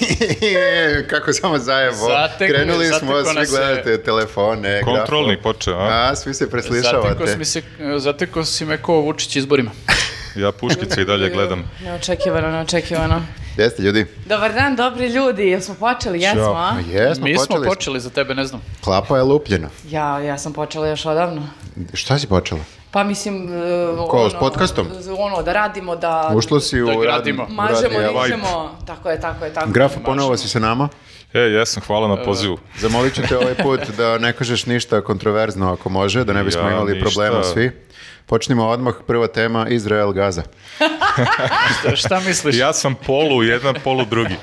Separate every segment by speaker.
Speaker 1: I, Kako samo zajebo.
Speaker 2: Zatekli-
Speaker 1: Krenuli smo,
Speaker 2: zatekao
Speaker 1: svi
Speaker 2: nas je-
Speaker 1: gledate telefone. grafo-
Speaker 3: Kontrolni počeo, a?
Speaker 1: A, svi se
Speaker 2: Zatekao
Speaker 1: preslišavate.
Speaker 2: si, mi se, zatekao si me ko Vučić izborima.
Speaker 3: Ja puškicu i dalje gledam.
Speaker 4: Neočekivano, neočekivano.
Speaker 1: Gde ste ljudi?
Speaker 4: Dobar dan, dobri ljudi, jesmo počeli, jesmo, a?
Speaker 1: Ma Jesmo,
Speaker 2: Mi smo
Speaker 1: počeli. E, smo.
Speaker 2: počeli za tebe, ne znam.
Speaker 1: Klapa je lupljena.
Speaker 4: Ja, ja sam počela još odavno.
Speaker 1: Šta si počela?
Speaker 4: Pa mislim... e,
Speaker 1: Ko, s podcastom?
Speaker 4: z- Ono, da radimo, da...
Speaker 1: Ušlo si u
Speaker 2: Pa, Da
Speaker 1: radni-
Speaker 2: gradimo.
Speaker 1: u radni
Speaker 4: Mažemo,
Speaker 1: alat.
Speaker 4: nižemo, tako je, tako je, tako je.
Speaker 1: Grafo, ponovo si sa nama.
Speaker 3: E, jesam, hvala na pozivu.
Speaker 1: Zamolit ću te ovaj put da ne kažeš ništa kontroverzno ako može, da ne bismo
Speaker 3: Ja,
Speaker 1: imali
Speaker 3: ništa.
Speaker 1: problema svi. Počnimo odmah, prva tema, Izrael, Gaza.
Speaker 2: Šta, šta misliš?
Speaker 3: Ja sam polu jedan, polu drugi.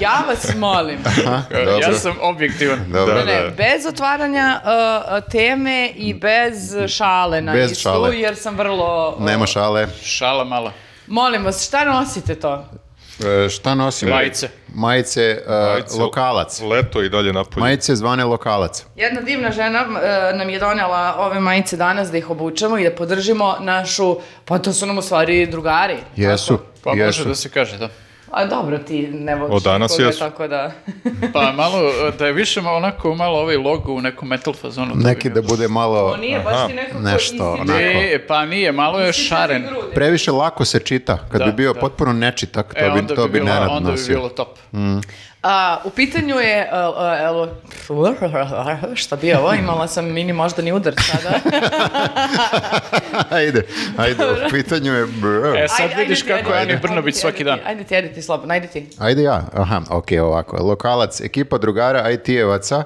Speaker 4: Ja vas molim.
Speaker 1: Ha,
Speaker 2: E, Ja
Speaker 1: dobro,
Speaker 2: sam objektivan.
Speaker 1: dobro.
Speaker 3: Da,
Speaker 4: Ne, ne, bez otvaranja uh, teme i bez šale na
Speaker 1: Bez
Speaker 4: istu,
Speaker 1: šale.
Speaker 4: jer sam vrlo... uh,
Speaker 1: Nema šale.
Speaker 2: Šala mala.
Speaker 4: Molim vas, šta nosite to?
Speaker 1: E, šta nosimo?
Speaker 2: Majice.
Speaker 1: Majice, e,
Speaker 3: Majice,
Speaker 1: lokalac.
Speaker 3: Leto i dalje napolje.
Speaker 1: Majice zvane lokalac.
Speaker 4: Jedna divna žena e, nam je donela ove majice danas da ih obučemo i da podržimo našu, pa to su nam u stvari drugari.
Speaker 1: Jesu,
Speaker 2: Pa
Speaker 1: jesu.
Speaker 2: može da se kaže, da.
Speaker 4: A dobro, ti ne voliš
Speaker 3: Od danas
Speaker 4: nikoga,
Speaker 3: jesu.
Speaker 4: tako da...
Speaker 2: Pa malo, e, da je više malo onako malo ovaj logo u nekom metal fazonu. to bi
Speaker 1: Neki
Speaker 2: mi-
Speaker 1: da bude malo
Speaker 4: On nije baš
Speaker 3: Aha,
Speaker 4: ti nekako
Speaker 1: nešto,
Speaker 4: izdi-
Speaker 1: onako.
Speaker 2: E, pa nije, malo je šaren.
Speaker 1: previše lako se čita. Kad
Speaker 2: Da,
Speaker 1: bi bio
Speaker 2: da.
Speaker 1: potpuno nečitak, to
Speaker 2: E,
Speaker 1: bi,
Speaker 2: onda
Speaker 1: to
Speaker 2: bi,
Speaker 1: bi
Speaker 2: bilo,
Speaker 1: Nenad
Speaker 2: onda bi
Speaker 1: nosio.
Speaker 2: bilo top.
Speaker 4: A, u pitanju je... e, e, elo- šta bi ovo? Imala sam mini moždani udar sada.
Speaker 1: ajde, ajde, u pitanju je... brr.
Speaker 2: E, sad
Speaker 4: Ajde, ajde
Speaker 2: vidiš
Speaker 4: ti,
Speaker 2: kako je
Speaker 4: ajde ti.
Speaker 2: Ani Brnobić
Speaker 4: Ajde ti,
Speaker 2: svaki
Speaker 4: ajde
Speaker 2: dan.
Speaker 4: ti, Ajde ti, ajde ti, slobodno, ajde ti.
Speaker 1: Ajde ja, aha, ok, ovako. Lokalac, ekipa drugara IT-evaca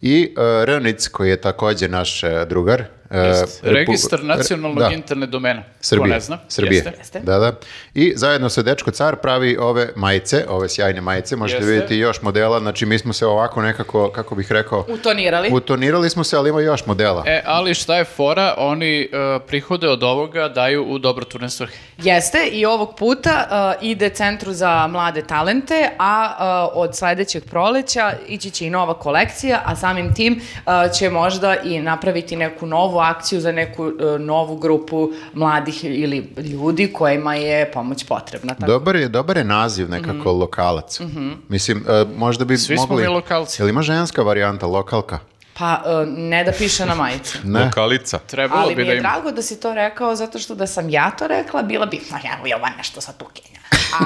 Speaker 1: i e, Rnic, koji je također naš e, drugar. e, Repu-
Speaker 2: Registar
Speaker 1: Re-
Speaker 2: nacionalnog
Speaker 1: da,
Speaker 2: internet domena. Ko
Speaker 1: Srbije.
Speaker 2: ne zna.
Speaker 1: Srbije.
Speaker 2: Jeste.
Speaker 4: Jeste.
Speaker 1: Da, da. I zajedno sa Dečko Car pravi ove majice, ove sjajne majice. Možete
Speaker 2: Jeste.
Speaker 1: vidjeti još modela. Znači, mi smo se ovako nekako, kako bih rekao,
Speaker 4: Utonirali.
Speaker 1: utonirali smo se, ali ima još modela.
Speaker 2: E, ali šta je fora? Oni e, prihode od ovoga daju u dobroturne svrhe.
Speaker 4: Jeste i ovog puta uh, ide Centru za mlade talente, a uh, od sledećeg proleća ići će i nova kolekcija, a samim tim uh, će možda i napraviti neku novu akciju za neku uh, novu grupu mladih ili ljudi kojima je pomoć potrebna. Tako.
Speaker 1: Dobar je, dobar je naziv
Speaker 4: Mhm.
Speaker 1: nekako lokalac. Mislim, e, možda bi
Speaker 2: Svi smo
Speaker 1: mogli...
Speaker 2: mi lokalci.
Speaker 1: Jel ima ženska varijanta, lokalka?
Speaker 4: Pa uh, ne da piše na majici.
Speaker 1: Ne.
Speaker 3: Lokalica.
Speaker 2: Trebalo
Speaker 4: Ali mi
Speaker 2: bi da
Speaker 4: je
Speaker 2: im...
Speaker 4: drago da si to rekao, zato što da sam ja to rekla, bila bi, ma ja, Jova nešto sa tu Kenja. A,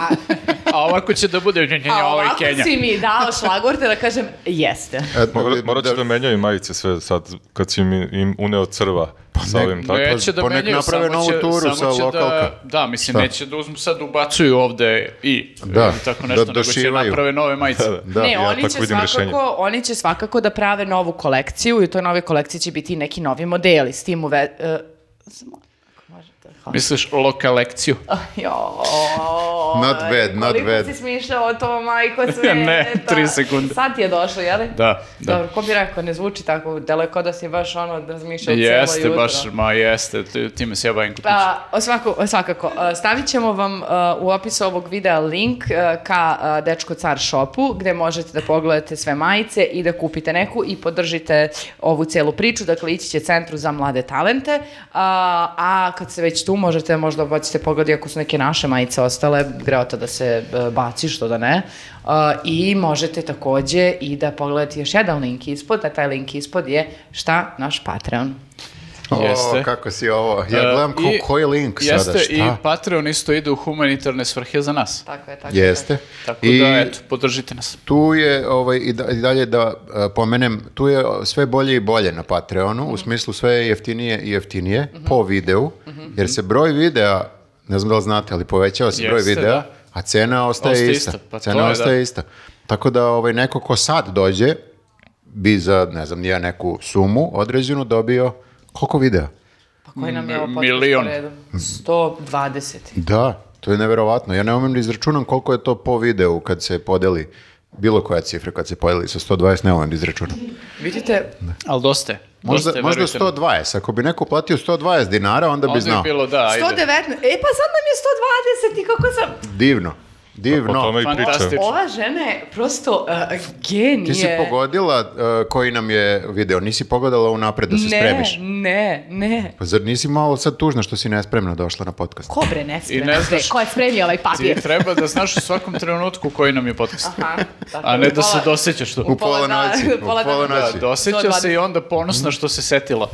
Speaker 2: A ovako će da bude njenjenje
Speaker 4: a
Speaker 2: ovaj
Speaker 4: ovako
Speaker 2: Kenja.
Speaker 4: si mi dala šlagvorte da kažem, jeste.
Speaker 1: E,
Speaker 3: Morat, morat ću
Speaker 1: da-
Speaker 3: da menjaju majice sve sad, kad si mi im uneo crva sa
Speaker 1: Pa ne-
Speaker 3: ovim, tako?
Speaker 2: Neće da
Speaker 1: Pa nek
Speaker 2: menjaju,
Speaker 1: naprave
Speaker 2: samo
Speaker 1: novu
Speaker 2: će,
Speaker 1: turu
Speaker 2: samo
Speaker 1: sa
Speaker 2: će
Speaker 1: lokalka.
Speaker 2: Da, da, mislim,
Speaker 1: Šta?
Speaker 2: neće da uzmu sad ubacuju ovde i
Speaker 1: Da,
Speaker 2: ili tako nešto,
Speaker 1: da
Speaker 2: nego će
Speaker 1: došivaju.
Speaker 2: naprave nove majice.
Speaker 3: Da,
Speaker 4: ne,
Speaker 3: ja
Speaker 4: oni,
Speaker 3: tako
Speaker 4: će
Speaker 3: vidim
Speaker 4: svakako,
Speaker 3: rešenje.
Speaker 4: oni će svakako da prave novu kolekciju i u toj novoj kolekciji će biti i neki novi modeli. S tim uve... e, samo ako možete, hvala.
Speaker 2: Misliš lokalekciju?
Speaker 4: Joj,
Speaker 1: Not bad, not
Speaker 4: koliko
Speaker 1: bad.
Speaker 4: si smišljao to, majko sve.
Speaker 2: Ne, tri sekunde.
Speaker 4: Sad ti je došlo, jel?
Speaker 2: Da, da.
Speaker 4: Dobro, ko bi rekao, ne zvuči tako, delo je kao da si baš ono da razmišljao cijelo
Speaker 2: Jeste,
Speaker 4: jutro.
Speaker 2: baš, ma jeste, ti- time se ja bavim kod kuće.
Speaker 4: Pa, o svaku- o svakako, e, stavit ćemo vam e, u opisu ovog videa link e, ka e, Dečko Car shopu, gde možete da pogledate sve majice i da kupite neku i podržite ovu celu priču, dakle ići će Centru za mlade talente, a, a kad ste već tu možete, možda bacite pogled i ako su neke naše majice ostale, greota da se e, baci, što da ne, E, i možete takođe i da pogledate još jedan link ispod, a taj link ispod je šta naš Patreon.
Speaker 1: O,
Speaker 2: Jeste. E,
Speaker 1: kako si ovo. Ja gledam ko,
Speaker 2: I-
Speaker 1: koji link sada,
Speaker 2: Jeste,
Speaker 1: šta?
Speaker 2: i pa- Patreon isto ide u humanitarne svrhe za nas.
Speaker 4: Tako je, tako je,
Speaker 1: Jeste.
Speaker 2: Tako
Speaker 1: I
Speaker 2: da, eto, podržite nas.
Speaker 1: tu je, ovaj, i da- i dalje da e, pomenem, tu je o, sve bolje i bolje na Patreonu, u smislu sve je jeftinije i jeftinije
Speaker 2: Mhm.
Speaker 1: po videu, jer se broj videa, ne znam da li znate, ali povećava se broj
Speaker 2: Jeste,
Speaker 1: videa,
Speaker 2: da.
Speaker 1: a cena ostaje,
Speaker 2: Ostaje
Speaker 1: ista.
Speaker 2: ista, pa to
Speaker 1: cena
Speaker 2: je,
Speaker 1: ostaje
Speaker 2: da.
Speaker 1: ista. Tako da ovaj, neko ko sad dođe, bi za, ne znam, nije neku sumu određenu dobio koliko videa?
Speaker 4: Pa koji nam je ovo
Speaker 2: M-
Speaker 4: podcast
Speaker 2: Mm, milion.
Speaker 4: po redu? 120.
Speaker 1: Da, to je neverovatno. Ja ne umem da izračunam koliko je to po videu kad se podeli bilo koja cifra kad se podeli sa 120, ne umem da izračunam.
Speaker 4: Vidite,
Speaker 2: Ali dosta je.
Speaker 1: Možda,
Speaker 2: dosta je,
Speaker 1: možda
Speaker 2: verujte mi.
Speaker 1: 120, ako bi neko platio 120 dinara, onda bi
Speaker 2: Onda
Speaker 1: znao.
Speaker 2: bi bilo, da, ajde.
Speaker 4: 119, e pa sad nam je 120 i kako sam...
Speaker 1: Divno. Divno.
Speaker 3: O tome i
Speaker 2: Fantastično.
Speaker 3: pričam.
Speaker 4: Ova žena je prosto uh, genije.
Speaker 1: Ti si pogodila uh, koji nam je video, nisi pogodila unapred da se spremiš.
Speaker 4: Ne, ne, ne.
Speaker 1: Pa zar nisi malo sad tužna što si nespremna došla na podcast?
Speaker 4: Ko bre ne spremio?
Speaker 2: ne znaš-
Speaker 4: Ko je spremio ovaj
Speaker 2: Ti
Speaker 4: papir?
Speaker 2: treba da znaš u svakom trenutku koji nam je podcast.
Speaker 4: Aha, tako,
Speaker 2: A ne da se
Speaker 4: pola-
Speaker 2: dosećaš to.
Speaker 1: U pola
Speaker 4: pola dana-
Speaker 1: noći. U
Speaker 4: pola
Speaker 1: pola
Speaker 3: Znači,
Speaker 4: dana.
Speaker 1: noći.
Speaker 2: Da,
Speaker 4: To je
Speaker 2: doseća
Speaker 4: dva-
Speaker 2: se i onda ponosna
Speaker 3: Mhm.
Speaker 2: što se setila.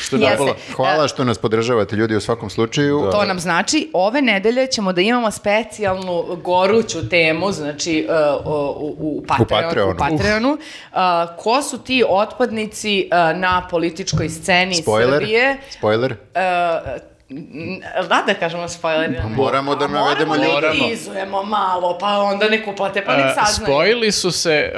Speaker 2: Što je
Speaker 4: Jeste.
Speaker 2: dobila.
Speaker 1: Hvala što nas podržavate ljudi u svakom slučaju.
Speaker 4: To nam znači, ove nedelje ćemo da imamo specijalnu goruću temu, znači uh, o- u, u, Patreon-
Speaker 1: U Patreonu.
Speaker 4: u Patreonu. Uh, ko su ti otpadnici uh, na političkoj sceni
Speaker 1: Spoiler.
Speaker 4: Srbije? E,
Speaker 1: Spoiler.
Speaker 4: N- Da, da kažemo spoiler. ili ne?
Speaker 1: Pa moramo da
Speaker 4: A
Speaker 1: navedemo
Speaker 4: Moramo da
Speaker 2: ljude.
Speaker 4: izuzujemo malo, pa onda nek uplate, pa nek
Speaker 2: E,
Speaker 4: saznaju.
Speaker 2: spojili su se e,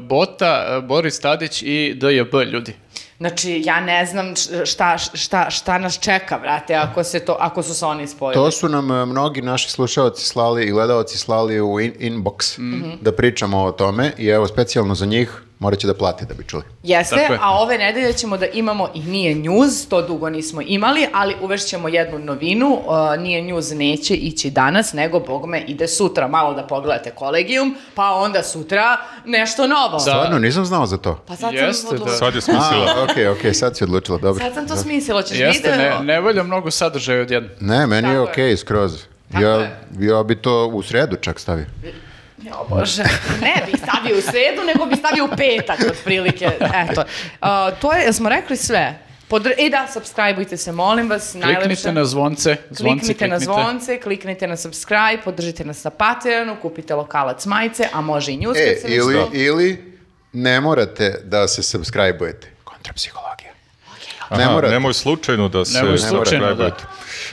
Speaker 2: Bota, e, Boris Tadić i DJB ljudi.
Speaker 4: Znači, ja ne znam š- šta, šta, šta nas čeka, vrate, ako, se to, ako su se oni spojili.
Speaker 1: To su nam e, mnogi naši slušaoci slali i gledaoci slali u in- inbox da pričamo o tome i evo specijalno za njih morat će da plate da bi čuli.
Speaker 4: Jeste,
Speaker 2: Tako je.
Speaker 4: a ove nedelje ćemo da imamo i Nije News, to dugo nismo imali, ali uvešćemo jednu novinu, uh, Nije News neće ići danas, nego, bogme, ide sutra, malo da pogledate kolegijum, pa onda sutra nešto novo.
Speaker 2: Da.
Speaker 1: Stvarno, nisam znao za to.
Speaker 4: Pa sad
Speaker 2: Jeste,
Speaker 4: sam
Speaker 2: da.
Speaker 4: odlučila.
Speaker 3: Sad je smislila.
Speaker 1: A, ok, ok, sad si odlučila, dobro.
Speaker 4: Sad sam to smislila, ćeš
Speaker 2: Jeste,
Speaker 4: video.
Speaker 2: ne, ne valja mnogo sadržaja odjedno.
Speaker 1: Ne, meni je
Speaker 4: Tako
Speaker 1: ok, skroz.
Speaker 4: Tako
Speaker 1: Ja,
Speaker 4: je.
Speaker 1: ja bi to u sredu čak stavio.
Speaker 4: O Bože, ne bih stavio u sredu, nego bih stavio u petak, otprilike. Eto, A, to je, smo rekli sve. Podr- I da, subscribeujte se, molim vas. najlepše.
Speaker 2: Kliknite na zvonce. zvonce
Speaker 4: Kliknite na zvonce, kliknite na subscribe, podržite nas na Patreonu, kupite lokalac majice, a može i news
Speaker 1: E,
Speaker 4: kad se
Speaker 1: ili,
Speaker 4: nešto-
Speaker 1: ili ne morate da se subscribe-ujete. Kontrapsihologija. Ne
Speaker 3: Aha,
Speaker 1: morate.
Speaker 3: nemoj slučajno da se...
Speaker 2: Nemoj slučajno,
Speaker 3: Ne
Speaker 2: da.
Speaker 3: morate.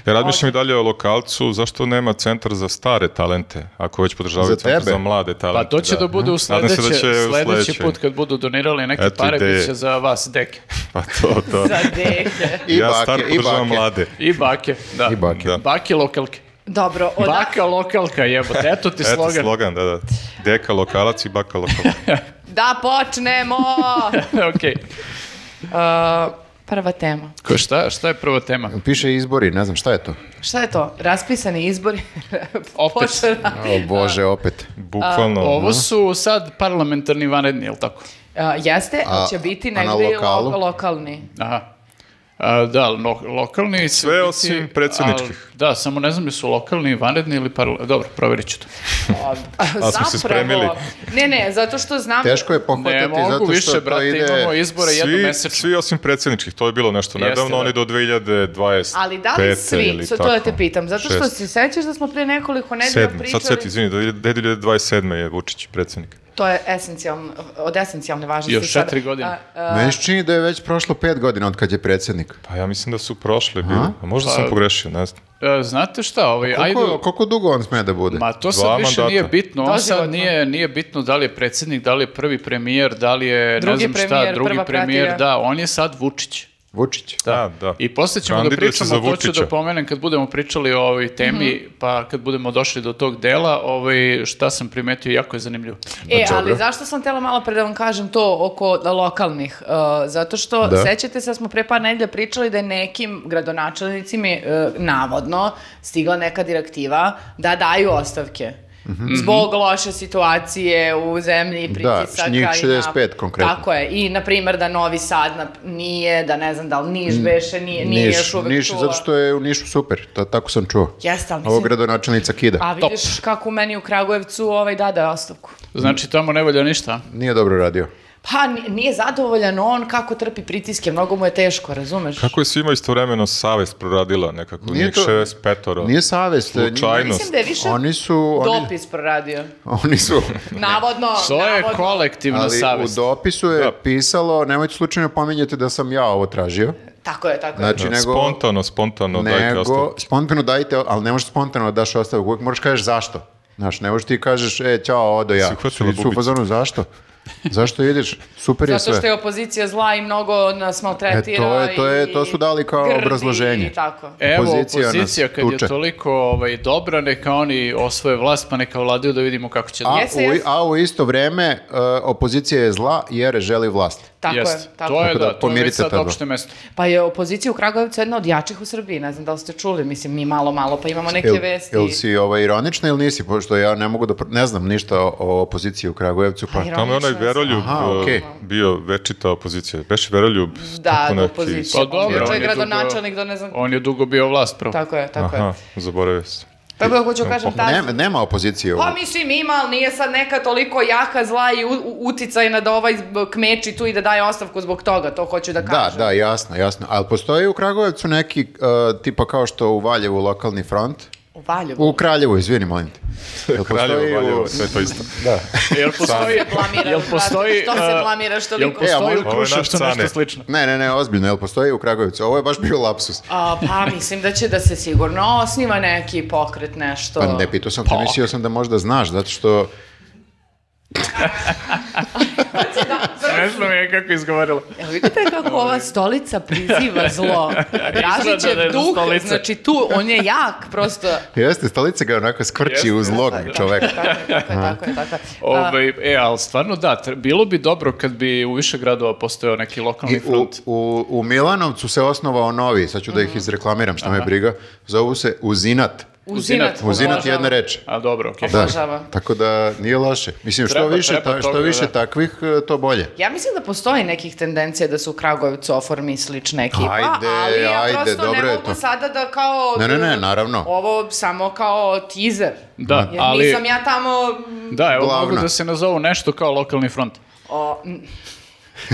Speaker 3: Ja razmišljam i dalje o lokalcu, zašto nema centar za stare talente, ako već podržavaju
Speaker 1: Za
Speaker 3: centar
Speaker 1: tebe?
Speaker 3: za mlade
Speaker 2: Pa
Speaker 3: talente.
Speaker 2: to će da, bude u
Speaker 3: Nadam se
Speaker 2: sledeće,
Speaker 3: da će u
Speaker 2: sledeći
Speaker 3: sledećoj.
Speaker 2: put kad budu donirali neke
Speaker 3: Eto
Speaker 2: pare,
Speaker 3: ideje.
Speaker 2: bit će za vas deke.
Speaker 3: Pa to, to.
Speaker 4: Za deke.
Speaker 1: I
Speaker 3: ja
Speaker 1: bake,
Speaker 3: stare
Speaker 1: i
Speaker 3: podržavam
Speaker 1: bake.
Speaker 3: mlade.
Speaker 2: I bake, da.
Speaker 1: I bake.
Speaker 3: Da.
Speaker 2: Bake lokalke.
Speaker 4: Dobro, od...
Speaker 2: Baka lokalka, jebote. Eto ti
Speaker 3: Eto,
Speaker 2: slogan.
Speaker 3: slogan. da, da. Deka lokalac i baka lokalac.
Speaker 4: da počnemo!
Speaker 2: Okej.
Speaker 4: Uh, prva tema.
Speaker 2: Ko, šta, šta je prva tema?
Speaker 1: Piše izbori, ne znam šta je to.
Speaker 4: Šta je to? Raspisani izbori?
Speaker 2: Opet.
Speaker 4: Počela-
Speaker 1: O bože, opet.
Speaker 3: Bukvalno. ono,
Speaker 2: Ovo
Speaker 3: no.
Speaker 2: su sad parlamentarni vanredni, jel tako?
Speaker 4: A, E, jeste,
Speaker 1: A-
Speaker 4: će biti
Speaker 1: a na
Speaker 4: negdje
Speaker 1: lokalu?
Speaker 4: lokalni.
Speaker 2: Aha. A, da, lo- lokalni... će
Speaker 3: Sve osim predsjedničkih.
Speaker 2: al- da, samo ne znam jesu lokalni, vanredni ili parla... Dobro, provjerit ću to.
Speaker 3: smo se spremili.
Speaker 4: Ne, ne, zato što znam...
Speaker 1: Teško je
Speaker 2: Ne
Speaker 1: pohvatati
Speaker 2: mogu
Speaker 1: zato što
Speaker 2: više,
Speaker 1: to
Speaker 2: brate,
Speaker 1: ide...
Speaker 2: imamo izbore jednom
Speaker 3: Svi,
Speaker 2: mesečno.
Speaker 3: svi osim predsjedničkih, to je bilo nešto
Speaker 2: Jeste,
Speaker 3: nedavno,
Speaker 2: da.
Speaker 3: oni do 2020.
Speaker 4: Ali da li svi, so, to da te pitam, zato što
Speaker 3: Šest.
Speaker 4: se sećaš da smo prije nekoliko nedelja
Speaker 3: Sedmi,
Speaker 4: pričali...
Speaker 3: sad seti, izvini, do 2027. je Vučić predsjednik.
Speaker 4: To je esencijalno, od esencijalne važnosti.
Speaker 2: Još
Speaker 4: sada.
Speaker 2: četiri godine.
Speaker 4: A, e, a,
Speaker 1: Meni se čini da je već prošlo pet godina od kad je predsjednik.
Speaker 3: Pa ja mislim da su prošle bile, a
Speaker 1: Pa-
Speaker 3: možda sam pogrešio, ne znam.
Speaker 2: E, znate šta, ovaj, ajde...
Speaker 1: Koliko, koliko dugo on sme da bude?
Speaker 2: Ma to
Speaker 3: Pa Dva
Speaker 2: sad više
Speaker 3: mandata.
Speaker 2: nije bitno, on sad
Speaker 4: Doživotno.
Speaker 2: nije, nije bitno da li je predsjednik, da li je prvi premijer, da li je
Speaker 4: Drugi
Speaker 2: ne znam šta,
Speaker 4: premijer,
Speaker 2: drugi
Speaker 4: prva
Speaker 2: premijer,
Speaker 4: pratilja.
Speaker 2: da, on je sad Vučić.
Speaker 1: Vučić.
Speaker 3: Da, da.
Speaker 2: I poslije ćemo da
Speaker 3: Kandiduje se
Speaker 2: pričamo,
Speaker 3: za
Speaker 2: to ću
Speaker 3: Vučića.
Speaker 2: da pomenem kad budemo pričali o ovoj temi,
Speaker 4: Mhm.
Speaker 2: pa kad budemo došli do tog dela, ovaj, šta sam primetio, jako je zanimljivo.
Speaker 4: e, ali
Speaker 1: dobro.
Speaker 4: zašto sam tela malo pre da vam kažem to oko lokalnih? Uh, zato što
Speaker 1: Da.
Speaker 4: sećate se da smo pre par nedelja pričali da je nekim gradonačelnicima uh, navodno stigla neka direktiva da daju ostavke. Mhm. Zbog loše situacije u zemlji,
Speaker 1: Mhm. Da,
Speaker 4: pritisaka
Speaker 1: njih
Speaker 4: i
Speaker 1: 65 konkretno.
Speaker 4: Tako je. I, na primjer, da Novi Sad nap- nije, da ne znam da li Niš beše, nije, nije
Speaker 1: Niš,
Speaker 4: još uvek
Speaker 1: Niš,
Speaker 4: čuo.
Speaker 1: zato što je u Nišu super, to, tako sam čuo.
Speaker 4: Jeste, ali
Speaker 1: Ovo
Speaker 4: mislim-
Speaker 1: gradonačelnica kida.
Speaker 4: A Pa vidiš kako meni u Kragujevcu ovaj dade ostavku.
Speaker 2: Znači tamo ne valja ništa.
Speaker 1: Nije dobro radio.
Speaker 4: Pa ni- nije zadovoljan on kako trpi pritiske, mnogo mu je teško, razumeš?
Speaker 3: Kako je svima istovremeno savest proradila nekako,
Speaker 1: Nije
Speaker 3: njih
Speaker 1: to-
Speaker 3: 65-ora.
Speaker 1: Nije savest. njih-
Speaker 3: Slučajnost.
Speaker 4: Mislim da je više
Speaker 1: Oni su... Oni,
Speaker 4: dopis proradio.
Speaker 1: oni su...
Speaker 4: Navodno,
Speaker 2: To je
Speaker 4: navodno.
Speaker 2: kolektivna
Speaker 1: Ali
Speaker 2: savest.
Speaker 1: u dopisu je
Speaker 3: Da.
Speaker 1: pisalo, nemojte slučajno pominjati da sam ja ovo tražio.
Speaker 4: Tako je, tako je.
Speaker 1: Znači,
Speaker 3: Da,
Speaker 1: nego...
Speaker 3: Spontano, spontano, dajte
Speaker 1: nego,
Speaker 3: ostavku.
Speaker 1: spontano dajte, ali ne možeš spontano da daš ostavku, uvijek moraš kažeš zašto. Znaš, ne možeš ti kažeš, e, čao, odo ja.
Speaker 3: Si uhvatila
Speaker 1: Svi su u
Speaker 3: bubicu.
Speaker 1: fazonu, zašto? Zašto ideš? Super je sve.
Speaker 4: Zato što je opozicija zla i mnogo nas
Speaker 1: E,
Speaker 4: maltretira.
Speaker 1: to je- to je-
Speaker 4: i E,
Speaker 1: to su dali kao
Speaker 4: grdi
Speaker 1: obrazloženje.
Speaker 4: I tako.
Speaker 2: Evo,
Speaker 1: Opozicija
Speaker 2: opozicija,
Speaker 1: nas
Speaker 2: kad
Speaker 1: tuče.
Speaker 2: je toliko ovaj, dobra, neka oni osvoje vlast, pa neka vladaju da vidimo kako će...
Speaker 1: A,
Speaker 2: da-
Speaker 4: Jeste,
Speaker 1: u,
Speaker 4: jeste.
Speaker 1: a u isto vreme e, opozicija je zla jer želi vlast.
Speaker 4: Tako
Speaker 2: Jeste.
Speaker 4: je, tako
Speaker 2: To
Speaker 4: je.
Speaker 2: je,
Speaker 1: Tako da,
Speaker 2: da, to je već
Speaker 1: pomirite
Speaker 2: sad
Speaker 1: ta dva.
Speaker 2: opšte mesto.
Speaker 4: Pa je opozicija u Kragujevcu jedna od jačih u Srbiji, ne znam da li ste čuli, mislim mi malo, malo, pa imamo neke
Speaker 1: Jel,
Speaker 4: vesti.
Speaker 1: jel si ovaj, ironična ili nisi? Pošto ja ne mogu da... pr- Ne znam ništa o, o opoziciji u Kragujevcu. Pa,
Speaker 4: Ironično
Speaker 3: Tamo je onaj
Speaker 4: je.
Speaker 3: Veroljub
Speaker 1: Aha,
Speaker 3: eh,
Speaker 1: okej.
Speaker 3: bio večita opozicija. Beše Veroljub.
Speaker 4: Da,
Speaker 3: tako neki-
Speaker 4: opozicija.
Speaker 2: Pa dobro,
Speaker 4: to Ono.
Speaker 2: on
Speaker 4: je
Speaker 2: je,
Speaker 4: gradonačelnik do
Speaker 2: dugo,
Speaker 4: ne znam...
Speaker 2: on je dugo bio vlast, prvo.
Speaker 4: Tako je, tako
Speaker 3: Aha,
Speaker 4: je.
Speaker 3: zaboravio se.
Speaker 4: Tako da Pa hoću kažem ta...
Speaker 1: pa nema, nema opozicije. u-
Speaker 4: Pa mislim ima, ali nije sad neka toliko jaka zla i u, u- uticajna da ovaj zb- kmeči tu i da daje ostavku zbog toga, to hoću da
Speaker 1: Da,
Speaker 4: kažem.
Speaker 1: da, jasno, jasno. Ali postoji u Kragujevcu neki, e, tipa kao što u Valjevu lokalni front?
Speaker 4: U Valjevu.
Speaker 1: U Kraljevu, izvini, molim te. Jel postoji
Speaker 3: Kraljevo,
Speaker 1: u-
Speaker 3: Valjevo, sve to isto.
Speaker 2: Jel postoji...
Speaker 4: Što se blamiraš,
Speaker 2: jel
Speaker 4: brate?
Speaker 2: postoji...
Speaker 4: Što se
Speaker 2: a,
Speaker 4: blamiraš
Speaker 2: Jel
Speaker 4: toliko?
Speaker 1: E, a
Speaker 2: postoji
Speaker 1: moj-
Speaker 2: u
Speaker 3: Ovo je naš
Speaker 2: Kruševcu
Speaker 3: cane.
Speaker 2: nešto slično?
Speaker 1: Ne, ne, ne, ozbiljno, jel postoji u Kragujevcu? Ovo je baš bio lapsus.
Speaker 4: A, pa mislim da će da se sigurno osniva neki pokret, nešto.
Speaker 1: Pa ne, pitao sam te, mislio sam da možda znaš, zato što...
Speaker 2: Ne znam je kako izgovorila.
Speaker 4: Evo vidite kako ova stolica priziva zlo.
Speaker 2: Izgleda da je
Speaker 4: Dražićev
Speaker 2: za
Speaker 4: duh,
Speaker 2: stolice.
Speaker 4: znači tu, on je jak, prosto.
Speaker 1: Jeste, stolica ga onako skrči
Speaker 2: Jeste,
Speaker 1: uz log čoveka.
Speaker 4: Tako je, tako je, tako je, tako je. A,
Speaker 2: Ovaj, e, ali stvarno da, tre- bilo bi dobro kad bi u više gradova postojao neki
Speaker 1: I
Speaker 2: lokalni
Speaker 1: u,
Speaker 2: front.
Speaker 1: u, u Milanovcu se osnovao novi, sad ću da ih izreklamiram, što me briga, zovu se Uzinat.
Speaker 4: uzinat.
Speaker 1: Uzinat je
Speaker 4: obožavam.
Speaker 1: jedna reč.
Speaker 2: A dobro, okej.
Speaker 1: Da,
Speaker 4: Obožavam.
Speaker 1: tako da nije loše. Mislim, što
Speaker 2: Treba-
Speaker 1: više,
Speaker 2: treba
Speaker 1: ta- što
Speaker 2: toga,
Speaker 1: više
Speaker 2: da.
Speaker 1: takvih, eh, to bolje.
Speaker 4: Ja mislim da postoji nekih tendencija da su u Kragujevcu oformi slična ekipa,
Speaker 1: Ajde,
Speaker 4: ali ja
Speaker 1: ajde,
Speaker 4: prosto
Speaker 1: dobro
Speaker 4: ne
Speaker 1: je
Speaker 4: mogu
Speaker 1: to.
Speaker 4: sada da kao...
Speaker 1: Ne, ne, ne, naravno.
Speaker 4: Ovo samo kao teaser.
Speaker 2: Da,
Speaker 4: Jer
Speaker 2: ali...
Speaker 4: nisam ja tamo... mm,
Speaker 2: Da, evo
Speaker 1: Glavna.
Speaker 2: mogu da se nazovu nešto kao lokalni front.
Speaker 4: O, mm,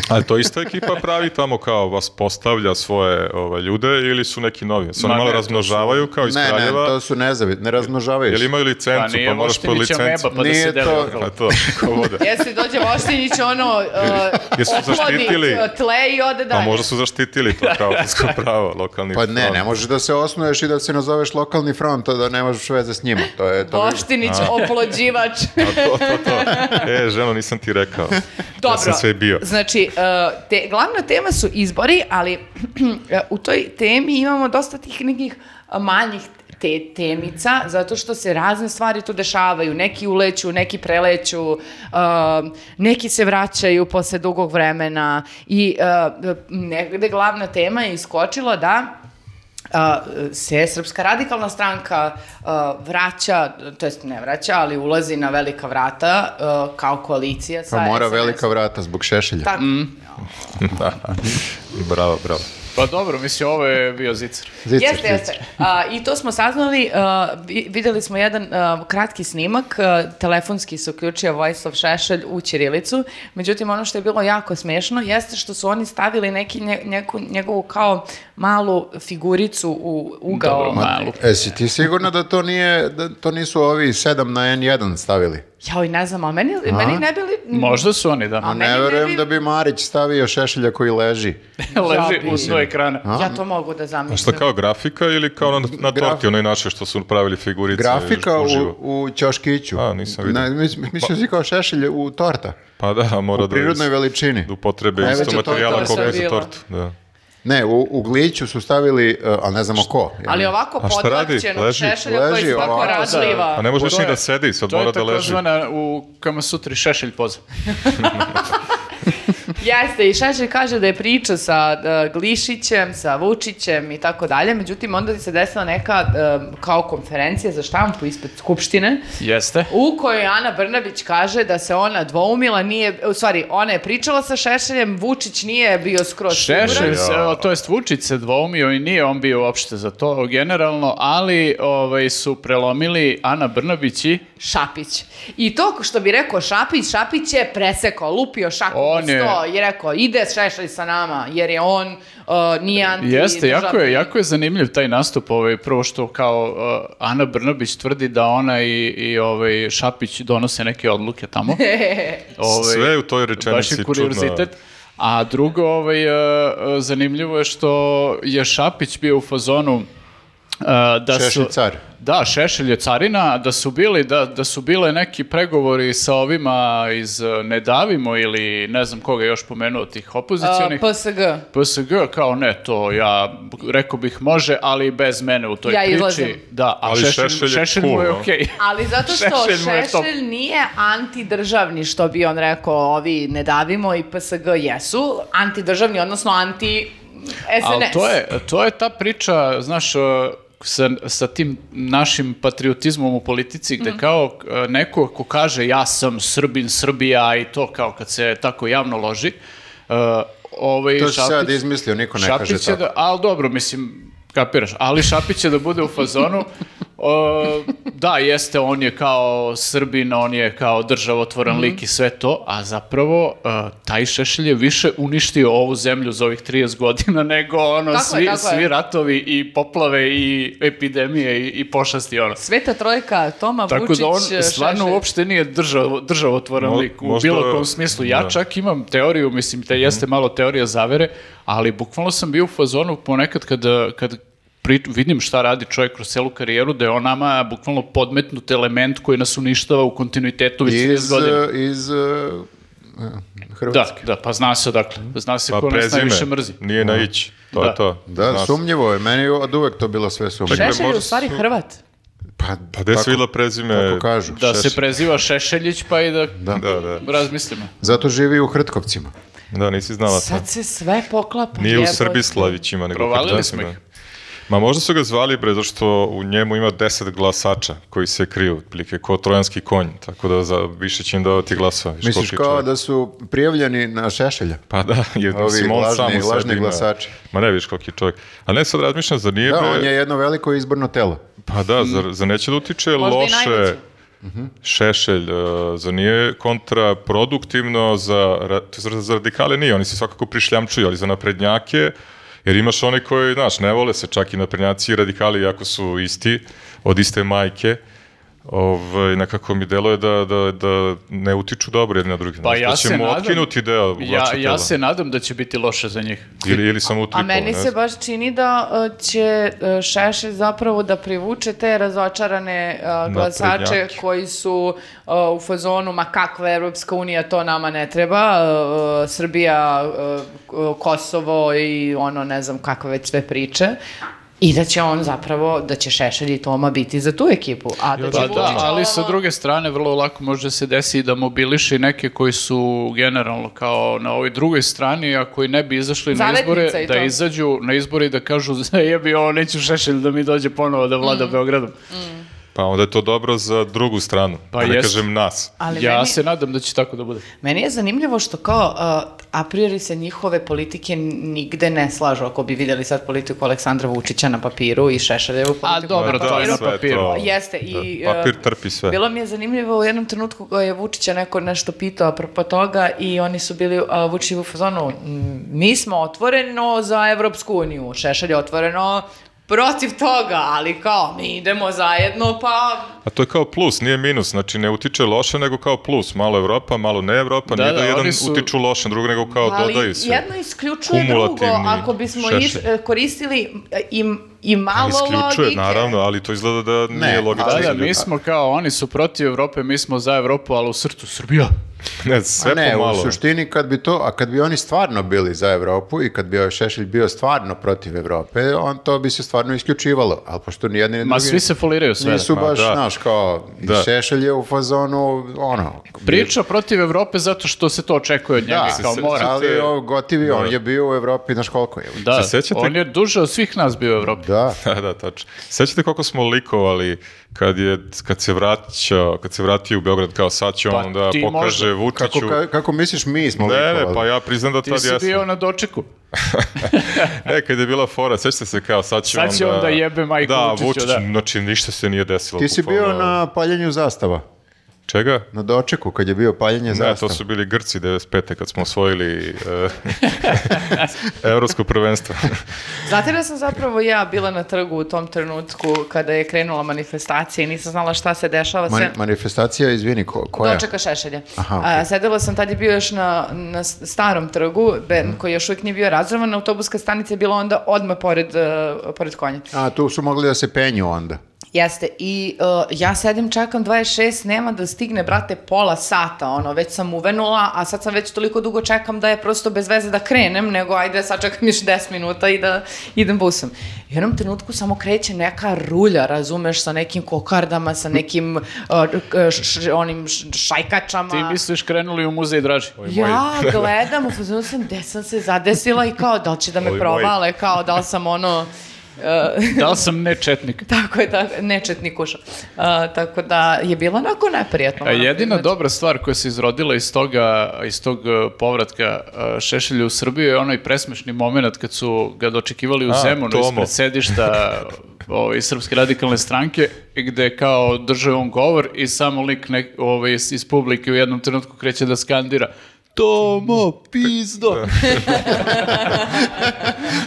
Speaker 3: Ali to ista ekipa pravi tamo kao vas postavlja svoje ovaj, ljude ili su neki novi? Se oni
Speaker 2: Ma
Speaker 3: malo
Speaker 2: ne, to su-
Speaker 3: razmnožavaju kao iz
Speaker 1: Ne, ne,
Speaker 3: Kraljeva?
Speaker 1: to su nezavi, ne razmnožavaju
Speaker 3: Jel
Speaker 1: se.
Speaker 3: imaju
Speaker 2: Pa
Speaker 3: licencu, pa,
Speaker 2: nije
Speaker 3: moraš po
Speaker 2: Voštinića
Speaker 3: licencu?
Speaker 2: meba pa da
Speaker 1: Nije
Speaker 2: se deli
Speaker 1: to-
Speaker 2: okolo.
Speaker 3: Pa to, ko vode.
Speaker 4: Jeste, dođe Voštinić, ono, uh,
Speaker 3: Jesu
Speaker 4: oplodi
Speaker 3: zaštitili?
Speaker 4: uh, tle i ode dalje.
Speaker 3: Pa možda su zaštitili to kao autorsko pravo, lokalni
Speaker 1: Pa ne,
Speaker 3: front.
Speaker 1: ne možeš da se osnuješ i da se nazoveš lokalni front, a da nemaš veze s njima. To je to.
Speaker 4: Voštinić, oplođivač.
Speaker 3: To, to, to. E, ženo, nisam ti rekao.
Speaker 4: Dobro.
Speaker 3: Ja sam sve bio.
Speaker 4: Znači, uh, te, glavna tema su izbori, ali u toj temi imamo dosta tih nekih manjih te temica, zato što se razne stvari tu dešavaju. Neki uleću, neki preleću, um, neki se vraćaju posle dugog vremena i uh, negde glavna tema je iskočila da a, se Srpska radikalna stranka a, vraća, to jest ne vraća, ali ulazi na velika vrata a, kao koalicija sa
Speaker 1: Pa mora
Speaker 4: SNS.
Speaker 1: velika vrata zbog šešelja.
Speaker 4: Tako,
Speaker 2: Mm.
Speaker 3: Bravo, bravo.
Speaker 2: Pa dobro, mislim, ovo je bio zicer.
Speaker 1: Zicer,
Speaker 4: Jeste,
Speaker 1: zicer.
Speaker 4: jeste. A, I to smo saznali, a, vi- videli smo jedan a, kratki snimak, a, telefonski se uključio Vojislav Šešelj u Ćirilicu, međutim ono što je bilo jako smešno jeste što su oni stavili neki nje- njeku- njegovu kao malu figuricu u ugao.
Speaker 2: Dobro, malu.
Speaker 1: E, si ti sigurna da to nije, da to nisu ovi 7 na N1 stavili?
Speaker 4: Joj, ne znam, ali meni, meni ne bili...
Speaker 2: Možda su oni, da.
Speaker 4: A-
Speaker 1: Ne
Speaker 4: Meni ne
Speaker 1: verujem
Speaker 4: bi-
Speaker 1: da bi Marić stavio šešelja koji leži.
Speaker 2: Leži u svoj ekrana.
Speaker 4: Ja to mogu da zamislim.
Speaker 3: Šta kao grafika ili kao na, na
Speaker 1: Graf-
Speaker 3: torti, onoj našoj što su pravili figurice?
Speaker 1: Grafika u,
Speaker 3: uživo?
Speaker 1: u Ćoškiću.
Speaker 3: A, nisam vidio.
Speaker 1: Ne, mis- Mislim si kao šešelj u torta.
Speaker 3: Pa da, mora
Speaker 1: U prirodnoj
Speaker 3: da
Speaker 1: veličini.
Speaker 3: da upotrebe
Speaker 1: Najveća
Speaker 3: isto
Speaker 1: torta
Speaker 3: materijala
Speaker 4: do
Speaker 3: koliko je za
Speaker 4: sada bila.
Speaker 3: tortu. Da.
Speaker 1: Ne, u, u Gliću su stavili, uh, ali ne znamo ko. jel?
Speaker 4: Ali ovako
Speaker 3: A šta radi?
Speaker 4: podvrćenog
Speaker 3: Leži?
Speaker 4: Šešelja koji
Speaker 1: Leži
Speaker 4: se tako
Speaker 1: ovako, da.
Speaker 4: razliva.
Speaker 3: A ne možeš
Speaker 2: To
Speaker 3: ni
Speaker 2: je-
Speaker 3: da sedi, sad
Speaker 2: To
Speaker 3: mora
Speaker 2: je
Speaker 3: da leži.
Speaker 2: takozvana u Kama Sutri šešelj poza.
Speaker 4: Jeste, i Šešelj kaže da je priča sa e, Glišićem, sa Vučićem i tako dalje, međutim onda se desila neka e, kao konferencija za štampu ispred Skupštine,
Speaker 2: Jeste.
Speaker 4: u kojoj Ana Brnabić kaže da se ona dvoumila, nije, u stvari, ona je pričala sa Šešeljem, Vučić nije bio skroz siguran.
Speaker 2: Šešelj, se, o, to jest Vučić se dvoumio i nije on bio uopšte za to generalno, ali ovaj, su prelomili Ana Brnabić i
Speaker 4: Šapić. I to što bi rekao Šapić, Šapić je presekao, lupio šakom
Speaker 2: On
Speaker 4: u sto
Speaker 2: je-
Speaker 4: i rekao ide Šešelj sa nama, jer je on uh, nije anti
Speaker 2: Jeste, jako je,
Speaker 4: državni.
Speaker 2: jako je zanimljiv taj nastup, ovaj, prvo što kao uh, Ana Brnabić tvrdi da ona i, i ovaj, Šapić donose neke odluke tamo. Ovaj,
Speaker 3: Sve u toj
Speaker 2: baš
Speaker 3: rečenici
Speaker 2: je
Speaker 3: čudno.
Speaker 2: kuriozitet. A drugo, ovaj, uh, uh, zanimljivo je što je Šapić bio u fazonu Uh, da
Speaker 1: Šešelj
Speaker 2: su-
Speaker 1: car.
Speaker 2: Da, Šešelj je carina, da su bili, da, da su bile neki pregovori sa ovima iz eh, Ne davimo ili ne znam koga je još pomenuo tih opozicionih.
Speaker 4: PSG.
Speaker 2: PSG kao ne to, ja rekao bih može, ali bez mene u toj
Speaker 4: Ja
Speaker 2: priči.
Speaker 4: izlazim.
Speaker 2: Da, a
Speaker 3: Ali
Speaker 2: Šešelj,
Speaker 3: Šešelj je
Speaker 2: Šešelj
Speaker 3: cool,
Speaker 2: mu je
Speaker 3: no?
Speaker 2: okej.
Speaker 4: Ali zato što
Speaker 2: Šešelj mu je top.
Speaker 4: Šešelj nije antidržavni, što bi on rekao, ovi ne davimo i PSG jesu, antidržavni, odnosno anti SNS.
Speaker 2: Ali to je, to je ta priča, znaš, eh, sa, sa tim našim patriotizmom u politici,
Speaker 4: Mhm.
Speaker 2: gde kao eh, neko ko kaže ja sam Srbin, Srbija i to kao kad se tako javno loži, eh, ovaj
Speaker 1: To si
Speaker 2: Šapić-
Speaker 1: sad izmislio, niko ne kaže
Speaker 2: Šapić je
Speaker 1: tako.
Speaker 2: da, ali dobro, mislim, kapiraš, ali Šapić je da bude u fazonu, o, da, jeste, on je kao Srbin, on je kao državotvoran
Speaker 4: Mhm.
Speaker 2: lik i sve to, a zapravo e, taj Šešelj je više uništio ovu zemlju za ovih 30 godina nego ono,
Speaker 4: Tako je,
Speaker 2: svi,
Speaker 4: tako je.
Speaker 2: svi ratovi i poplave i epidemije i, i pošasti ono.
Speaker 4: Sveta trojka, Toma
Speaker 2: Tako
Speaker 4: Vučić, e,
Speaker 2: da on
Speaker 4: Šešelj.
Speaker 2: stvarno uopšte nije držav, državotvoran
Speaker 3: Mo-
Speaker 2: lik u
Speaker 3: možda-
Speaker 2: bilo kom smislu. Ja
Speaker 3: da. Mhm.
Speaker 2: čak imam teoriju, mislim, te jeste malo teorija zavere, ali bukvalno sam bio u fazonu ponekad kad, kad pri- vidim šta radi čovjek kroz celu karijeru, da je on nama bukvalno podmetnut element koji nas uništava u kontinuitetu već 30
Speaker 1: Iz,
Speaker 3: e,
Speaker 2: godina.
Speaker 1: eh, iz eh,
Speaker 2: Da,
Speaker 1: Hrvatske.
Speaker 2: da, pa zna se odakle. Zna se
Speaker 3: Pa
Speaker 2: ko nas
Speaker 3: prezime,
Speaker 2: najviše mrzi.
Speaker 3: nije na ić, to
Speaker 2: Da.
Speaker 3: je to.
Speaker 1: Da,
Speaker 3: Zna se.
Speaker 1: sumnjivo je. Meni je od uvek to bilo sve sumnjivo.
Speaker 3: Čekaj,
Speaker 4: Šešelj je u
Speaker 3: možda
Speaker 4: stvari
Speaker 3: su-
Speaker 4: Hrvat.
Speaker 1: Pa,
Speaker 3: Pa gde se vidjela prezime?
Speaker 1: Tako kažu.
Speaker 2: Da se
Speaker 3: Šešelj.
Speaker 2: preziva Šešeljić pa i da,
Speaker 1: Da.
Speaker 3: Da, da.
Speaker 2: razmislimo.
Speaker 1: Zato živi u Hrtkovcima.
Speaker 3: Da, nisi znala to.
Speaker 4: Sad se sve poklapa.
Speaker 3: Nije u
Speaker 4: jebote.
Speaker 3: Srbislavićima, nego
Speaker 2: Provalili
Speaker 3: Hrvatima,
Speaker 2: smo ih.
Speaker 3: Ma možda su ga zvali bre, zato što u njemu ima 10 glasača koji se kriju, otprilike ko trojanski konj, tako da za, više će im davati glasova. viš
Speaker 1: Misliš
Speaker 3: koliki
Speaker 1: kao
Speaker 3: čovjek.
Speaker 1: da su prijavljeni na Šešelja?
Speaker 3: Pa da, je,
Speaker 1: Ovi
Speaker 3: mislim, on
Speaker 1: lažni-
Speaker 3: sam u sebi
Speaker 1: lažni
Speaker 3: ima-
Speaker 1: glasači.
Speaker 3: Ma ne, viš koliki je čovjek. A ne, sad razmišljam, zar nije...
Speaker 1: Da,
Speaker 3: bre-
Speaker 1: on je jedno veliko izborno telo.
Speaker 3: Pa da, zar, zar neće da utiče
Speaker 4: Možda i najveće.
Speaker 3: loše šešelj, uh, zar nije kontraproduktivno za, ra- to je za, za radikale nije, oni se svakako prišljamčuju, ali za naprednjake, jer imaš one koji, znaš, ne vole se čak i naprednjaci i radikali, iako su isti, od iste majke, ovaj, nekako mi deluje da, da, da ne utiču dobro jedni na drugi.
Speaker 2: Pa
Speaker 3: znaš,
Speaker 2: ja
Speaker 3: da
Speaker 2: se
Speaker 3: ćemo
Speaker 2: nadam-
Speaker 3: otkinuti deo
Speaker 2: Ja,
Speaker 3: vlača tela.
Speaker 2: ja se nadam da će biti loše za njih.
Speaker 3: Ili, ili sam utripao,
Speaker 4: A meni
Speaker 3: ne
Speaker 4: se
Speaker 3: znam.
Speaker 4: baš čini da uh, će uh, Šešelj zapravo da privuče te razočarane uh, glasače
Speaker 3: Naprednjake.
Speaker 4: koji su uh, u fazonu ma kakva Evropska unija, to nama ne treba, uh, Srbija, uh, Kosovo i ono ne znam kakve već sve priče. I da će on zapravo, da će Šešelj i Toma biti za tu ekipu. A da će
Speaker 2: Pa
Speaker 4: Vučić
Speaker 2: da, ali sa
Speaker 4: ono-
Speaker 2: druge strane vrlo lako može se desi i da mobiliše i neke koji su generalno kao na ovoj drugoj strani, a koji ne bi izašli na
Speaker 4: Zavetnica
Speaker 2: izbore,
Speaker 4: i
Speaker 2: da
Speaker 4: to.
Speaker 2: izađu na izbore i da kažu jebi ovo, neću Šešelj da mi dođe ponovo da
Speaker 4: Mm.
Speaker 2: vlada Beogradom.
Speaker 3: Pa onda je to dobro za drugu stranu,
Speaker 2: Pa
Speaker 3: da ne
Speaker 2: jest.
Speaker 3: kažem nas.
Speaker 4: Ali
Speaker 2: ja
Speaker 4: meni-
Speaker 2: se nadam da će tako da bude.
Speaker 4: Meni je zanimljivo što kao uh, a priori se njihove politike nigde ne slažu. Ako bi vidjeli sad politiku Aleksandra Vučića na papiru i Šešeljevu
Speaker 2: A
Speaker 4: politiku
Speaker 2: dobro,
Speaker 3: Pa
Speaker 2: to je
Speaker 3: da,
Speaker 2: na
Speaker 3: sve
Speaker 2: papiru.
Speaker 3: to.
Speaker 4: Jeste, i,
Speaker 3: Da,
Speaker 4: e,
Speaker 3: Papir trpi sve.
Speaker 4: Bilo mi je zanimljivo u jednom trenutku ga je Vučića neko nešto pitao apropo toga i oni su bili uh, a, Vučićevu fazonu "M, mi smo otvoreno za Evropsku uniju, Šešelj je otvoreno protiv toga, ali kao mi idemo zajedno pa
Speaker 3: A to je kao plus, nije minus, znači ne utiče loše, nego kao plus. Malo Evropa, malo ne Evropa,
Speaker 2: Da,
Speaker 3: nije da,
Speaker 2: da,
Speaker 3: jedan
Speaker 2: oni su-
Speaker 3: utiču loše, drugo nego kao
Speaker 4: ali
Speaker 3: dodaju se.
Speaker 4: jedno isključuje drugo.
Speaker 3: Kumulativni
Speaker 4: Ako bismo
Speaker 3: šešelj.
Speaker 4: iš, e, koristili e, i, i malo
Speaker 3: Isključuje,
Speaker 4: logike.
Speaker 3: naravno, ali to izgleda da nije logično.
Speaker 2: Da,
Speaker 1: Ali-
Speaker 2: da,
Speaker 3: za ljude.
Speaker 2: mi smo kao, oni su protiv Evrope, mi smo za Evropu, ali u srcu Srbija.
Speaker 3: Ne, sve
Speaker 1: A ne,
Speaker 3: pomalo.
Speaker 1: u suštini kad bi to, a kad bi oni stvarno bili za Evropu i kad bi ovaj Šešelj bio stvarno protiv Evrope, on to bi se stvarno isključivalo, ali pošto ni jedni ni
Speaker 2: Ma
Speaker 1: drugi
Speaker 2: svi se foliraju sve.
Speaker 1: nisu
Speaker 3: Ma
Speaker 1: baš,
Speaker 3: da.
Speaker 1: znaš, kao, i
Speaker 3: Da.
Speaker 1: Šešelj je u fazonu, ono,
Speaker 2: Priča protiv Evrope zato što se to očekuje od njega,
Speaker 1: se-
Speaker 2: kao
Speaker 3: se-
Speaker 2: mora.
Speaker 1: ali ovo gotivi, on je bio u Evropi, znaš koliko je.
Speaker 2: Da,
Speaker 3: se sećate-
Speaker 2: on je duže od svih nas bio u Evropi.
Speaker 1: Da,
Speaker 3: Da, da, tačno. Sećate koliko smo likovali kad, je, kad, se vraćao, kad se vratio u Beograd, kao sad će
Speaker 2: Pa
Speaker 3: on da
Speaker 2: ti
Speaker 3: pokaže
Speaker 2: možda.
Speaker 3: Vučiću.
Speaker 1: kako, ka- kako misliš mi smo
Speaker 3: Ne, ne,
Speaker 1: likovali?
Speaker 3: pa ja priznam da
Speaker 2: Ti
Speaker 3: tad
Speaker 2: si
Speaker 3: jesam.
Speaker 2: bio na dočeku.
Speaker 3: E, kad je bila fora, sećate se kao sad će
Speaker 2: Sad
Speaker 3: on
Speaker 2: će on da jebe majku
Speaker 3: da,
Speaker 2: Vučiću,
Speaker 3: Vučić,
Speaker 2: da.
Speaker 3: znači ništa se nije desilo.
Speaker 1: Ti si bio
Speaker 3: bukvalno.
Speaker 1: na paljenju zastava.
Speaker 3: Čega?
Speaker 1: Na dočeku, kad je bio paljenje
Speaker 3: Ne, to
Speaker 1: zastava.
Speaker 3: su bili Grci 95. kad smo osvojili e, evropsko prvenstvo.
Speaker 4: Znate da sam zapravo ja bila na trgu u tom trenutku kada je krenula manifestacija i nisam znala šta Pa se dešava.
Speaker 1: Man-
Speaker 4: sve-
Speaker 1: manifestacija, izvini, ko, koja?
Speaker 4: Dočeka Šešelja.
Speaker 1: Aha, okej.
Speaker 4: A, sedela sam, tad je bio još na, na s- starom trgu, be-
Speaker 1: Mhm.
Speaker 4: koji još uvijek nije bio razrovan, autobuska stanica je bila onda odmah pored, e, pored konja.
Speaker 1: A, tu su mogli da se penju onda.
Speaker 4: Jeste, i e, ja sedim, čekam 26, nema da stigne, brate, pola sata, ono, već sam uvenula, a sad sam već toliko dugo čekam da je prosto bez veze da krenem, nego ajde, sad čekam još 10 minuta i da idem busom. I u jednom trenutku samo kreće neka rulja, razumeš, sa nekim kokardama, sa nekim e, k- š- onim š- šajkačama.
Speaker 2: Ti misliš krenuli u muzej draži?
Speaker 4: Ja gledam, u fazonu sam, gde sam se zadesila i kao, da li će da me
Speaker 3: Ovi moji.
Speaker 4: provale, kao, da li sam ono... e,
Speaker 2: Da li sam ne četnik?
Speaker 4: tako je, tako, nečetni kuša. A, tako da je bilo onako neprijatno. Znači,
Speaker 2: A
Speaker 4: Pa moram
Speaker 2: jedina
Speaker 4: priznati.
Speaker 2: dobra stvar koja se izrodila iz toga, iz tog e, povratka e, Šešelja u Srbiju je onaj presmešni moment kad su ga dočekivali u
Speaker 3: A,
Speaker 2: Zemunu
Speaker 3: Tomo.
Speaker 2: ispred sedišta ovaj, Srpske radikalne stranke, gde kao drže on govor i samo lik ne, ovaj, iz, iz publike u jednom trenutku kreće da skandira Tomo, pizdo!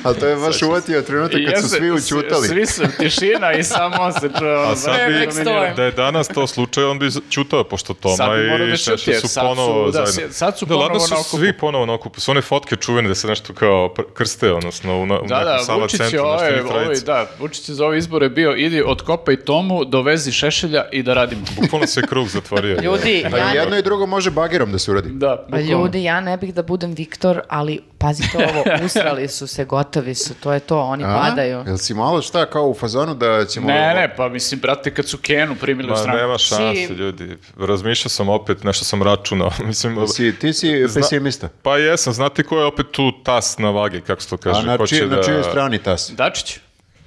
Speaker 1: Ali to je baš uvatio trenutak kad su
Speaker 2: Jeste,
Speaker 1: svi
Speaker 2: s-
Speaker 1: učutali.
Speaker 2: Svi su, tišina i samo on se ono, "E, čuo.
Speaker 3: A sad
Speaker 4: Perfect
Speaker 3: bi,
Speaker 4: storm.
Speaker 3: da je danas to slučaj, on bi čutao, pošto
Speaker 2: Sad
Speaker 3: Toma
Speaker 2: bi morao da
Speaker 3: i
Speaker 2: čuti,
Speaker 3: Šešelj
Speaker 2: jer
Speaker 3: su
Speaker 2: sad su-
Speaker 3: ponovo
Speaker 2: da,
Speaker 3: zajedno.
Speaker 2: sad su
Speaker 3: da, ladno
Speaker 2: ponovo
Speaker 3: su
Speaker 2: na okupu.
Speaker 3: svi ponovo na okupu. Su one fotke čuvene da se nešto kao pr- krste, odnosno u, na, u
Speaker 2: Da,
Speaker 3: nekom
Speaker 2: da,
Speaker 3: sala
Speaker 2: Vučić je
Speaker 3: centru, nešto
Speaker 2: ovaj,
Speaker 3: ili
Speaker 2: ovaj,
Speaker 3: trojici.
Speaker 2: da, Vučić je za ove izbore bio, idi, otkopaj Tomu, dovezi Šešelja i da radimo.
Speaker 3: Bukvalno se krug zatvorio.
Speaker 4: Ljudi,
Speaker 1: Pa
Speaker 4: ja
Speaker 1: i jedno i drugo može bagerom da se uradi.
Speaker 2: Da,
Speaker 4: Pa
Speaker 2: bukvalno.
Speaker 4: ljudi, ja ne bih da budem Viktor, ali pazite ovo, usrali su se, gotovi su, to je to, oni
Speaker 1: A?
Speaker 4: padaju.
Speaker 1: Jel si malo šta kao u fazonu da ćemo...
Speaker 2: Ne, ne, pa mislim, brate, kad su Kenu primili u
Speaker 3: Ma,
Speaker 2: stranku.
Speaker 3: nema šanse,
Speaker 4: Si-
Speaker 3: ljudi. Razmišljao sam opet, nešto sam računao. Mislim,
Speaker 1: Si, ti si
Speaker 3: Zna-
Speaker 1: pesimista.
Speaker 3: Pa jesam, znate ko je opet tu tas na vagi, kako se to kaže?
Speaker 1: A na,
Speaker 3: Hoće
Speaker 1: či,
Speaker 3: da-
Speaker 1: na čijoj strani tas?
Speaker 2: Dačić.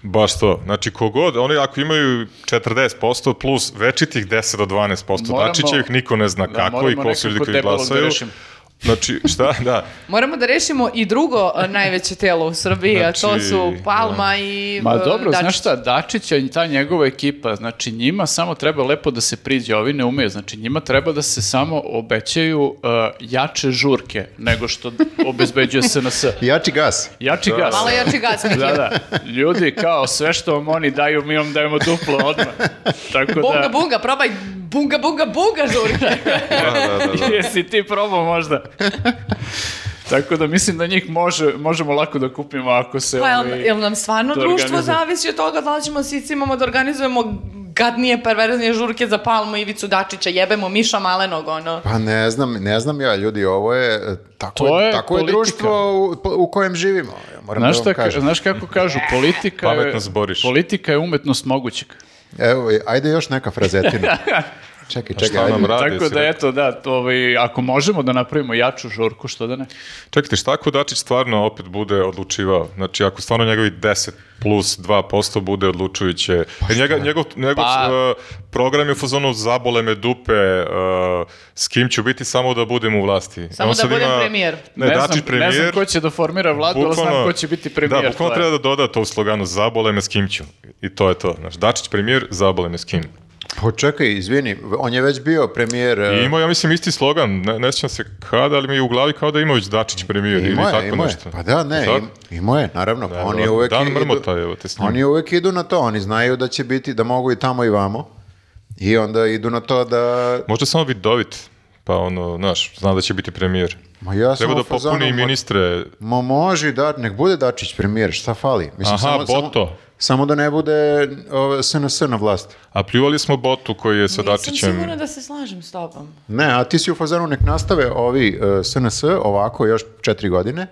Speaker 3: Baš to. Znači, kogod, oni ako imaju 40% plus večitih 10 do 12%,
Speaker 2: Moramo-
Speaker 3: Dačićevih niko ne zna
Speaker 2: Da,
Speaker 3: kako i
Speaker 2: moramo
Speaker 3: ko su ljudi
Speaker 2: nekako
Speaker 3: koji
Speaker 2: debelog da
Speaker 3: glasaju.
Speaker 2: rešimo.
Speaker 3: Znači, šta, da.
Speaker 4: Moramo da rešimo i drugo e, najveće telo u Srbiji, a to
Speaker 3: Znači,
Speaker 4: su Palma i
Speaker 2: Ma
Speaker 4: e,
Speaker 2: dobro,
Speaker 4: Dačić.
Speaker 2: znaš šta, Dačića i ta njegova ekipa, znači njima samo treba lepo da se priđe, ovi ne umeju, znači njima treba da se samo obećaju uh, jače žurke nego što obezbeđuje SNS.
Speaker 1: Jači gas.
Speaker 2: Jači gas.
Speaker 4: Malo jači gas.
Speaker 2: Da, da. Ljudi, kao, sve što vam oni daju, mi vam dajemo duplo odmah. Tako da...
Speaker 4: Bunga, bunga, probaj bunga, bunga, bunga, žurka.
Speaker 3: Da, da, da, da.
Speaker 2: Jesi ti probao možda? Tako da mislim da njih može, možemo lako da kupimo ako se...
Speaker 4: Pa jel,
Speaker 2: ovaj,
Speaker 4: jel nam stvarno
Speaker 2: da
Speaker 4: društvo
Speaker 2: organizuje.
Speaker 4: zavisi od toga da li ćemo sici imamo da organizujemo gadnije perverznije žurke za Palmu Ivicu Dačića, jebemo Miša Malenog, ono.
Speaker 1: Pa ne znam, ne znam ja, ljudi, ovo je e, tako,
Speaker 2: To je
Speaker 1: tako je
Speaker 2: politika.
Speaker 1: društvo u, u kojem živimo. Ja moram
Speaker 2: Znaš,
Speaker 1: da vam
Speaker 2: šta, ka-
Speaker 1: kažem.
Speaker 2: znaš kako kažu, politika je,
Speaker 3: Pametno zboriš.
Speaker 2: politika je umetnost mogućeg.
Speaker 1: Evo, ajde još neka frazetina. čekaj, čekaj,
Speaker 3: Šta
Speaker 1: ajde.
Speaker 3: nam radi?
Speaker 2: Tako
Speaker 3: si
Speaker 2: da
Speaker 3: rekao?
Speaker 2: eto, da, to, ovaj, ako možemo da napravimo jaču žurku, što da ne?
Speaker 3: Čekajte, šta ako Dačić stvarno opet bude odlučivao? Znači, ako stvarno njegovi 10 plus 2% bude odlučujuće. Pa njega, njegov njegov
Speaker 2: Pa-
Speaker 3: uh, program je u fazonu zabole me dupe, uh, s kim ću biti samo da budem u vlasti.
Speaker 4: Samo
Speaker 3: On
Speaker 4: da
Speaker 3: sad
Speaker 4: budem premijer.
Speaker 3: Ne,
Speaker 2: ne,
Speaker 3: Dačić
Speaker 2: znam, ne znam
Speaker 3: premijer,
Speaker 2: ko će da formira vladu, ali znam ko će biti premijer.
Speaker 3: Da, bukvalno
Speaker 2: to je.
Speaker 3: treba da doda to u sloganu zabole me s kim ću. I to je to. Znači, Dačić premijer, zabole me s kim.
Speaker 1: Pa čekaj, izvini, on je već bio premijer...
Speaker 3: I
Speaker 1: e,
Speaker 3: imao, ja mislim, isti slogan. Ne, ne sjećam se kada, ali mi je u glavi kao da ima već Dačić premijer ili
Speaker 1: Imao
Speaker 3: tako
Speaker 1: je, imao je.
Speaker 3: nešto.
Speaker 1: Pa da, ne,
Speaker 3: Tako?
Speaker 1: im, imao je, naravno. pa
Speaker 3: Da,
Speaker 1: oni
Speaker 3: da,
Speaker 1: uvek
Speaker 3: Dan
Speaker 1: idu-
Speaker 3: mrmota, evo te s njim.
Speaker 1: Oni uvek idu na to, oni znaju da će biti, da mogu i tamo i vamo. I onda idu na to da...
Speaker 3: Možda samo vidovit, pa ono, znaš, zna da će biti premijer.
Speaker 1: Ma ja sam
Speaker 3: Treba da
Speaker 1: u fazonu,
Speaker 3: popuni i
Speaker 1: ma-
Speaker 3: ministre.
Speaker 1: Ma može, da, nek bude Dačić premijer, šta fali? Mislim,
Speaker 3: Aha, Boto.
Speaker 1: Samo, samo da ne bude ove, SNS na vlast.
Speaker 3: A pljuvali smo Botu koji je sa
Speaker 4: Nisam
Speaker 3: Pa Dačićem.
Speaker 4: sigurna da se slažem s tobom.
Speaker 1: Ne, a ti si u fazonu, nek nastave ovi e, SNS ovako još četiri godine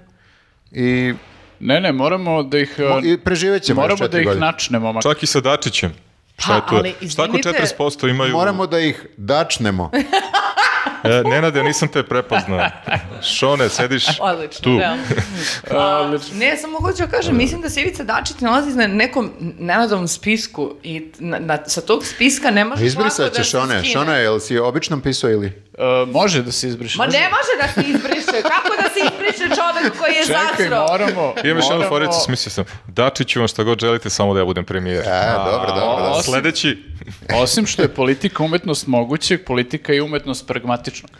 Speaker 1: i,
Speaker 2: Ne, ne, moramo da ih...
Speaker 1: mo-
Speaker 3: Pa
Speaker 2: uh,
Speaker 1: i preživet ćemo još
Speaker 2: Moramo da
Speaker 1: četiri
Speaker 2: ih
Speaker 1: godine.
Speaker 2: načnemo, ma
Speaker 3: Čak i sa Dačićem. Šta je
Speaker 4: Pa,
Speaker 3: tu?
Speaker 4: ali,
Speaker 3: Šta ako
Speaker 4: izvinite-
Speaker 3: 40% imaju...
Speaker 1: Moramo da ih dačnemo.
Speaker 3: E, Nenade, nisam te prepoznao. Šone, sediš
Speaker 4: Odlično,
Speaker 3: tu.
Speaker 4: realno. A, ne, samo hoću da kažem, mislim da se Ivica Dačić nalazi na nekom nenadovom spisku i na, na- sa tog spiska ne možeš lako
Speaker 1: Izbrisat
Speaker 4: da
Speaker 1: ćeš
Speaker 4: se
Speaker 1: one.
Speaker 4: skine.
Speaker 1: Šone, jel si običnom pisao ili?
Speaker 2: E, može da se izbriše.
Speaker 4: Ma ne može da se izbriše. Kako da se izbriše čovek koji je
Speaker 2: Čekaj,
Speaker 4: zasro?
Speaker 2: moramo.
Speaker 3: Imam još jednu
Speaker 2: moramo-
Speaker 3: foricu, smislio sam. Dačiću vam šta god želite, samo da ja budem premijer.
Speaker 1: E, dobro, dobro,
Speaker 2: a,
Speaker 1: dobro.
Speaker 2: osim-
Speaker 3: Sledeći,
Speaker 2: Osim što je politika umetnost mogućeg, politika je umetnost pragmatičnog.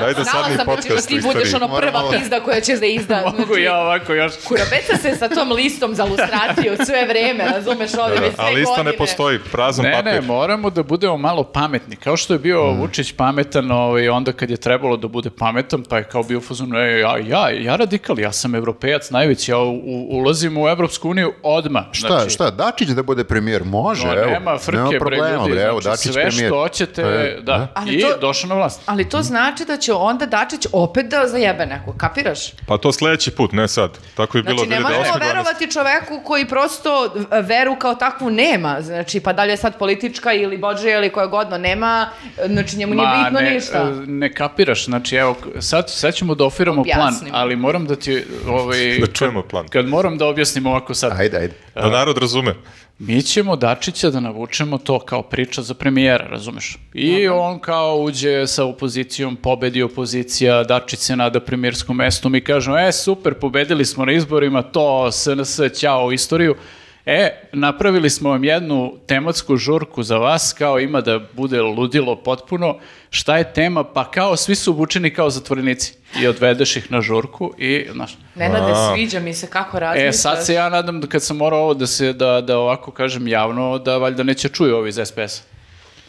Speaker 3: Dajde
Speaker 4: Znala
Speaker 3: sadni
Speaker 4: sam da ćeš da
Speaker 3: podcast u
Speaker 4: ti budeš
Speaker 3: istoriji.
Speaker 4: ono prva
Speaker 1: Moramo-
Speaker 4: pizda koja ćeš da izda.
Speaker 2: Mogu
Speaker 4: znači,
Speaker 2: ja ovako još...
Speaker 4: Kurabeca se sa tom listom za lustraciju sve vreme, razumeš, ovdje već sve
Speaker 3: Ali isto
Speaker 4: godine.
Speaker 3: ne postoji, prazan
Speaker 2: Ne,
Speaker 3: papir.
Speaker 2: ne, moramo da budemo malo pametni. Kao što je bio
Speaker 1: Mm.
Speaker 2: Vučić pametan ovaj, onda kad je trebalo da bude pametan, pa je kao bio fuzon, e, ja, ja, ja radikal, ja sam evropejac najveći, ja u- u- ulazim u Evropsku uniju odmah.
Speaker 1: Šta, šta, Dačić da bude premijer? Može,
Speaker 2: No,
Speaker 1: evo.
Speaker 2: nema frke,
Speaker 1: nema
Speaker 2: bre,
Speaker 1: problema,
Speaker 2: ljudi.
Speaker 1: bre, evo,
Speaker 2: znači,
Speaker 1: Dačić
Speaker 2: sve
Speaker 1: premijer.
Speaker 2: što hoćete,
Speaker 1: E,
Speaker 2: da.
Speaker 4: Ali
Speaker 2: I
Speaker 4: to-
Speaker 2: došao na vlast.
Speaker 4: Ali to znači da će onda Dačić opet da zajebe neko, kapiraš?
Speaker 3: Pa to sledeći put, ne sad. Tako je bilo
Speaker 4: Znači, ne moramo
Speaker 3: 2008.
Speaker 4: verovati čoveku koji prosto e, veru kao takvu nema. Znači, pa dalje sad politička ili bođe ili koja godno nema, e, znači njemu nije
Speaker 2: Ma,
Speaker 4: bitno
Speaker 2: ne,
Speaker 4: ništa.
Speaker 2: e, Ne kapiraš, znači evo, sad, sad ćemo da ofiramo plan,
Speaker 4: Objasnim.
Speaker 2: ali moram da ti, ovaj,
Speaker 3: Da čujemo plan.
Speaker 2: kad moram da objasnim ovako sad,
Speaker 1: Ajde, ajde.
Speaker 3: Da Pa narod razume.
Speaker 2: mi ćemo Dačića da navučemo to kao priča za premijera, razumeš? I on kao uđe sa opozicijom, pobedi opozicija, Dačić se nada premijerskom mestu, mi kažemo, e, super, pobedili smo na izborima, to, SNS, ćao, istoriju. E, napravili smo vam jednu tematsku žurku za vas, kao ima da bude ludilo potpuno, šta je tema, pa kao svi su obučeni kao zatvorenici. I odvedeš ih na žurku i, znaš,
Speaker 4: Nenade,
Speaker 3: A.
Speaker 4: sviđa mi se kako
Speaker 2: E,
Speaker 4: razmišljaš.
Speaker 2: sad se ja nadam da kad sam morao ovo da se, da, da ovako kažem javno, da valjda neće čuju ovi iz SPS-a.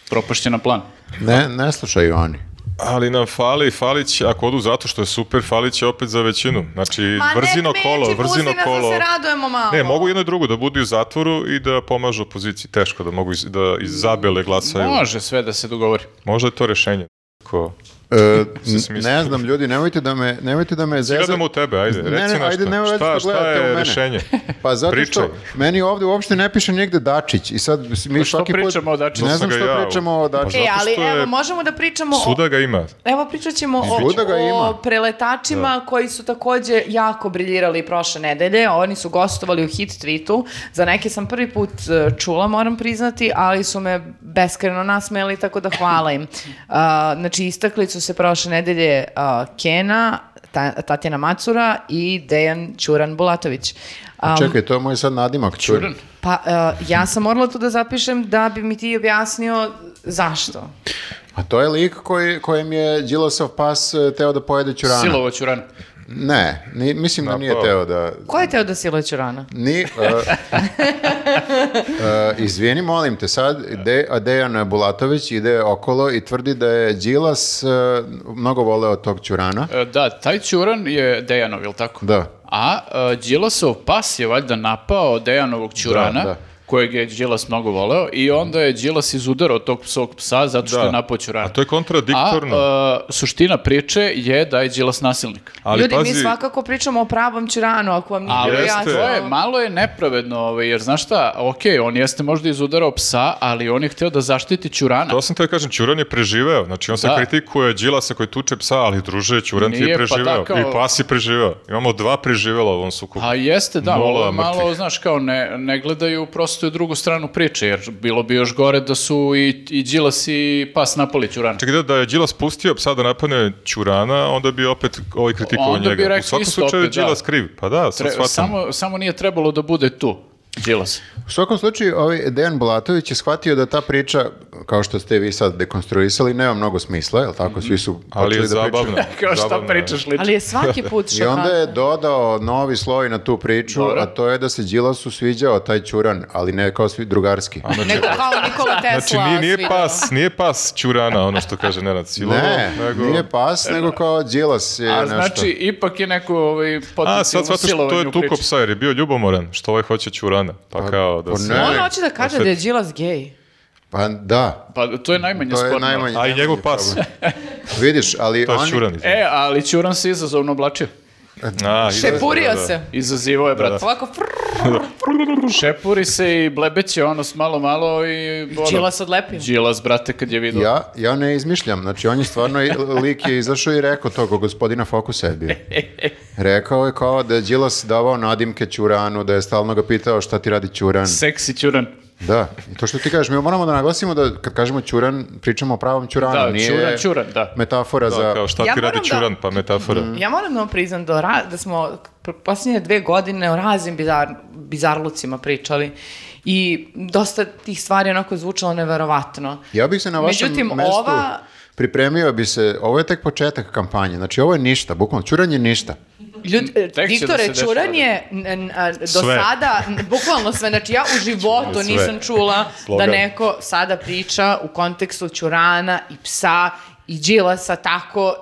Speaker 2: Propašćena plan.
Speaker 1: Ne, ne slušaju oni.
Speaker 3: Ali nam fali, fali će, ako odu zato što je super, fali će opet za većinu. Znači,
Speaker 4: Pa
Speaker 3: vrzino kolo, vrzino kolo.
Speaker 4: se radujemo malo.
Speaker 3: Ne, mogu jedno i drugo, da budu u zatvoru i da pomažu opoziciji. Teško da mogu iz, da iz zabele glasaju.
Speaker 2: Može sve da se dogovori.
Speaker 3: Možda je to rešenje. Ko?
Speaker 1: E,
Speaker 3: Se smisli.
Speaker 1: ne znam, ljudi, nemojte da me, nemojte da me zezate.
Speaker 3: Gledamo u tebe, ajde,
Speaker 1: Ne,
Speaker 3: reci
Speaker 1: ne,
Speaker 3: nešto.
Speaker 1: ajde, nemoj da
Speaker 3: šta, šta
Speaker 1: gledate u
Speaker 3: je
Speaker 1: mene.
Speaker 3: rešenje?
Speaker 1: Pa zato
Speaker 3: Pričaj.
Speaker 1: što meni ovdje uopšte ne piše nigde Dačić i sad mi
Speaker 2: Pa što
Speaker 1: svaki put...
Speaker 2: pričamo o Dačiću?
Speaker 1: Ne znam
Speaker 3: Zato sam
Speaker 1: što
Speaker 3: ga ja-
Speaker 1: pričamo o Dačiću.
Speaker 4: E,
Speaker 3: Zato
Speaker 4: ali
Speaker 3: što je-
Speaker 4: evo, možemo da pričamo o...
Speaker 3: Suda ga ima.
Speaker 4: Evo pričat ćemo o,
Speaker 1: Svuda ga ima.
Speaker 4: o preletačima koji su takođe jako briljirali prošle nedelje. Oni su gostovali u hit tweetu. Za neke sam prvi put e, čula, moram priznati, ali su me beskreno nasmeli, tako da hvala im. A, znači, istakli su se prošle nedelje a, Kena, Ta- Tatjana Macura i Dejan Ćuran Bulatović. A,
Speaker 1: Čekaj, to je moj sad nadimak. Čuran.
Speaker 4: pa e, ja sam morala to da zapišem da bi mi ti objasnio zašto.
Speaker 1: A to je lik koji, kojem je Đilasov pas e, teo da pojede Ćurana.
Speaker 2: Silovo ću rano.
Speaker 1: Ne, ni- mislim da nije
Speaker 3: Napao.
Speaker 1: teo da...
Speaker 4: Ko je teo da siluje Ćurana?
Speaker 1: Ni, uh, uh, izvini, molim te, sad De, Dejan Bulatović ide okolo i tvrdi da je Đilas uh, mnogo voleo tog Ćurana.
Speaker 2: E, Da, taj Ćuran je Dejanov, jel tako?
Speaker 1: Da.
Speaker 2: A e, Đilasov pas je valjda napao Dejanovog Ćurana,
Speaker 1: Da, da.
Speaker 2: kojeg je Đilas mnogo voleo, i onda je Đilas izudarao tog svog psa zato što
Speaker 3: Da.
Speaker 2: je napao Ćurana.
Speaker 3: A to je kontradiktorno.
Speaker 2: A, e, suština priče je da je Đilas nasilnik.
Speaker 3: ali
Speaker 4: Ljudi,
Speaker 3: pazi,
Speaker 4: mi svakako pričamo o pravom Čiranu, ako vam
Speaker 2: Ali
Speaker 4: nije
Speaker 3: Jeste.
Speaker 2: to je, malo je nepravedno, ovaj, jer znaš šta, ok, on jeste možda izudarao psa, ali on je hteo da zaštiti Ćurana.
Speaker 3: to sam te kažem, Ćuran je preživeo. Znači, on se
Speaker 2: Da.
Speaker 3: kritikuje Đilasa koji tuče psa, ali druže, Ćuran ti
Speaker 2: Nije, pa
Speaker 3: je preživeo.
Speaker 2: tako-
Speaker 3: I pas je preživeo. Imamo dva preživela u ovom sukobu.
Speaker 2: A jeste, da,
Speaker 3: Nula
Speaker 2: ovo je malo,
Speaker 3: mrtvih.
Speaker 2: znaš, kao ne, ne gledaju prosto i drugu stranu priče, jer bilo bi još gore da su i, i Đilas i pas napali Ćurana.
Speaker 3: Čekaj, Znači, da- da je Đilas pustio psa da napadne Ćurana, onda bi opet ovaj kritikovao
Speaker 2: Onda bi
Speaker 3: njega. U
Speaker 2: rekli
Speaker 3: svakom
Speaker 2: isto
Speaker 3: slučaju je
Speaker 2: opet, da.
Speaker 3: Đilas kriv. Pa da, sad
Speaker 2: Tre-
Speaker 3: shvatam.
Speaker 2: samo, samo nije trebalo da bude tu, Đilas.
Speaker 1: U svakom slučaju, ovaj Dejan Bulatović je shvatio da ta priča, kao što ste vi sad dekonstruisali, nema mnogo smisla, jel tako? Svi su
Speaker 3: Ali je
Speaker 1: počeli da pričaju.
Speaker 3: zabavno.
Speaker 2: Kao šta
Speaker 3: Zabavno je.
Speaker 2: pričaš, liče?
Speaker 4: Ali je svaki put
Speaker 1: I onda
Speaker 4: šokantno.
Speaker 1: je dodao novi sloj na tu priču,
Speaker 2: Dobro.
Speaker 1: a to je da se Đilasu sviđao taj Ćuran, ali ne kao svi drugarski.
Speaker 4: Nego kao Nikola Tesla.
Speaker 3: Znači, nije, nije
Speaker 4: svidelo.
Speaker 3: pas, nije pas Ćurana, ono što kaže Nenad Silovo,
Speaker 1: Ne,
Speaker 3: nego...
Speaker 1: nije pas, nego kao Đilas je
Speaker 2: A
Speaker 1: nešto.
Speaker 2: znači, ipak je neko ovaj,
Speaker 3: A, sad
Speaker 2: potencijalno
Speaker 3: shvataš što to
Speaker 2: silovanje
Speaker 3: je
Speaker 2: u priči.
Speaker 3: tuko psa jer je bio ljubomoran, što ovaj hoće Ćurana. Pa kao
Speaker 1: pa
Speaker 3: da se...
Speaker 1: ne.
Speaker 4: On Ono hoće da kaže da je Đilas gej.
Speaker 1: Pa da,
Speaker 2: Pa to je najmanje
Speaker 1: to
Speaker 2: sporno.
Speaker 1: je najmanje.
Speaker 3: A i njegov pas,
Speaker 1: Vidiš, ali
Speaker 3: to je
Speaker 1: oni...
Speaker 3: Ćuran.
Speaker 2: E, ali Ćuran se izazovno oblačio.
Speaker 3: A, i-
Speaker 4: Šepurio
Speaker 3: da, da.
Speaker 4: se.
Speaker 2: Izazivo je, brate.
Speaker 4: Ovako, frrrr,
Speaker 2: Šepuri se i blebeće ono s malo malo i... ono,
Speaker 4: Đilas odlepio.
Speaker 2: Đilas, brate, kad je vidio.
Speaker 1: Ja, ja ne izmišljam, znači on je stvarno i- lik je izašao i rekao to, ko gospodina Fokusa je bio. Rekao je kao da je Đilas davao nadimke Ćuranu, da je stalno ga pitao šta ti radi Ćuran.
Speaker 2: Seksi Ćuran.
Speaker 1: Da, i to što ti kažeš, mi moramo da naglasimo da kad kažemo Ćuran, pričamo o pravom Ćuranu,
Speaker 2: Da,
Speaker 1: nije
Speaker 2: Ćuran, Ćuran, da.
Speaker 1: metafora
Speaker 3: Da,
Speaker 1: za...
Speaker 3: kao šta
Speaker 4: Ja
Speaker 3: ti radi
Speaker 4: moram da-
Speaker 3: Ćuran, pa metafora.
Speaker 1: Mm.
Speaker 4: Ja moram da vam priznam da, ra- da smo pr- posljednje dve godine o raznim bizar, bizarlucima pričali I dosta tih stvari onako zvučalo neverovatno.
Speaker 1: Ja bih se na vašem
Speaker 4: Međutim,
Speaker 1: mestu
Speaker 4: ova-
Speaker 1: pripremio bi se, ovo je tek početak kampanje, znači ovo je ništa, bukvalno, čuranje ništa.
Speaker 4: Ljud,
Speaker 2: Hm, da
Speaker 4: diktore,
Speaker 2: se dešava.
Speaker 4: Čuran je n- a, do
Speaker 3: Sve.
Speaker 4: sada, n- bukvalno sve, znači ja u životu
Speaker 3: Sve.
Speaker 4: nisam čula da
Speaker 3: Slogan.
Speaker 4: neko sada priča u kontekstu Čurana i psa i Đilasa tako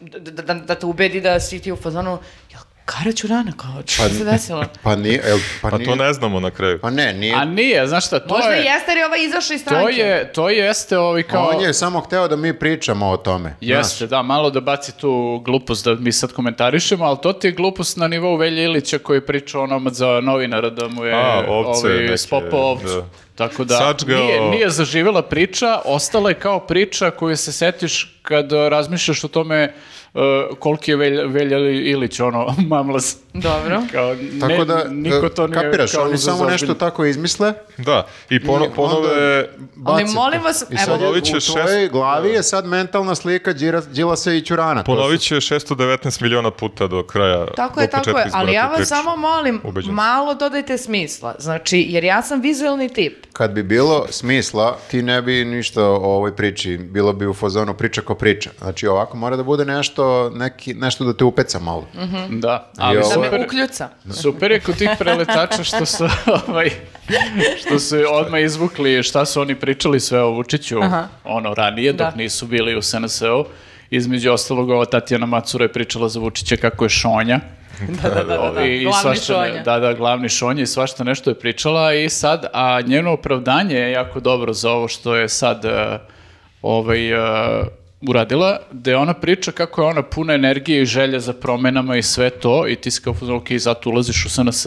Speaker 4: da, da, da te ubedi da si ti u fazonu, jel Kara Čurana, kao, što se desilo?
Speaker 1: Pa nije, el, pa,
Speaker 3: Pa
Speaker 1: nije,
Speaker 3: to ne znamo na kraju.
Speaker 1: Pa ne, nije.
Speaker 2: A nije, znaš šta, to
Speaker 4: Možda
Speaker 2: je...
Speaker 4: jeste jer je ova izašla iz stranke.
Speaker 2: To je, to jeste ovi kao...
Speaker 1: On je samo hteo da mi pričamo o tome.
Speaker 2: Jeste,
Speaker 1: znaš.
Speaker 2: da, malo da baci tu glupost da mi sad komentarišemo, ali to ti je glupost na nivou Velje Ilića koji je pričao onom za novinara da mu je
Speaker 3: A, ovce
Speaker 2: ovaj,
Speaker 3: neke,
Speaker 2: spopao ovcu.
Speaker 3: da.
Speaker 2: Tako da
Speaker 3: Sačgao.
Speaker 2: nije, nije zaživela priča, ostala je kao priča koju se setiš kad eh, razmišljaš o tome eh, koliki je Velja, Velja Ilić, ono, mamlaz.
Speaker 4: Dobro.
Speaker 2: Kao,
Speaker 1: Tako
Speaker 2: ne,
Speaker 1: da, e,
Speaker 2: niko to nije
Speaker 1: kapiraš,
Speaker 2: kao
Speaker 1: oni
Speaker 2: uzeo
Speaker 1: samo
Speaker 2: za
Speaker 1: nešto
Speaker 2: ozbiljno.
Speaker 1: tako izmisle,
Speaker 3: Da, i pono,
Speaker 1: I
Speaker 3: ponove...
Speaker 1: onda bace
Speaker 4: Ali molim vas,
Speaker 1: I sad
Speaker 4: evo-
Speaker 1: je, u
Speaker 3: Ponovit će šest-
Speaker 1: tvojoj glavi je sad mentalna slika Đira- Đilasa i Ćurana. To su-
Speaker 3: Ponovit će 619 miliona puta do kraja,
Speaker 4: Tako je,
Speaker 3: do početka
Speaker 4: tako je,
Speaker 3: izbora
Speaker 4: ali ja
Speaker 3: te
Speaker 4: vas
Speaker 3: priče.
Speaker 4: samo molim,
Speaker 3: Ubeđen sam.
Speaker 4: malo dodajte smisla, znači, jer ja sam vizualni tip.
Speaker 1: Kad bi bilo smisla, ti ne bi ništa o ovoj priči, bilo bi u fazonu priča ko priča. Znači ovako mora da bude nešto, neki, nešto da te upeca malo.
Speaker 2: Da, ali
Speaker 1: I ovo
Speaker 4: Da me
Speaker 1: Super.
Speaker 4: ukljuca.
Speaker 2: Super je kod tih preletača što su, ovaj, što su odmah izvukli šta su oni pričali sve o Vučiću
Speaker 4: Aha.
Speaker 2: ono ranije dok
Speaker 4: Da.
Speaker 2: nisu bili u SNS-u. Između ostalog ova Tatjana Macura je pričala za Vučića kako je šonja.
Speaker 4: Da, da, da, da, da.
Speaker 2: I, i
Speaker 4: Glavni
Speaker 2: svašta ne-
Speaker 4: šonja.
Speaker 2: da, da, glavni šonja i svašta nešto je pričala i sad, a njeno opravdanje je jako dobro za ovo što je sad e, ovaj, e, uradila, da je ona priča kako je ona puna energije i želje za promenama i sve to i ti si kao, fuzon, ok, zato ulaziš u SNS,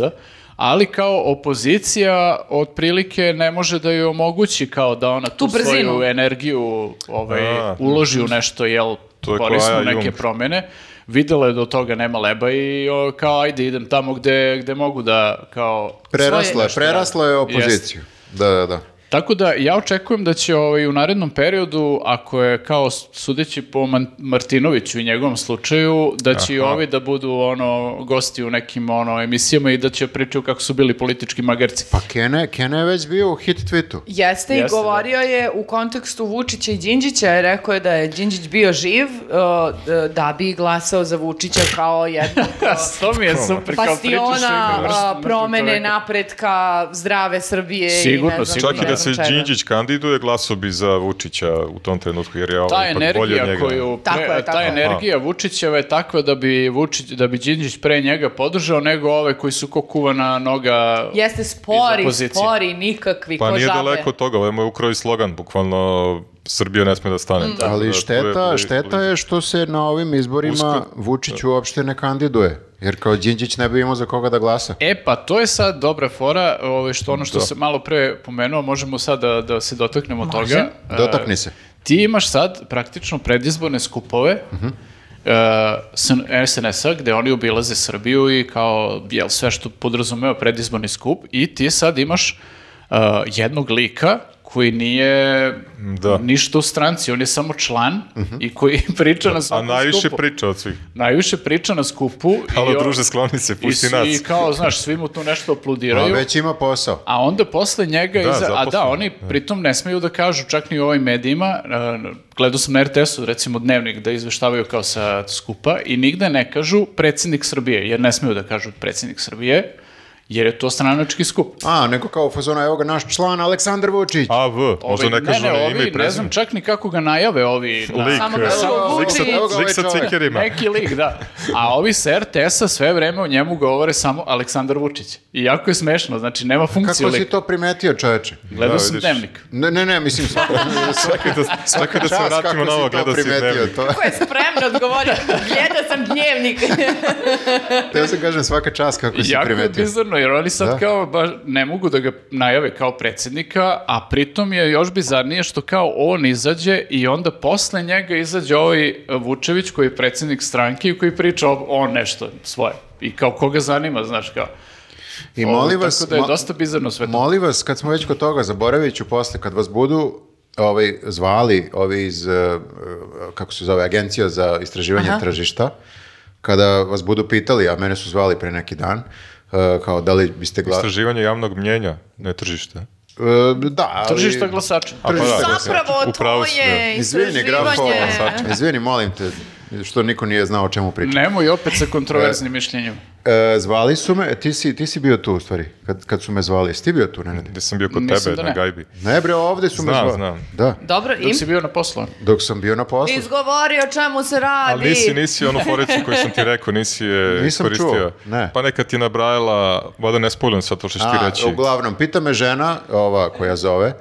Speaker 2: ali kao opozicija otprilike ne može da joj omogući kao da ona tu,
Speaker 4: Tu brzinu.
Speaker 2: svoju energiju ovaj,
Speaker 3: A.
Speaker 2: uloži u nešto, jel,
Speaker 3: To je
Speaker 2: korisno
Speaker 3: Koja
Speaker 2: neke
Speaker 3: Jung.
Speaker 2: promene, videla je da od toga nema leba i o, kao ajde idem tamo gde, gde mogu da kao...
Speaker 1: Prerasla, je,
Speaker 2: Svoje-
Speaker 1: prerasla je opoziciju. Da, da, da.
Speaker 2: Tako da ja očekujem da će ovaj, u narednom periodu, ako je kao sudeći po Man- Martinoviću i njegovom slučaju, da će i
Speaker 3: Aha.
Speaker 2: ovi da budu ono gosti u nekim ono emisijama i da će pričaju kako su bili politički magarci.
Speaker 1: Pa Kene, Kene je već bio u hit tweetu.
Speaker 4: Jeste, i
Speaker 2: Jeste, da.
Speaker 4: govorio je u kontekstu Vučića i Đinđića, je rekao je da je Đinđić bio živ uh, d- da bi glasao za Vučića kao jednog uh,
Speaker 2: to mi je super kao pričaš.
Speaker 4: bastiona
Speaker 2: i
Speaker 4: uh,
Speaker 2: mrš- mrtvog
Speaker 4: promene,
Speaker 2: čoveka.
Speaker 4: napretka, zdrave Srbije i
Speaker 2: Sigurno,
Speaker 4: ne znam,
Speaker 2: sigurno.
Speaker 3: Čak
Speaker 4: ne
Speaker 3: i da se
Speaker 4: znam čega.
Speaker 3: Đinđić kandiduje, glaso bi za Vučića u tom trenutku, jer je ovo
Speaker 2: ta
Speaker 3: Pa ipak bolje od
Speaker 2: energija
Speaker 3: njega.
Speaker 2: koju pre-
Speaker 4: Tako je, tako
Speaker 2: ta
Speaker 4: je.
Speaker 2: energija Vučićeva je takva da bi Vučić da bi Đinđić pre njega podržao nego ove koji su ko kuvana noga
Speaker 4: Jeste spori,
Speaker 2: opozicije.
Speaker 4: spori, nikakvi,
Speaker 3: Pa
Speaker 4: ko
Speaker 3: nije
Speaker 4: žabe.
Speaker 3: daleko od toga, ovo je moj ukrao i slogan, bukvalno Srbija ne sme da stane.
Speaker 2: Mm.
Speaker 3: Tako da,
Speaker 1: Ali
Speaker 3: to je
Speaker 1: šteta,
Speaker 3: bolje-
Speaker 1: šteta je što se na ovim izborima
Speaker 3: Usko-
Speaker 1: Vučić uopšte ne kandiduje. Jer kao Đinđić ne bi imao za koga da glasa.
Speaker 2: E pa to je sad dobra fora, ovaj što ono što
Speaker 3: Da.
Speaker 2: se malo pre pomenuo, možemo sad da, da se dotaknemo toga. E,
Speaker 1: Dotakni se.
Speaker 2: Ti imaš sad praktično predizborne skupove uh-huh. Uh, e, SNS-a gde oni obilaze Srbiju i kao jel, sve što podrazumeva predizborni skup i ti sad imaš e, jednog lika koji nije
Speaker 3: Da. Mhm.
Speaker 2: ništa u stranci, on je samo član i koji priča na
Speaker 3: A
Speaker 2: svakom
Speaker 3: najviše
Speaker 2: skupu.
Speaker 3: priča od svih.
Speaker 2: Najviše priča na skupu. i
Speaker 3: Halo
Speaker 2: on-
Speaker 3: druže, skloni se,
Speaker 2: i,
Speaker 3: pusti
Speaker 2: s-
Speaker 3: nas.
Speaker 2: I kao, znaš, svi mu tu nešto
Speaker 3: pa
Speaker 1: A
Speaker 2: apludiraju.
Speaker 1: već ima posao.
Speaker 2: A onda posle njega,
Speaker 3: Da,
Speaker 2: iza, a da,
Speaker 3: zaposleni,
Speaker 2: oni pritom ne smeju da kažu, čak ni u ovim medijima, e, gledao sam na RTS-u, recimo Dnevnik, da izveštavaju kao sa skupa i nigde ne kažu predsjednik Srbije, jer ne smeju da kažu predsjednik Srbije, jer je to stranački skup.
Speaker 1: A, neko kao u fazonu, evo ga naš član Aleksandar Vučić.
Speaker 3: A, V, možda
Speaker 2: Ovi-
Speaker 3: ne kažu
Speaker 2: ne,
Speaker 3: ono ime
Speaker 2: ovi,
Speaker 3: i
Speaker 2: ne znam
Speaker 3: prezime.
Speaker 2: čak ni kako ga najave ovi. da.
Speaker 3: Lik,
Speaker 4: Samo
Speaker 3: e,
Speaker 4: ga zovu
Speaker 3: lik sa-
Speaker 4: Vučić. Evo
Speaker 1: ga ovaj
Speaker 3: lik sa
Speaker 1: čovek.
Speaker 3: cikerima.
Speaker 2: Neki lik, da. A ovi sa RTS-a sve vreme o njemu govore samo Aleksandar Vučić. I jako je smešno, znači nema funkcije
Speaker 1: Kako si
Speaker 2: lik.
Speaker 1: to primetio, čoveče?
Speaker 2: Gledao
Speaker 3: Da,
Speaker 2: sam
Speaker 3: vidiš.
Speaker 2: dnevnik.
Speaker 1: Ne, ne, ne, mislim svaka,
Speaker 3: Čekaj da, čekaj da se
Speaker 1: čast
Speaker 3: vratimo
Speaker 1: kako
Speaker 3: na ovo,
Speaker 1: si to
Speaker 3: gledao si
Speaker 1: primetio.
Speaker 3: dnevnik.
Speaker 1: To,
Speaker 4: Ko je spremno odgovorio? Gleda sam dnevnik.
Speaker 1: teo sam kažem svaka čast kako si
Speaker 2: Jako je
Speaker 1: primetio.
Speaker 2: bizarno, jer oni sad
Speaker 1: Da.
Speaker 2: kao baš ne mogu da ga najave kao predsjednika, a pritom je još bizarnije što kao on izađe i onda posle njega izađe ovaj Vučević koji je predsjednik stranke i koji priča o- on nešto svoje. I kao koga zanima, znaš kao.
Speaker 1: I molim vas,
Speaker 2: Tako da je
Speaker 1: mo-
Speaker 2: dosta bizarno sve to.
Speaker 1: molim vas, kad smo već kod toga, zaboravit ću posle, kad vas budu ovaj, zvali ovi iz, eh, eh, kako se zove, agencija za istraživanje tržišta, kada vas budu pitali, a mene su zvali pre neki dan, e, kao da li biste glasali.
Speaker 3: Istraživanje javnog mnjenja, ne tržište.
Speaker 1: da, ali...
Speaker 2: Tržišta glasača.
Speaker 3: A pa da,
Speaker 4: Zapravo,
Speaker 3: u pravu
Speaker 4: to
Speaker 3: si,
Speaker 4: je
Speaker 1: Izvini, grafo,
Speaker 4: istraživanje.
Speaker 1: izvini, molim te, što niko nije znao o čemu pričam.
Speaker 2: Nemoj opet sa kontroverznim mišljenjima.
Speaker 1: E, zvali su me, ti si, ti si bio tu u stvari, kad, kad su me zvali. Jesi ti bio tu, Nenade?
Speaker 3: da. Gde sam bio kod
Speaker 2: Mislim
Speaker 3: tebe,
Speaker 2: da
Speaker 3: na
Speaker 2: ne.
Speaker 3: gajbi.
Speaker 1: Ne bre, ovdje su me
Speaker 3: Znam,
Speaker 1: zvali.
Speaker 3: znam.
Speaker 1: Da,
Speaker 4: Dobro,
Speaker 2: Dok
Speaker 4: im
Speaker 2: si bio na poslu. ono.
Speaker 1: dok sam bio na poslu.
Speaker 4: izgovori o čemu se radi.
Speaker 3: Ali nisi, nisi onu foricu koju sam ti rekao, nisi je
Speaker 1: Nisam
Speaker 3: iskoristio.
Speaker 1: čuo, ne.
Speaker 3: Pa neka ti je nabrajala, vada ne spojljam sad to što ćeš ti
Speaker 1: A,
Speaker 3: reći.
Speaker 1: uglavnom, pita me žena, ova koja zove,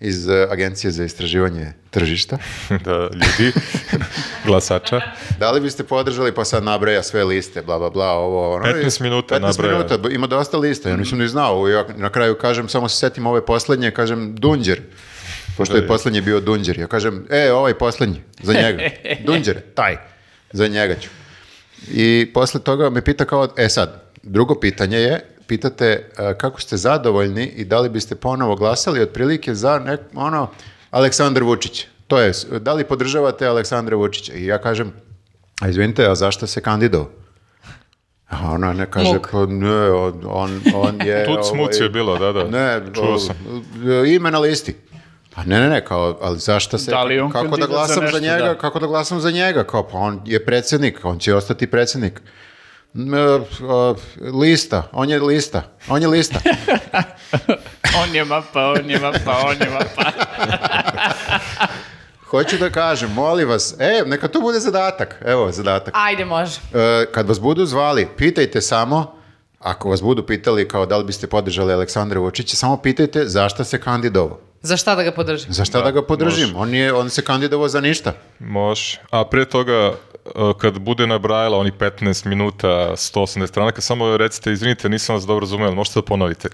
Speaker 1: iz e, Agencije za istraživanje tržišta,
Speaker 3: da, ljudi, glasača.
Speaker 1: da li biste podržali, pa sad nabraja sve liste, bla, bla, bla, ovo, ono.
Speaker 3: 15 minuta
Speaker 1: 15
Speaker 3: nabraja.
Speaker 1: minuta, b- ima dosta lista, ja nisam ni znao. Ja na kraju kažem, samo se setim ove posljednje, kažem Dunđer, pošto
Speaker 3: E.
Speaker 1: je posljednji bio Dunđer. Ja kažem, e, ovaj posljednji, za njega. Dunđer, taj, za njega ću. I posle toga me pita kao, e sad, drugo pitanje je, pitate e, kako ste zadovoljni i da li biste ponovo glasali otprilike za nek, ono, Aleksandar Vučić. To je, s- da li podržavate Aleksandra Vučića? I ja kažem, a izvinite, a zašto se kandidovao? A ona ne kaže,
Speaker 4: Muk.
Speaker 1: pa ne, on, on, on je...
Speaker 3: Tut
Speaker 1: ovaj,
Speaker 3: smuc je bilo, da, da.
Speaker 1: Ne,
Speaker 3: Čuo
Speaker 1: o,
Speaker 3: sam.
Speaker 1: E, ime na listi. Pa ne, ne, ne, kao, ali zašto se,
Speaker 2: Da li je on
Speaker 1: kako da
Speaker 2: kandidat za
Speaker 1: glasam za,
Speaker 2: nešto,
Speaker 1: njega,
Speaker 2: da.
Speaker 1: kako da glasam za njega, kao, pa on je predsjednik, on će ostati predsjednik. M, e, o, lista, on je lista, on je lista.
Speaker 2: On je mapa, on je mapa, on je pa mapa.
Speaker 1: Hoću da kažem, molim vas, e, neka to bude zadatak, evo, zadatak.
Speaker 4: Ajde, može.
Speaker 1: E, kad vas budu zvali, pitajte samo, ako vas budu pitali kao da li biste podržali Aleksandra Vučića, samo pitajte zašto se kandidovao.
Speaker 4: Za šta da ga podržim?
Speaker 1: Za šta da, ga podržim? On, je, on se kandidovao za ništa.
Speaker 3: Može. A pre toga, e, kad bude nabrajala oni 15 minuta, 180 stranaka, samo recite, izvinite, nisam vas dobro razumeo, ali možete da ponovite.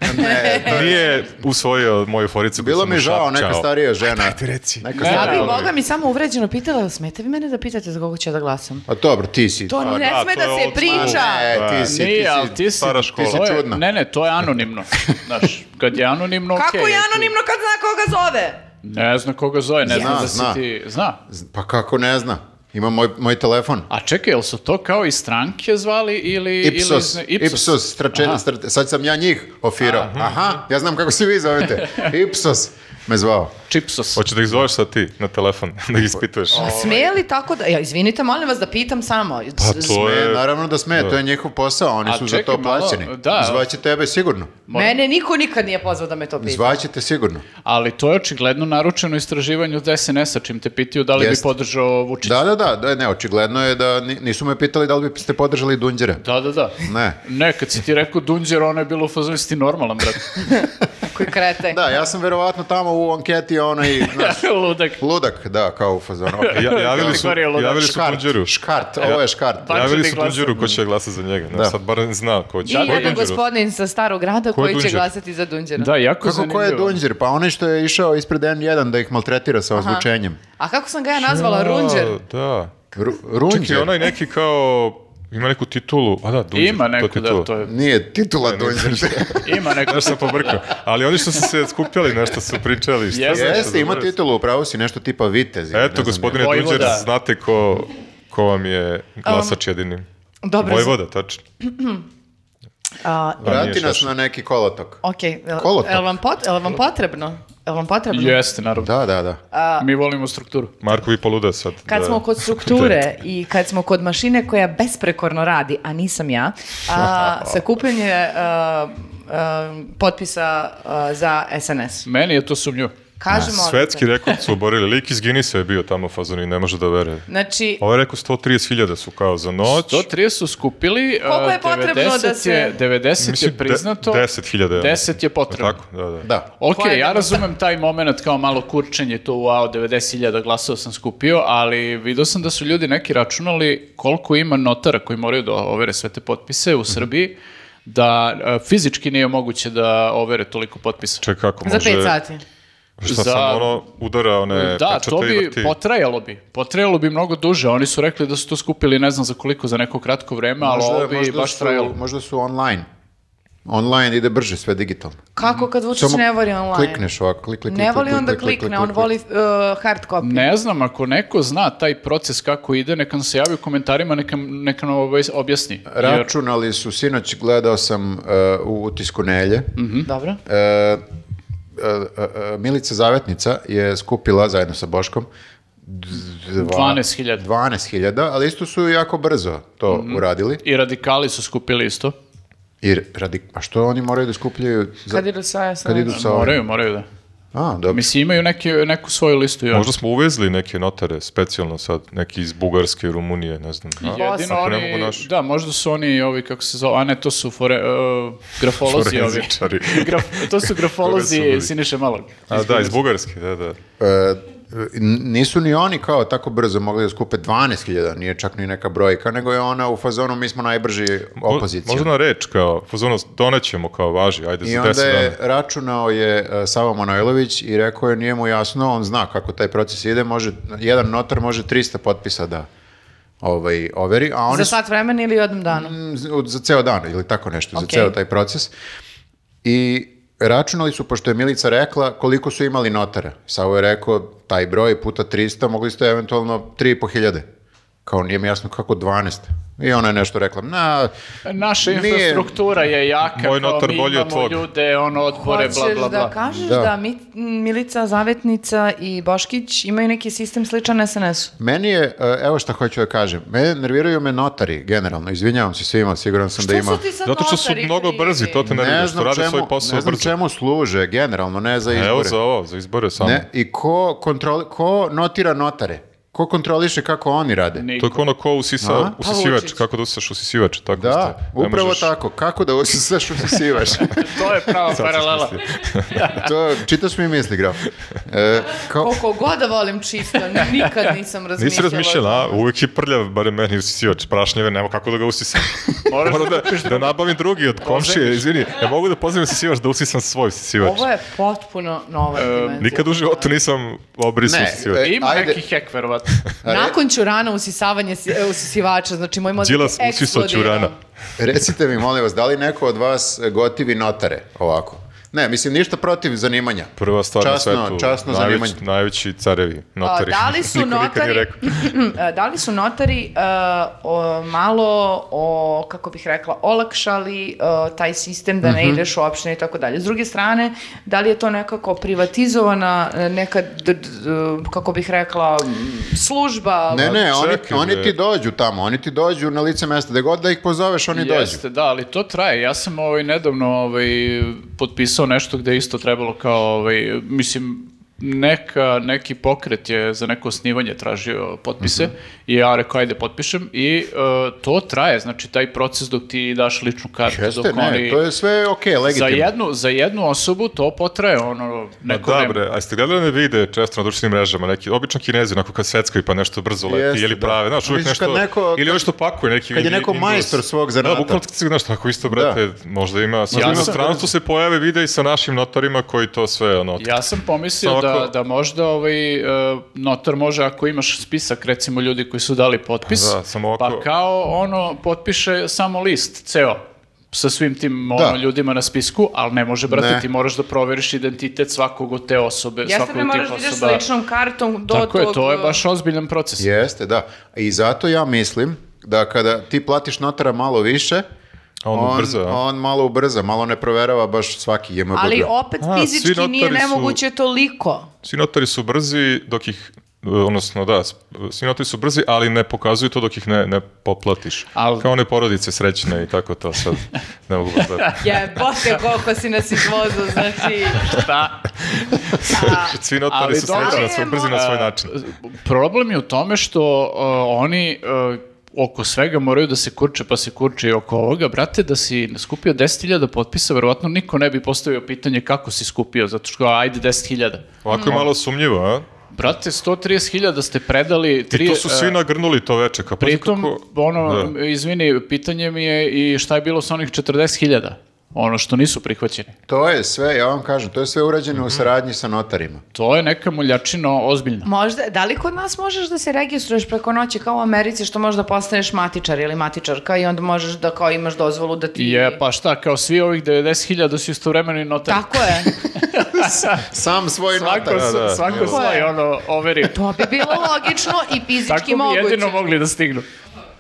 Speaker 3: Nije usvojio moju foricu. koju
Speaker 1: Bilo
Speaker 3: sam
Speaker 1: mi
Speaker 3: mu
Speaker 1: žao, neka
Speaker 3: šapčao.
Speaker 1: starija žena.
Speaker 3: reci.
Speaker 1: Neka
Speaker 4: Ja
Speaker 1: starija.
Speaker 4: bi Boga mi samo uvređeno pitala, jel smete vi mene da pitate za koga ću ja da glasam?
Speaker 1: A Pa dobro, ti si.
Speaker 4: To ne
Speaker 3: da,
Speaker 4: sme
Speaker 3: to
Speaker 4: Pa da
Speaker 3: je
Speaker 4: se
Speaker 3: old
Speaker 4: priča.
Speaker 1: E, ti si, ti
Speaker 2: Nije, ali
Speaker 1: si.
Speaker 2: ti si...
Speaker 3: stara škola.
Speaker 2: to je-
Speaker 1: čudna.
Speaker 2: Ne, ne, to je anonimno. Znaš, kad je anonimno, okej. znači,
Speaker 4: Kako je anonimno kad zna koga zove?
Speaker 2: Ne zna koga zove, ne
Speaker 1: Zna,
Speaker 2: zna da si
Speaker 1: zna.
Speaker 2: ti... Zna.
Speaker 1: Pa kako ne zna? Ima moj, moj telefon.
Speaker 2: A čekaj, jel su to kao i stranke zvali ili... ili
Speaker 1: Ipsos,
Speaker 2: zna-
Speaker 1: Ipsos, strače-
Speaker 2: Aha.
Speaker 1: strate- sad sam ja njih ofirao. Aha, ja znam kako se vi zovete. Ipsos me zvao.
Speaker 2: Čipsos.
Speaker 3: Hoće da ih zoveš sad ti na telefon, da ih ispituješ.
Speaker 4: A smije li tako da... Ja, izvinite, molim vas da pitam samo.
Speaker 3: Pa to
Speaker 1: E,
Speaker 3: je...
Speaker 1: naravno da sme, to je njihov posao, oni
Speaker 2: A
Speaker 1: su
Speaker 2: čekaj
Speaker 1: za to
Speaker 2: malo,
Speaker 1: plaćeni.
Speaker 2: da.
Speaker 1: Zvaće tebe sigurno.
Speaker 4: Mene niko nikad nije pozvao da me to pita.
Speaker 1: Zvaće te sigurno.
Speaker 2: Ali to je očigledno naručeno istraživanju od SNS-a, čim te pitaju da li
Speaker 1: Jeste.
Speaker 2: bi podržao Vučića.
Speaker 1: Da, da, da, da, ne, očigledno je da ni- nisu me pitali da li biste podržali Dunđera.
Speaker 2: Da, da, da.
Speaker 1: Ne.
Speaker 2: Ne, kad si ti rekao Dunđer, ono je bilo u fazonu, "Jesi ti normalan, brat.
Speaker 4: Koji krete.
Speaker 1: Da, ja sam verovatno tamo u anketi onaj, znaš,
Speaker 2: Ludak.
Speaker 1: ludak, da, kao u fazonu. ok.
Speaker 3: Ja, javili
Speaker 2: Kako
Speaker 3: su,
Speaker 2: stvar je luda.
Speaker 3: javili su
Speaker 1: Škart,
Speaker 3: Tunđeru.
Speaker 1: škart, ovo je škart.
Speaker 2: Pa-
Speaker 3: Javili
Speaker 2: Tunđeri
Speaker 3: su
Speaker 2: glasa.
Speaker 3: Tunđeru ko će glasa za njega.
Speaker 1: Da.
Speaker 3: Da. Sad bar zna ko će.
Speaker 4: I
Speaker 3: Ko je
Speaker 4: jedan
Speaker 3: Tunđeru?
Speaker 4: gospodin sa starog grada
Speaker 3: Ko je
Speaker 4: koji će
Speaker 3: Dunđer?
Speaker 4: glasati za Dunđera.
Speaker 2: Da, jako
Speaker 1: Kako ko
Speaker 2: zanimljivo.
Speaker 1: je Dunđer? Pa onaj što je išao ispred N1 da ih maltretira sa ozvučenjem.
Speaker 4: A kako sam ga ja nazvala? Runđer?
Speaker 3: A, Da.
Speaker 1: Ru-
Speaker 3: Čekaj,
Speaker 1: Runđer?
Speaker 3: onaj neki kao... Ima neku titulu. A da, Dunđer.
Speaker 2: Ima
Speaker 3: je
Speaker 2: neko, da,
Speaker 3: titula.
Speaker 2: to je,
Speaker 1: Nije titula Dunđer.
Speaker 2: ima neko.
Speaker 3: Nešto sam pobrkao. Ali oni što su se skupljali, nešto su pričali. Šta
Speaker 2: Jeste.
Speaker 3: znam šta
Speaker 1: Jeste, ima
Speaker 3: zaboravio sam.
Speaker 1: titulu, upravo si nešto tipa Vitez. ili ne
Speaker 3: Eto,
Speaker 1: znam
Speaker 3: gospodine
Speaker 1: ja.
Speaker 2: Vojvoda.
Speaker 3: Dunđer, znate ko, ko vam je glasač jedini.
Speaker 4: Um, Dobro.
Speaker 3: Vojvoda, tačno.
Speaker 4: A,
Speaker 1: Vrati
Speaker 3: pa Nije
Speaker 1: nas
Speaker 3: šaša.
Speaker 1: na neki kolotok.
Speaker 4: ok, jel,
Speaker 1: Kolotok.
Speaker 4: jel vam, pot, jel vam potrebno? Jel vam potrebno?
Speaker 2: Jeste, naravno.
Speaker 1: Da, da, da.
Speaker 2: Mi volimo strukturu.
Speaker 3: Marko bi poluda sad.
Speaker 4: Kad
Speaker 3: da.
Speaker 4: smo kod strukture i kad smo kod mašine koja besprekorno radi, a nisam ja, a, sakupljanje a, a, e, potpisa a, za SNS.
Speaker 2: Meni je to sumnju.
Speaker 4: Kažemo...
Speaker 3: Svetski rekord su oborili. Lik iz Guinnessa je bio tamo fazoni, ne može da veruje. Pa ovaj
Speaker 4: Znači,
Speaker 3: Ovo je rekao 130.000 su kao za noć.
Speaker 2: 130 su skupili.
Speaker 4: Koliko je
Speaker 2: a,
Speaker 4: potrebno da
Speaker 2: 90
Speaker 4: se-
Speaker 2: je- 90
Speaker 3: Mislim,
Speaker 2: je
Speaker 3: de-
Speaker 2: priznato.
Speaker 3: 10.000 evra.
Speaker 2: 10 je potrebno.
Speaker 3: ono. Tako, da, da.
Speaker 1: Da.
Speaker 2: Ok,
Speaker 4: Koja je
Speaker 2: ja
Speaker 4: danas-
Speaker 2: razumem taj moment kao malo kurčenje, to wow, 90.000 glasova sam skupio, ali vidio sam da su ljudi neki računali koliko ima notara koji moraju da overe sve te potpise u Srbiji, da e, fizički nije moguće da overe toliko potpisa.
Speaker 3: Čekaj, kako
Speaker 4: za
Speaker 3: može...
Speaker 4: 5 sati.
Speaker 3: Šta
Speaker 2: Za-
Speaker 3: samo ono udara one
Speaker 2: Da,
Speaker 3: pečate
Speaker 2: to
Speaker 3: i
Speaker 2: bi
Speaker 3: vrti?
Speaker 2: potrajalo bi. Potrajalo bi mnogo duže. Oni su rekli da su to skupili ne znam za koliko, za neko kratko vreme, ali ovo bi baš
Speaker 1: su,
Speaker 2: trajalo.
Speaker 1: možda su online. Online ide brže, sve digitalno.
Speaker 4: Kako kad Vučić
Speaker 1: Samo
Speaker 4: ne voli online?
Speaker 1: Klikneš ovako, klik, klik, klik,
Speaker 4: Ne
Speaker 1: klik,
Speaker 4: voli
Speaker 1: klik,
Speaker 4: on da
Speaker 1: klik, klik,
Speaker 4: klikne,
Speaker 1: klik,
Speaker 4: on
Speaker 1: klik.
Speaker 4: voli uh, hard copy.
Speaker 2: Ne znam, ako neko zna taj proces kako ide, neka nam se javi u komentarima, neka, neka nam obaj- objasni. Jer-
Speaker 1: Računali su, sinoć gledao sam e, u utisku Nelje,
Speaker 2: Mhm.
Speaker 4: Dobro.
Speaker 1: E, e, e, Milica Zavetnica je skupila zajedno sa Boškom dva-
Speaker 2: 12.000.
Speaker 1: 12.000, ali isto su jako brzo to
Speaker 2: Mhm.
Speaker 1: uradili.
Speaker 2: I radikali su skupili isto.
Speaker 1: I radi, a što oni moraju da skupljaju? Za,
Speaker 4: Kad idu sa SNS?
Speaker 1: kad idu sa...
Speaker 2: Moraju, moraju da.
Speaker 1: A, dobro.
Speaker 2: Mislim, imaju neki, neku svoju listu. još.
Speaker 3: Možda smo uvezli neke notare, specijalno sad, neki iz Bugarske, Rumunije, ne znam. a?
Speaker 2: Jedino
Speaker 3: Ako ne
Speaker 2: oni,
Speaker 3: mogu naši.
Speaker 2: da, možda su oni ovi, kako se zove, a ne, to su fore, e, grafolozi ovi.
Speaker 3: Forenzičari.
Speaker 2: Graf- to su grafolozi
Speaker 3: bili?
Speaker 2: Siniše Malog.
Speaker 3: A, da, iz Bugarske, da, da.
Speaker 1: E, n- nisu ni oni kao tako brzo mogli da skupe 12.000, nije čak ni neka brojka, nego je ona u fazonu mi smo najbrži
Speaker 3: Mo-
Speaker 1: opozicija.
Speaker 3: Možda na reč, kao, pozorno, donećemo kao važi, ajde
Speaker 1: I
Speaker 3: za
Speaker 1: onda
Speaker 3: 10
Speaker 1: je
Speaker 3: dana.
Speaker 1: računao je e, Savo Manojlović i rekao je nije mu jasno, on zna kako taj proces ide, može, jedan notar može 300 potpisa da ovaj, overi, a oni
Speaker 4: Za
Speaker 1: su-
Speaker 4: sat vremena ili jednom danu?
Speaker 1: Mm, z- od- za ceo dan ili tako nešto, za
Speaker 4: Ok.
Speaker 1: ceo taj proces. I računali su, pošto je Milica rekla koliko su imali notara. Savo je rekao taj broj puta 300, mogli ste eventualno 3.500. Kao nije mi jasno kako 12. I ona je nešto rekla, na,
Speaker 2: Naša
Speaker 1: Nije-
Speaker 2: infrastruktura je jaka,
Speaker 3: Moj
Speaker 2: kao
Speaker 3: notar
Speaker 2: mi
Speaker 3: bolji od
Speaker 2: imamo
Speaker 3: tvog.
Speaker 2: ljude, ono, odbore,
Speaker 4: Hoćeš
Speaker 2: bla, bla, bla.
Speaker 4: da kažeš
Speaker 1: Da.
Speaker 4: da, Mi- Milica Zavetnica i Boškić imaju neki sistem sličan SNS-u?
Speaker 1: meni je, e, evo šta hoću da kažem, mene nerviraju me notari generalno, izvinjavam se svima, siguran sam da ima...
Speaker 4: sad
Speaker 3: Zato što su
Speaker 4: notari
Speaker 3: mnogo
Speaker 4: krivi?
Speaker 3: brzi, to te ne,
Speaker 1: Ne
Speaker 3: što
Speaker 1: znam,
Speaker 3: rade svoj
Speaker 1: čemu,
Speaker 3: posao
Speaker 1: ne znam
Speaker 3: brzo.
Speaker 1: čemu služe, generalno, ne za izbore.
Speaker 3: Evo za ovo, za izbore samo.
Speaker 1: Ne, I ko, kontroli, ko notira notare? Ko kontroliše kako oni rade?
Speaker 2: Niko.
Speaker 3: To je kao ono ko usisa,
Speaker 1: A?
Speaker 3: usisivač,
Speaker 4: Vučić.
Speaker 3: kako da usisaš usisivač, tako
Speaker 1: Da,
Speaker 3: ste. Ne
Speaker 1: upravo
Speaker 3: možeš-
Speaker 1: tako. Kako da usiseš, usisivaš.
Speaker 2: To je prava paralela.
Speaker 1: to, čitaš mi misli, graf. E, kao,
Speaker 4: Koliko god da volim čisto, nikad nisam razmišljala.
Speaker 3: Nisi razmišljala, a? uvijek je prljav, barem meni usisivač, prašnjeve, nema kako da ga usisam.
Speaker 2: Moraš
Speaker 3: Moram da, da nabavim drugi od komšije, izvini, ja mogu da pozivim usisivač da usisam svoj usisivač.
Speaker 4: Ovo je potpuno nova dimenzija.
Speaker 3: E, Nikad u životu nisam obrisao
Speaker 1: Ne,
Speaker 3: usisivač.
Speaker 1: e,
Speaker 2: Ima
Speaker 1: Ajde.
Speaker 2: neki hek, verovatno.
Speaker 4: Nakon ćurana usisavanje si- e, usisivača, znači moj mozak
Speaker 3: Đilas
Speaker 4: je
Speaker 3: usisao
Speaker 4: eksplodirao.
Speaker 3: ćurana.
Speaker 1: recite mi, molim vas, da li neko od vas gotivi notare ovako? Ne, mislim, ničta protiv zanimanja.
Speaker 3: Prva stvar na
Speaker 1: časno,
Speaker 3: svetu,
Speaker 1: Časno zanimanje.
Speaker 3: najveći, najveći carevi,
Speaker 4: A,
Speaker 3: notari.
Speaker 4: da li su
Speaker 3: Niko nikad nije
Speaker 4: notari,
Speaker 3: rekao.
Speaker 4: A, da li su notari a, o, malo, o, kako bih rekla, olakšali a, taj sistem da ne ideš u opštine i tako dalje. S druge strane, da li je to nekako privatizovana e, neka, d- d- d- kako bih rekla, m, služba?
Speaker 1: Ne, ne, oni,
Speaker 3: čekaj,
Speaker 1: oni
Speaker 3: bre.
Speaker 1: ti dođu tamo, oni ti dođu na lice mesta, da god da ih pozoveš, oni dođu.
Speaker 2: Jeste, da, ali to traje. Ja sam ovaj, nedavno ovaj, potpisao nešto gde je isto trebalo kao, ovaj, mislim, neka, neki pokret je za neko osnivanje tražio potpise
Speaker 1: Mhm.
Speaker 2: i ja rekao ajde potpišem i e, to traje, znači taj proces dok ti daš ličnu kartu,
Speaker 1: Jeste,
Speaker 2: dok
Speaker 1: ne,
Speaker 2: oni...
Speaker 1: to je sve okej,
Speaker 2: Za
Speaker 1: legitimno.
Speaker 2: jednu, za jednu osobu to potraje ono
Speaker 3: Ma
Speaker 2: neko
Speaker 3: da
Speaker 2: vreme.
Speaker 3: bre, E, a jeste gledali one vide često na društvenim mrežama, neki, obično kinezi onako kad seckaju pa nešto brzo leti
Speaker 1: Jeste,
Speaker 3: ili
Speaker 1: da.
Speaker 3: prave, znaš, uvijek
Speaker 1: Vidiš
Speaker 3: nešto,
Speaker 1: kad neko-
Speaker 3: ili
Speaker 1: kad-
Speaker 3: ovo što pakuje neki
Speaker 1: kad je
Speaker 3: in-
Speaker 1: neko
Speaker 3: Indus.
Speaker 1: majstor svog zanata.
Speaker 3: Da, bukvalno kad se, znaš, tako isto, brate, možda ima, ja
Speaker 2: sam-
Speaker 3: na stranstvu se pojave vide i sa našim notarima koji to sve, ono,
Speaker 2: Ja sam pomislio
Speaker 3: Samo
Speaker 2: da,
Speaker 3: ako-
Speaker 2: da možda ovaj, e, notar može ako imaš spisak recimo ljudi koji su dali potpis,
Speaker 3: Da, samo ovako-
Speaker 2: pa kao ono potpiše samo list, ceo sa svim tim ono,
Speaker 1: Da.
Speaker 2: ljudima na spisku, ali ne može, brate,
Speaker 1: Ne.
Speaker 2: ti moraš da proveriš identitet svakog od te osobe,
Speaker 4: Jeste
Speaker 2: svakog
Speaker 4: bre,
Speaker 2: od
Speaker 4: moraš
Speaker 2: tih
Speaker 4: da ideš sa
Speaker 2: osoba.
Speaker 4: ličnom kartom do
Speaker 2: Tako
Speaker 4: tog... e,
Speaker 2: je, to je baš ozbiljan proces.
Speaker 1: Jeste, da. I zato ja mislim da kada ti platiš notara malo više,
Speaker 3: A on ubrza, a?
Speaker 1: on malo ubrza, malo ne proverava baš svaki JMBG.
Speaker 4: Ali opet
Speaker 3: A, svi
Speaker 4: fizički nije
Speaker 3: notari su-
Speaker 4: nemoguće toliko.
Speaker 3: svi notari su brzi dok ih, e, odnosno da, s- svi notari su brzi, ali ne pokazuju to dok ih ne, ne poplatiš.
Speaker 2: Al-
Speaker 3: Kao one porodice srećne i tako to sad, ne mogu baš da...
Speaker 4: Jebote koliko si nas izvozao, znači...
Speaker 2: Da.
Speaker 3: Svi notari
Speaker 2: Ali Mm.
Speaker 3: su srećni,
Speaker 4: dobro.
Speaker 3: da su brzi na svoj način.
Speaker 2: Problem je u tome što uh, oni uh, oko svega moraju da se kurče, pa se kurče i oko ovoga. Brate, da si skupio 10.000 potpisa, verovatno niko ne bi postavio pitanje kako si skupio, zato što ajde 10.000.
Speaker 3: Ovako je malo sumnjivo, a?
Speaker 2: Brate, 130.000 ste predali...
Speaker 3: I
Speaker 2: tri-
Speaker 3: to su svi
Speaker 2: uh,
Speaker 3: nagrnuli to veče. Kao, pazi
Speaker 2: Pritom,
Speaker 3: kako-
Speaker 2: ono,
Speaker 3: Da.
Speaker 2: izvini, pitanje mi je i šta je bilo sa onih 40.000? ono što nisu prihvaćeni.
Speaker 1: To je sve, ja vam kažem, to je sve urađeno
Speaker 2: Mhm.
Speaker 1: u saradnji sa notarima.
Speaker 2: To je neka muljačina ozbiljna.
Speaker 4: Možda, da li kod nas možeš da se registruješ preko noći kao u Americi što možda postaneš matičar ili matičarka i onda možeš da kao imaš dozvolu da ti...
Speaker 2: Je, pa šta, kao svi ovih 90.000 su istovremeno i notari.
Speaker 4: Tako je.
Speaker 1: Sam svoj
Speaker 2: Svako,
Speaker 1: notar.
Speaker 3: Da,
Speaker 2: da,
Speaker 3: da.
Speaker 2: svako
Speaker 4: Tako je.
Speaker 2: svoj ono overi.
Speaker 4: To bi bilo logično i
Speaker 2: Tako
Speaker 4: fizički
Speaker 2: bi
Speaker 4: moguće.
Speaker 2: jedino mogli da stignu.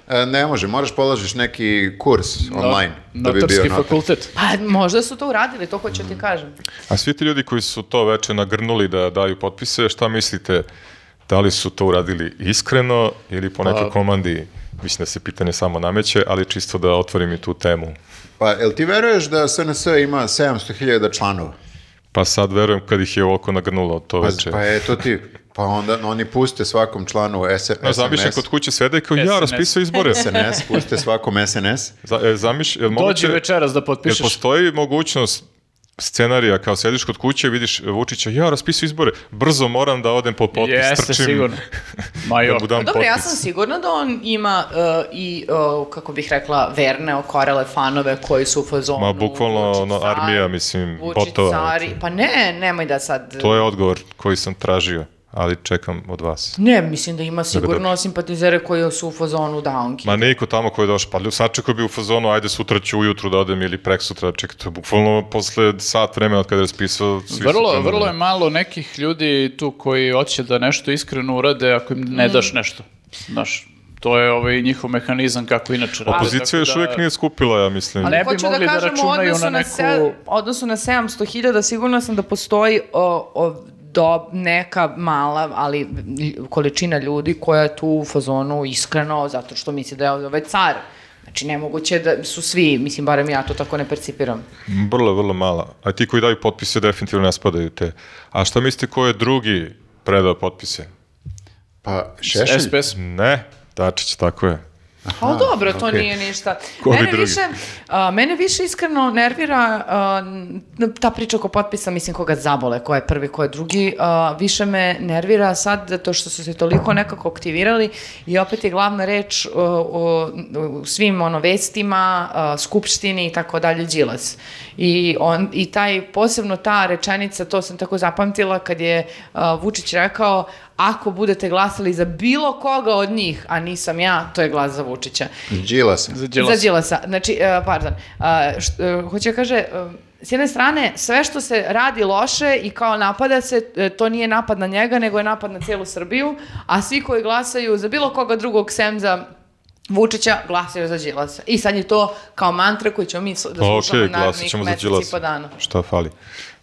Speaker 1: E, Ne može, moraš polažiš neki kurs online da bi bio
Speaker 2: Notarski
Speaker 1: notar.
Speaker 2: fakultet.
Speaker 4: Pa možda su to uradili, to hoću ti kažem.
Speaker 3: A svi ti ljudi koji su to veče nagrnuli da daju potpise, šta mislite? Da li su to uradili iskreno ili po
Speaker 2: Pa-
Speaker 3: nekoj komandi? Mislim da se pitanje samo nameće, ali čisto da otvorim i tu temu.
Speaker 1: Pa, jel ti veruješ da SNS ima 700.000 članova?
Speaker 3: Pa sad verujem kad ih je ovoliko nagrnulo to
Speaker 1: Pa,
Speaker 3: veče.
Speaker 1: pa eto ti, pa onda oni puste svakom članu S-
Speaker 3: Ja
Speaker 2: pa
Speaker 3: zamišljam
Speaker 1: SMS.
Speaker 3: kod kuće svede kao ja
Speaker 2: SNS.
Speaker 3: raspisao izbore.
Speaker 1: SNS, puste svakom SNS.
Speaker 3: Za, e, zamiš, jel
Speaker 2: Dođi
Speaker 3: moguće,
Speaker 2: večeras da
Speaker 3: jel
Speaker 2: potpišeš.
Speaker 3: postoji mogućnost scenarija kao sediš kod kuće, vidiš e, Vučića, ja raspisao izbore, brzo moram da odem po potpis,
Speaker 2: Jeste,
Speaker 3: trčim,
Speaker 2: sigurno. Ma
Speaker 3: da
Speaker 2: jo.
Speaker 3: mu dam
Speaker 4: Dobro, ja
Speaker 3: potpis.
Speaker 4: sam sigurna da on ima uh, i, uh, kako bih rekla, verne okorele fanove koji su u fazonu.
Speaker 3: Ma, bukvalno,
Speaker 4: Vučić
Speaker 3: ono,
Speaker 4: car,
Speaker 3: armija, mislim,
Speaker 4: Vučić
Speaker 3: botova,
Speaker 4: car i-
Speaker 3: eto.
Speaker 4: Pa ne, nemoj da sad...
Speaker 3: To je odgovor koji sam tražio, ali čekam od vas.
Speaker 4: Ne, mislim da ima sigurno
Speaker 3: dobro.
Speaker 4: simpatizere koji su u fazonu downki.
Speaker 3: Ma niko tamo koji je došao, pa ljub, sačekao bi u fazonu, ajde sutra ću ujutru da odem ili prek sutra, čekaj, to je bukvalno posle sat vremena od kada je raspisao. svi su
Speaker 2: Vrlo,
Speaker 3: krenuli.
Speaker 2: vrlo je malo nekih ljudi tu koji hoće da nešto iskreno urade ako im
Speaker 4: Mm.
Speaker 2: ne daš nešto. Znaš, to je ovaj njihov mehanizam kako inače rade.
Speaker 3: Opozicija
Speaker 2: tako
Speaker 3: još uvijek nije skupila, ja mislim.
Speaker 2: A ne bi
Speaker 4: Hoću
Speaker 2: mogli da,
Speaker 4: kažem, u
Speaker 2: računaju
Speaker 4: odnosu
Speaker 2: na
Speaker 4: na
Speaker 2: neku...
Speaker 4: se- odnosu na 700.000 sigurno sam da postoji o, o, do, neka mala, ali lj- količina ljudi koja je tu u fazonu iskreno, zato što misli da je ovaj car. Znači, nemoguće da su svi, mislim, barem ja to tako ne percipiram.
Speaker 3: Vrlo, vrlo mala. A ti koji daju potpise definitivno ne spadaju u te. A šta mislite ko je drugi predao potpise?
Speaker 1: Pa Šešelj,
Speaker 2: SPS.
Speaker 3: Ne, Dačić, tako je.
Speaker 4: Pa dobro, to
Speaker 1: okej.
Speaker 4: nije ništa.
Speaker 3: Ko bi
Speaker 4: mene
Speaker 3: drugi?
Speaker 4: više, a, mene više iskreno nervira a, n- ta priča oko potpisa, mislim koga zabole, ko je prvi, ko je drugi. a, više me nervira sad zato što su se toliko nekako aktivirali i opet je glavna reč o, o- u svim ono vestima, a, skupštini i tako dalje Đilas. I on i taj posebno ta rečenica, to sam tako zapamtila kad je a, Vučić rekao ako budete glasali za bilo koga od njih, a nisam ja, to je glas za Vučića.
Speaker 1: Đilas.
Speaker 2: Za Đilasa.
Speaker 4: Za Đilasa. Znači, e, pardon. A, št- e, hoću da kaže, e, s jedne strane, sve što se radi loše i kao napada se, e, to nije napad na njega, nego je napad na celu Srbiju, a svi koji glasaju za bilo koga drugog sem za Vučića glasaju za Đilasa. I sad je to kao mantra koju ćemo mi s- da
Speaker 3: Pa,
Speaker 4: slušamo
Speaker 3: okej, glasit
Speaker 4: narednih
Speaker 3: ćemo za
Speaker 4: mesec i po
Speaker 3: Đilasa.
Speaker 4: dana.
Speaker 3: Šta fali?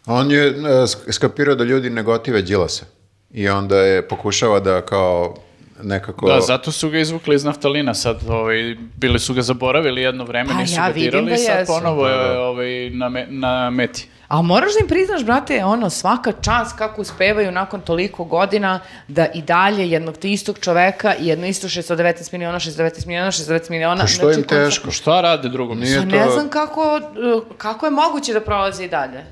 Speaker 1: On je e, sk- skapirao da ljudi negotive Đilasa. I onda je pokušava da kao nekako...
Speaker 2: Da, zato su ga izvukli iz naftalina sad, ovaj, bili su ga zaboravili jedno vreme,
Speaker 4: A,
Speaker 2: nisu
Speaker 4: ja
Speaker 2: ga
Speaker 4: vidim
Speaker 2: dirali,
Speaker 4: da
Speaker 2: sad
Speaker 4: jesu.
Speaker 2: ponovo je ovaj, na, me- na meti.
Speaker 4: A moraš da im priznaš, brate, ono, svaka čast kako uspevaju nakon toliko godina da i dalje jednog te istog čoveka i jedno isto 619 miliona, 619 miliona, 619 miliona.
Speaker 1: Pa što im
Speaker 4: znači, konstantno-
Speaker 1: teško?
Speaker 2: Šta rade drugo? mislim?
Speaker 1: Nije
Speaker 4: Pa ne znam kako, uh, kako je moguće da prolazi i dalje.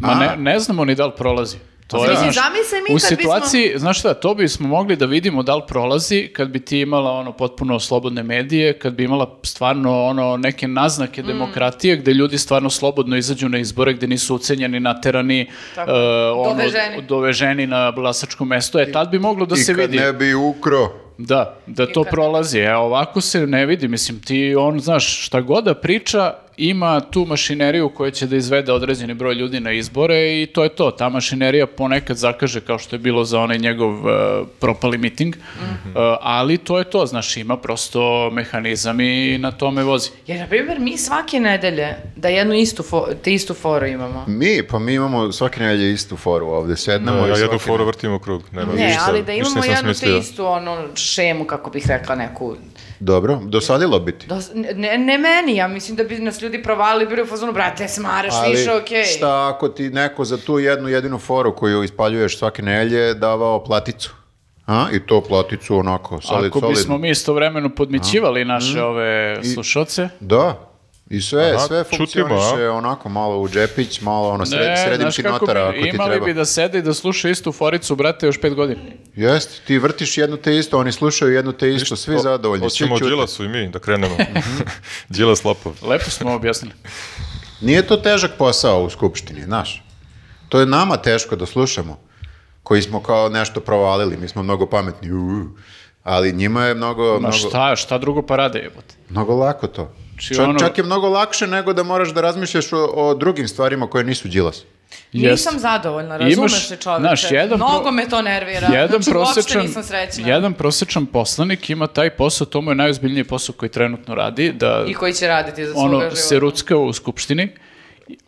Speaker 2: Ma ne, ne znamo ni da li prolazi. To
Speaker 4: Mislim,
Speaker 2: znaš,
Speaker 4: zamisli mi
Speaker 2: u
Speaker 4: kad bismo-
Speaker 2: situaciji, znaš šta, to bismo mogli da vidimo da li prolazi kad bi ti imala ono potpuno slobodne medije, kad bi imala stvarno ono neke
Speaker 4: Mm.
Speaker 2: naznake demokratije gde ljudi stvarno slobodno izađu na izbore, gde nisu ucenjeni, naterani,
Speaker 4: Tako.
Speaker 2: e, ono,
Speaker 4: Doveženi.
Speaker 2: doveženi na glasačko mesto. E, tad bi moglo da
Speaker 1: I
Speaker 2: se
Speaker 1: kad
Speaker 2: vidi.
Speaker 1: ne bi ukro.
Speaker 2: Da, da to
Speaker 4: kad-
Speaker 2: prolazi. E, ovako se ne vidi. Mislim, ti on, znaš, šta god da priča, ima tu mašineriju koja će da izvede određeni broj ljudi na izbore i to je to. Ta mašinerija ponekad zakaže kao što je bilo za onaj njegov e, propali miting, E, ali to je to, znaš, ima prosto mehanizam i na tome vozi.
Speaker 4: Jer, na primjer, mi svake nedelje da jednu istu, fo, te istu foru imamo.
Speaker 1: Mi, pa mi imamo svake nedelje istu foru ovde, sednemo i
Speaker 3: ja jednu
Speaker 1: svake
Speaker 3: foru vrtim u krug. Nema
Speaker 4: Ne,
Speaker 3: ništa,
Speaker 4: ali
Speaker 3: ništa
Speaker 4: da imamo
Speaker 3: nisam
Speaker 4: jednu te
Speaker 3: smislio.
Speaker 4: istu ono, šemu, kako bih rekla, neku...
Speaker 1: Dobro, dosadilo bi ti.
Speaker 4: Dos- ne, ne meni, ja mislim da bi nas ljudi provalili i bili u fazonu, brate, smaraš više, okej.
Speaker 1: šta ako ti neko za tu jednu jedinu foru koju ispaljuješ svake nedelje davao platicu? A? I to platicu onako, solid, Mhm.
Speaker 2: Ako
Speaker 1: solidno.
Speaker 2: bismo mi istovremeno podmićivali naše ove slušalce,
Speaker 1: Da. I sve,
Speaker 3: Aha,
Speaker 1: sve
Speaker 3: čutimo,
Speaker 1: funkcioniše onako malo u džepić, malo ono sred, sredim
Speaker 2: znaš
Speaker 1: ti
Speaker 2: kako
Speaker 1: notara
Speaker 2: bi,
Speaker 1: ako ti
Speaker 2: imali
Speaker 1: treba.
Speaker 2: bi da sede i da sluša istu foricu, brate, još pet godina.
Speaker 1: Jeste, ti vrtiš jedno te isto, oni slušaju jedno te isto, svi zadovoljni. svi
Speaker 3: Hoćemo o
Speaker 1: ćute.
Speaker 3: Đilasu i mi da krenemo. Đilas Lopov.
Speaker 2: Lepo smo objasnili.
Speaker 1: Nije to težak posao u Skupštini, znaš. To je nama teško da slušamo, koji smo kao nešto provalili, mi smo mnogo pametni, uu, ali njima je mnogo,
Speaker 2: Ma
Speaker 1: mnogo,
Speaker 2: šta, šta drugo pa rade jebote?
Speaker 1: mnogo lako to.
Speaker 2: Či
Speaker 1: Čak,
Speaker 2: ono-
Speaker 1: čak je mnogo lakše nego da moraš da razmišljaš o, o drugim stvarima koje nisu dđilas.
Speaker 2: Jeste.
Speaker 4: Nisam zadovoljna,
Speaker 2: Imaš,
Speaker 4: razumeš se čoveče.
Speaker 2: znaš, jedan pro-
Speaker 4: Mnogo me to nervira.
Speaker 2: Jedan
Speaker 4: znači, uopšte
Speaker 2: prosječan,
Speaker 4: nisam srećna.
Speaker 2: jedan prosječan poslanik ima taj posao, to mu je najozbiljniji posao koji trenutno radi, da
Speaker 4: I koji će raditi za svoga
Speaker 2: ono,
Speaker 4: života.
Speaker 2: se ruckao u skupštini.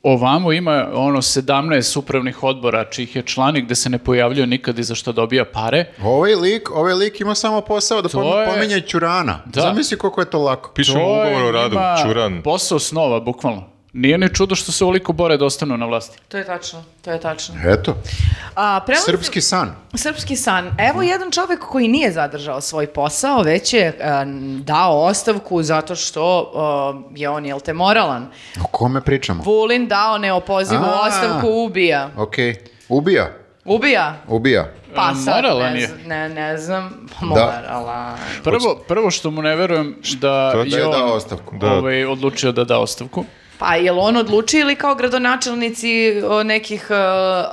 Speaker 2: Ovamo ima ono 17 upravnih odbora, čijih je članik gde se ne pojavljuje nikad i za što dobija pare.
Speaker 1: Ovaj lik, ovaj lik ima samo posao da pom-
Speaker 2: je-
Speaker 1: pominje Ćurana.
Speaker 2: Da.
Speaker 1: Zamisli koliko je to lako.
Speaker 3: Pišemo
Speaker 2: To je
Speaker 3: ugovor o radu,
Speaker 2: njima
Speaker 3: Čuran.
Speaker 2: Posao snova, bukvalno. Nije ni čudo što se ovoliko bore da ostanu na vlasti.
Speaker 4: To je tačno, to je tačno.
Speaker 1: Eto,
Speaker 4: A, prelazim-
Speaker 1: srpski san.
Speaker 4: Srpski san. Evo jedan čovek koji nije zadržao svoj posao, već je e, dao ostavku zato što e, je on, jel te, moralan.
Speaker 1: O kome pričamo?
Speaker 4: Vulin dao neopozivu
Speaker 1: A.
Speaker 4: ostavku, ubija.
Speaker 1: Ok, ubija,
Speaker 4: Ubija?
Speaker 1: ubija.
Speaker 4: Pa
Speaker 2: E,
Speaker 4: sad,
Speaker 2: moralan
Speaker 4: ne,
Speaker 2: je.
Speaker 4: z- ne, ne znam, moralan.
Speaker 2: Prvo, prvo što mu ne verujem da
Speaker 3: Šta da
Speaker 1: Da
Speaker 2: je
Speaker 1: je dao
Speaker 2: on
Speaker 1: ostavku.
Speaker 3: Da.
Speaker 2: ovaj, odlučio da da ostavku.
Speaker 4: Pa je on odluči ili kao gradonačelnici o, nekih e,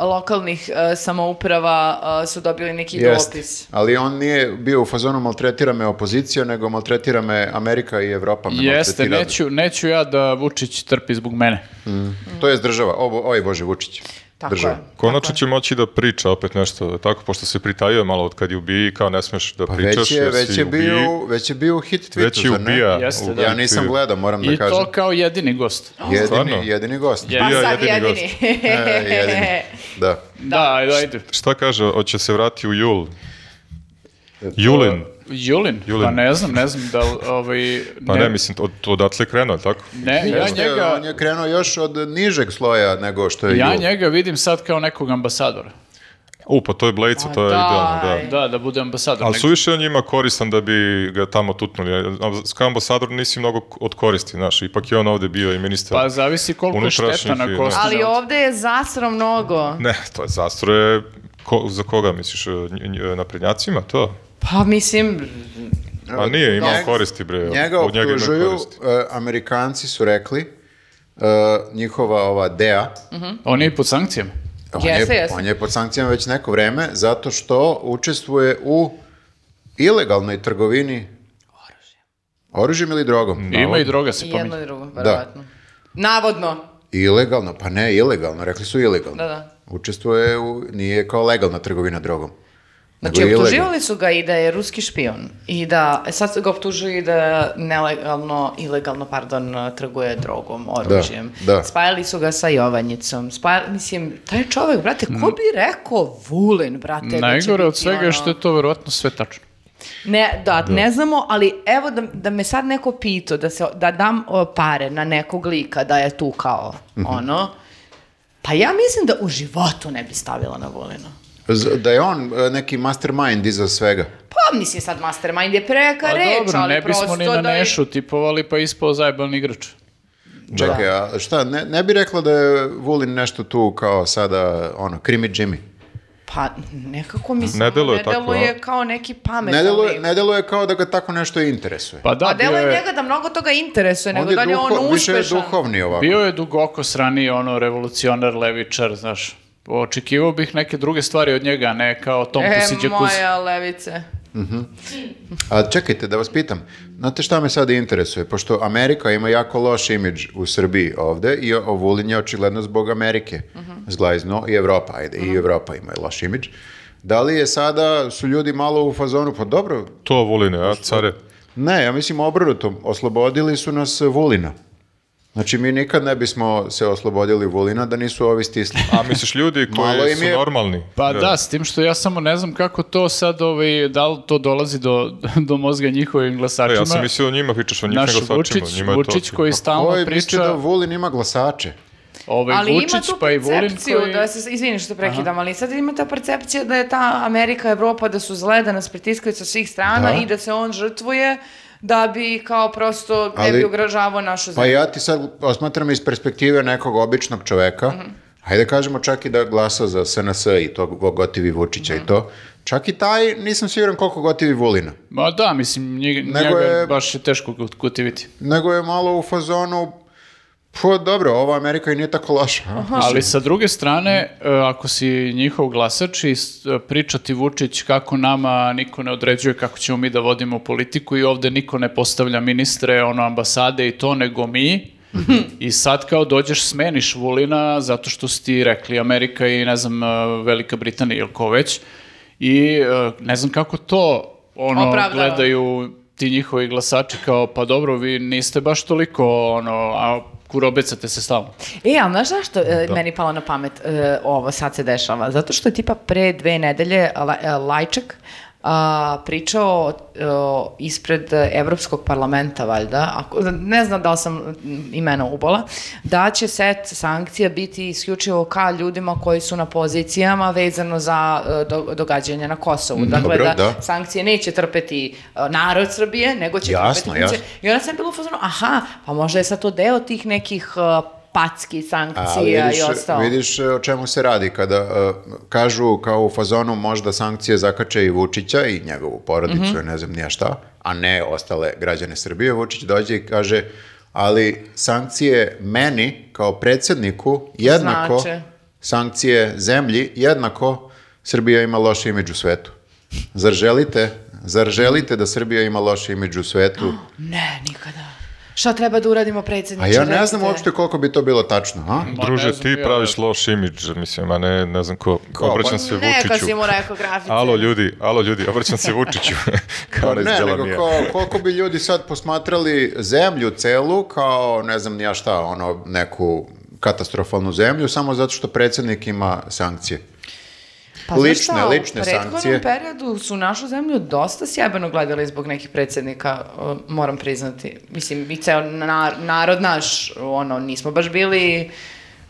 Speaker 4: lokalnih e, samouprava e, su dobili neki
Speaker 1: Jest.
Speaker 4: dopis?
Speaker 1: Ali on nije bio u fazonu maltretira me opozicija, nego maltretira me Amerika i Evropa. Me
Speaker 2: Jeste,
Speaker 1: maltretira."
Speaker 2: neću, neću ja da Vučić trpi zbog mene.
Speaker 1: To je država. Ovo, oj Bože, Vučić.
Speaker 4: Tako
Speaker 1: država.
Speaker 4: je.
Speaker 3: Konačno će moći da priča opet nešto, je tako, pošto se pritajio malo od kad je ubiji, kao ne smeš da
Speaker 1: Pa
Speaker 3: pričaš,
Speaker 1: već je,
Speaker 3: jer
Speaker 1: već
Speaker 3: si
Speaker 1: je,
Speaker 3: ubiji,
Speaker 1: bio, već je bio u hit tweetu,
Speaker 3: već je
Speaker 1: zar ne?
Speaker 3: ubija. Znači-
Speaker 2: Jeste, da.
Speaker 1: Ja nisam gledao, moram da
Speaker 2: I
Speaker 1: kažem.
Speaker 2: to kao jedini gost.
Speaker 3: Stvarno?
Speaker 1: Jedini, jedini gost.
Speaker 2: Je.
Speaker 4: Pa
Speaker 3: Bio
Speaker 4: sad
Speaker 3: jedini
Speaker 4: jedini.
Speaker 1: E, jedini. Da.
Speaker 2: Da, ajde, ajde.
Speaker 3: Šta kaže, hoće se vrati u jul?
Speaker 2: E,
Speaker 3: Julin.
Speaker 2: Julin?
Speaker 3: Julin.
Speaker 2: Pa ne znam, ne znam da li, ovaj...
Speaker 3: Pa ne, mislim, od, odatle je krenuo, je li tako?
Speaker 2: ne, ja
Speaker 1: Jeste,
Speaker 2: njega,
Speaker 1: On je krenuo još od nižeg sloja nego što je
Speaker 2: ja
Speaker 1: Jul.
Speaker 2: njega vidim sad kao nekog ambasadora.
Speaker 3: U, pa to je Blejca,
Speaker 4: Pa
Speaker 3: to je
Speaker 4: daj.
Speaker 3: idealno, da.
Speaker 2: Da, da bude ambasador.
Speaker 3: Ali
Speaker 2: nek-
Speaker 3: suviše on njima koristan da bi ga tamo tutnuli. Kao ambasador nisi mnogo od koristi, znaš, ipak je on ovde bio i ministar.
Speaker 2: Pa zavisi koliko je
Speaker 3: Unutrašnjih
Speaker 2: šteta
Speaker 3: i,
Speaker 2: na
Speaker 3: da.
Speaker 2: kosti.
Speaker 4: Ali ovde je zasro mnogo.
Speaker 3: Ne, to je zastroje, ko, za koga misliš, e, nj- nj- naprednjacima, to?
Speaker 4: Pa mislim,
Speaker 3: A nije, imao
Speaker 1: Njega-
Speaker 3: koristi, bre.
Speaker 1: Njega
Speaker 3: od njega imaju
Speaker 1: optužuju,
Speaker 3: koristi.
Speaker 1: e, Amerikanci su rekli, e, njihova ova DEA,
Speaker 2: On je i pod sankcijama.
Speaker 1: On,
Speaker 4: Jeste,
Speaker 1: je,
Speaker 4: jeste.
Speaker 1: on je pod sankcijama već neko vreme zato što učestvuje u ilegalnoj trgovini oružjem. Oružjem ili drogom?
Speaker 2: Ima i droga se
Speaker 4: i
Speaker 2: pominje.
Speaker 4: jedno i drugo, verovatno. Navodno.
Speaker 1: Ilegalno, pa ne ilegalno, rekli su ilegalno.
Speaker 4: Da, da.
Speaker 1: Učestvuje u, nije kao legalna trgovina drogom.
Speaker 4: Znači,
Speaker 1: nego je ilegalno.
Speaker 4: optuživali su ga i da je ruski špion. I da, e, sad ga optužuju i da nelegalno, ilegalno, pardon, trguje drogom, oružjem.
Speaker 1: da.
Speaker 4: Spajali su ga sa Jovanjicom. Spajali, mislim, taj čovek, brate,
Speaker 1: Mm.
Speaker 4: ko bi rekao Vulin, brate? da će
Speaker 2: Najgore od
Speaker 4: biti
Speaker 2: svega
Speaker 4: ono-
Speaker 2: je što je to verovatno sve tačno.
Speaker 4: Ne, da, ne znamo, ali evo da, da me sad neko pitao da, se, da dam o, pare na nekog lika da je tu kao
Speaker 1: Mhm.
Speaker 4: ono, pa ja mislim da u životu ne bi stavila na volinu.
Speaker 1: Z- Da je on e, neki mastermind iza svega.
Speaker 4: Pa mislim sad mastermind je preka
Speaker 2: Pa
Speaker 4: reč,
Speaker 2: dobro,
Speaker 4: ali
Speaker 2: ne bismo
Speaker 4: prosto
Speaker 2: ni na
Speaker 4: da je-
Speaker 2: Nešu tipovali pa ispao zajeban igrač.
Speaker 1: Čekaj, a šta, ne, ne bi rekla da je Vulin nešto tu kao sada, ono, krimi Jimmy?
Speaker 4: Pa nekako mi samo
Speaker 3: Ne
Speaker 4: ne
Speaker 3: deluje
Speaker 4: deluje,
Speaker 3: tako, a?
Speaker 4: kao neki pametan
Speaker 1: Ne deluje,
Speaker 4: lik.
Speaker 1: ne deluje kao da ga tako nešto interesuje.
Speaker 2: Pa da,
Speaker 4: A
Speaker 2: bio,
Speaker 4: deluje
Speaker 2: je,
Speaker 4: njega da mnogo toga interesuje, nego
Speaker 1: Ovdje
Speaker 4: da li je on
Speaker 1: duho- više je
Speaker 4: uspešan.
Speaker 1: duhovni
Speaker 3: Pa
Speaker 1: ovako.
Speaker 2: bio je dugoko sraniji ono revolucionar, levičar, znaš. Očekivao bih neke druge stvari od njega, a ne kao Tom
Speaker 4: E,
Speaker 2: Pusića Kus.
Speaker 4: moja levice.
Speaker 1: A čekajte, da vas pitam, znate šta me sada interesuje? Pošto Amerika ima jako loš imidž u Srbiji ovde i o- Vulin je očigledno zbog Amerike zglajzno i Evropa, ajde, i Evropa ima loš imidž. Da li je sada, su ljudi malo u fazonu, pa dobro,
Speaker 3: To voline, a, care?
Speaker 1: ne, ja mislim obrnuto, oslobodili su nas Vulina. Znači mi nikad ne bismo se oslobodili Vulina da nisu ovi stisli.
Speaker 3: A misliš ljudi
Speaker 1: Malo
Speaker 3: koji
Speaker 1: im
Speaker 3: su
Speaker 1: je-
Speaker 3: normalni?
Speaker 2: Pa da. s tim što ja samo ne znam kako to sad, ovaj, da li to dolazi do, do mozga njihovim
Speaker 3: E,
Speaker 2: glasačima.
Speaker 3: ja sam mislio o njima, pričaš o njim
Speaker 2: Znači, Naš
Speaker 3: glasačima.
Speaker 2: Vučić,
Speaker 3: njima je to Pa
Speaker 2: Vučić
Speaker 3: okej.
Speaker 2: koji stalno
Speaker 1: Koji misli
Speaker 2: priča,
Speaker 1: da Vulin ima glasače?
Speaker 2: ovaj
Speaker 4: Ali ima
Speaker 2: Vučić
Speaker 4: tu
Speaker 2: pa i Vulin
Speaker 4: percepciju
Speaker 2: koji...
Speaker 4: da se, izvini što te prekidam, ali sad ima ta percepcija da je ta Amerika, Evropa, da su zle, da nas pritiskaju sa svih strana
Speaker 1: Da.
Speaker 4: i da se on žrtvuje da bi kao prosto ne
Speaker 1: Ali-
Speaker 4: bi ugrožavao našu
Speaker 1: Pa
Speaker 4: zemlju.
Speaker 1: ja ti sad osmatram iz perspektive nekog običnog čoveka, ajde kažemo čak i da glasa za SNS i to go- gotivi Vučića i to, čak i taj nisam siguran koliko gotivi Vulina,
Speaker 2: Ma da, mislim, nje- njega,
Speaker 1: Nego je-
Speaker 2: baš je teško kut- kutiviti.
Speaker 1: nego je malo u fazonu, Pa dobro, ova Amerika i nije tako loša. a?
Speaker 2: Ali sa druge strane, e, ako si njihov glasač i s- e, pričati Vučić kako nama niko ne određuje kako ćemo mi da vodimo politiku i ovde niko ne postavlja ministre, ono ambasade i to, nego mi. I sad kao dođeš, smeniš Vulina zato što si ti rekli Amerika i ne znam, e, Velika Britanija ili ko već. I e, ne znam kako to ono,
Speaker 4: Opravdava.
Speaker 2: gledaju ti njihovi glasači kao, pa dobro, vi niste baš toliko, ono, a kurobecate se stalno.
Speaker 4: E, ali znaš zašto e, meni palo na pamet e, ovo sad se dešava? Zato što je tipa pre dve nedelje La- e, Lajček a, pričao e, ispred Evropskog parlamenta, valjda, ako, ne znam da li sam mm, imena ubola, da će set sankcija biti isključivo ka ljudima koji su na pozicijama vezano za e, do- događanja na Kosovu. Dakle,
Speaker 1: Mm, dobro,
Speaker 4: da,
Speaker 1: da.
Speaker 4: sankcije neće trpeti e, narod Srbije, nego će
Speaker 1: Jasno,
Speaker 4: trpeti funkcije-
Speaker 1: jasno.
Speaker 4: i onda sam bila u fazonu, aha, pa možda je sad to deo tih nekih uh, packi,
Speaker 1: A
Speaker 4: sankcija
Speaker 1: vidiš,
Speaker 4: i ostalo.
Speaker 1: vidiš e, o čemu se radi kada uh, kažu kao u fazonu možda sankcije zakače i Vučića i njegovu porodicu, i
Speaker 4: Mhm.
Speaker 1: ne znam nija šta, a ne ostale građane Srbije. Vučić dođe i kaže, ali sankcije meni kao predsjedniku jednako,
Speaker 4: Znače.
Speaker 1: sankcije zemlji jednako, Srbija ima loš imidž u svetu. Zar želite, zar želite da Srbija ima loš imidž u svetu?
Speaker 4: Ne, nikada. Šta treba da uradimo
Speaker 1: A
Speaker 4: predsjedniče?
Speaker 1: ja ne znam
Speaker 4: recite?
Speaker 1: uopšte koliko bi to bilo tačno, a?
Speaker 3: Druže,
Speaker 2: ne znam
Speaker 3: ti
Speaker 2: ja,
Speaker 3: praviš loš imidž, mislim, a ne, ne znam ko.
Speaker 1: pa
Speaker 3: Obraćam se
Speaker 4: Neka si
Speaker 3: Vučiću.
Speaker 4: mu rekao grafice.
Speaker 3: Alo ljudi, alo ljudi, obraćam se Vučiću. Kao
Speaker 1: Pa
Speaker 3: ne,
Speaker 1: ne, nego
Speaker 3: ne,
Speaker 1: kao, koliko bi ljudi sad posmatrali zemlju celu kao, ne znam ni ja šta, ono, neku katastrofalnu zemlju, samo zato što predsjednik ima sankcije.
Speaker 4: Pa znaš
Speaker 1: lične-
Speaker 4: šta,
Speaker 1: lične
Speaker 4: U
Speaker 1: sankcije.
Speaker 4: prethodnom periodu su našu zemlju dosta sjebeno gledali zbog nekih predsjednika, uh, moram priznati. Mislim, i ceo nar- narod naš, ono, nismo baš bili...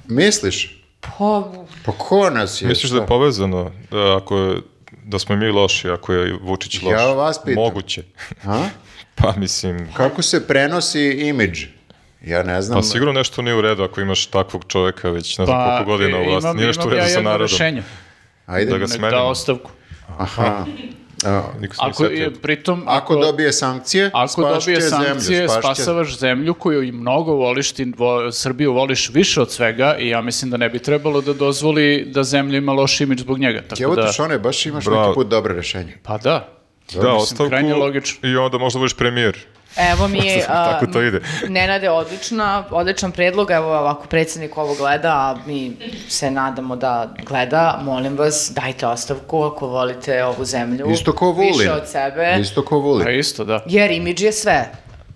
Speaker 1: Misliš?
Speaker 4: Po...
Speaker 1: Pa ko nas je?
Speaker 3: Misliš da je
Speaker 1: šta?
Speaker 3: povezano da ako je- da smo i mi loši, ako je Vučić
Speaker 1: Ja
Speaker 3: loš?
Speaker 1: vas pitam.
Speaker 3: Moguće.
Speaker 1: A?
Speaker 3: Pa mislim,
Speaker 1: Kako se prenosi imidž? Ja ne znam.
Speaker 3: pa sigurno nešto nije u redu ako imaš takvog čoveka već ne znam koliko godina u
Speaker 2: Pa, imam-
Speaker 3: vlasti. Nije
Speaker 2: imam
Speaker 3: nešto u redu
Speaker 2: ja
Speaker 3: sa
Speaker 2: jedno
Speaker 3: narodom.
Speaker 2: rešenje.
Speaker 1: Ajde.
Speaker 3: da ga-
Speaker 2: Nek
Speaker 3: smenimo.
Speaker 2: Da ostavku.
Speaker 1: Aha. A,
Speaker 3: Niko se nije
Speaker 2: Ako,
Speaker 3: setio.
Speaker 2: je- pritom,
Speaker 1: ako dobije sankcije,
Speaker 2: Ako
Speaker 1: spašće
Speaker 2: dobije sankcije,
Speaker 1: zemlju, spašće-
Speaker 2: spasavaš zemlju koju i mnogo voliš, ti vo- Srbiju voliš više od svega i ja mislim da ne bi trebalo da dozvoli da zemlja ima loš imidž zbog njega. Tako
Speaker 1: Evo
Speaker 2: da,
Speaker 1: ti Šone, baš imaš
Speaker 3: Bravo.
Speaker 1: neki put dobro rešenje.
Speaker 2: pa da,
Speaker 3: Da,
Speaker 2: mislim,
Speaker 3: ostavku
Speaker 2: krajnje logično.
Speaker 3: i onda možda budeš premijer.
Speaker 4: Evo mi je...
Speaker 3: Tako
Speaker 4: uh,
Speaker 3: to ide.
Speaker 4: Nenade, odlična, odličan predlog, evo ovako predsjednik ovo gleda, a mi se nadamo da gleda, molim vas, dajte ostavku ako volite ovu zemlju.
Speaker 1: Isto ko Vulin.
Speaker 4: Više od sebe,
Speaker 1: Isto ko Vulin.
Speaker 2: pa isto da.
Speaker 4: jer imidž je sve.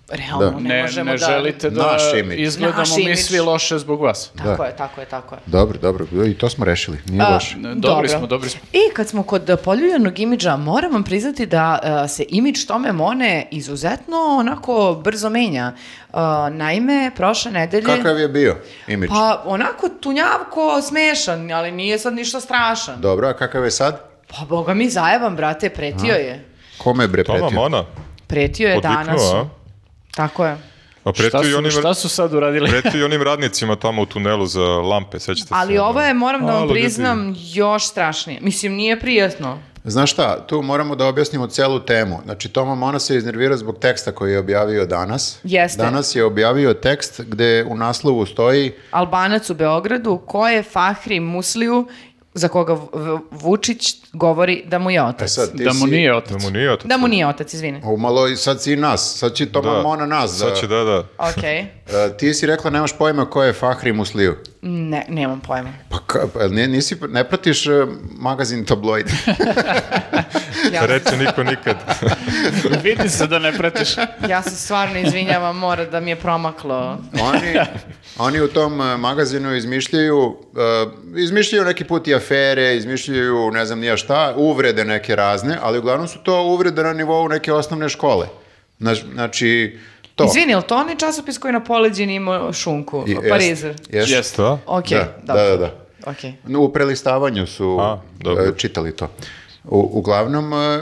Speaker 4: Realno,
Speaker 1: Da.
Speaker 4: ne,
Speaker 2: Ne,
Speaker 4: možemo
Speaker 2: ne
Speaker 4: da...
Speaker 2: želite da
Speaker 1: Naš imidž.
Speaker 2: izgledamo
Speaker 4: Naš
Speaker 2: mi
Speaker 4: imidž.
Speaker 2: svi loše zbog vas.
Speaker 4: Tako je, tako je, tako je.
Speaker 1: Dobro, dobro, i to smo rešili, nije loše.
Speaker 2: Dobri
Speaker 4: Dobro.
Speaker 2: smo, dobri smo.
Speaker 4: I kad smo kod poljuljanog imidža, moram vam priznati da e, se imidž Tome Mone izuzetno onako brzo menja. E, naime, prošle nedelje...
Speaker 1: Kakav je bio imidž?
Speaker 4: Pa onako tunjavko smešan, ali nije sad ništa strašan.
Speaker 1: Dobro, a kakav je sad?
Speaker 4: Pa boga mi zajeban, brate, pretio je.
Speaker 1: Kome bre
Speaker 3: Toma
Speaker 1: pretio?
Speaker 3: Mona,
Speaker 4: Pretio je danas.
Speaker 3: odviknuo, a?
Speaker 4: Tako je.
Speaker 3: A
Speaker 2: Šta
Speaker 3: pretio i
Speaker 2: su,
Speaker 3: onim,
Speaker 2: šta su sad uradili?
Speaker 3: pretio i onim radnicima tamo u tunelu za lampe, sećate se.
Speaker 4: Ali
Speaker 3: ono?
Speaker 4: ovo je, moram da
Speaker 3: Alo,
Speaker 4: vam
Speaker 3: ljudi.
Speaker 4: priznam, još strašnije. Mislim, nije prijatno.
Speaker 1: Znaš šta, tu moramo da objasnimo celu temu. Znači, Toma Mona se iznervirao zbog teksta koji je objavio danas.
Speaker 4: Jeste.
Speaker 1: Danas je objavio tekst gde u naslovu stoji
Speaker 4: Albanac u Beogradu, ko je Fahri Musliju, za koga V- V- Vučić govori da mu je
Speaker 1: e
Speaker 4: otac.
Speaker 1: sad, ti
Speaker 2: Da mu
Speaker 1: si-
Speaker 2: nije
Speaker 3: Da
Speaker 2: otac.
Speaker 3: mu nije otac.
Speaker 4: Da mu nije otac, izvini.
Speaker 1: Umalo, i sad si i nas, sad će Toma
Speaker 3: Da.
Speaker 2: ono
Speaker 1: Mona nas.
Speaker 3: Sad
Speaker 1: da-
Speaker 3: će da, da.
Speaker 4: Okej.
Speaker 1: E, ti si rekla nemaš pojma ko je Fahri Musliju.
Speaker 4: Ne, nemam pojma.
Speaker 1: Pa, ka, pa ne, nisi, ne pratiš e, magazin Tabloid?
Speaker 4: Ja,
Speaker 3: Reče niko nikad.
Speaker 2: Vidi se da ne pretiš.
Speaker 4: ja se stvarno izvinjavam, mora da mi je promaklo.
Speaker 1: Oni, oni u tom e, magazinu izmišljaju, e, izmišljaju neki put i afere, izmišljaju ne znam nija šta, uvrede neke razne, ali uglavnom su to uvrede na nivou neke osnovne škole. Znaš- Znači, to.
Speaker 4: Izvini, je li to onaj časopis koji na poleđini ima šunku?
Speaker 1: I-
Speaker 4: Parizer.
Speaker 1: jest- jest.
Speaker 2: Jeste.
Speaker 3: Šta?
Speaker 4: Ok,
Speaker 1: Da,
Speaker 4: dobro.
Speaker 1: da, da, da.
Speaker 4: Ok.
Speaker 1: No, U prelistavanju su
Speaker 3: A, dobro.
Speaker 1: e, čitali to. U, uglavnom, e, e,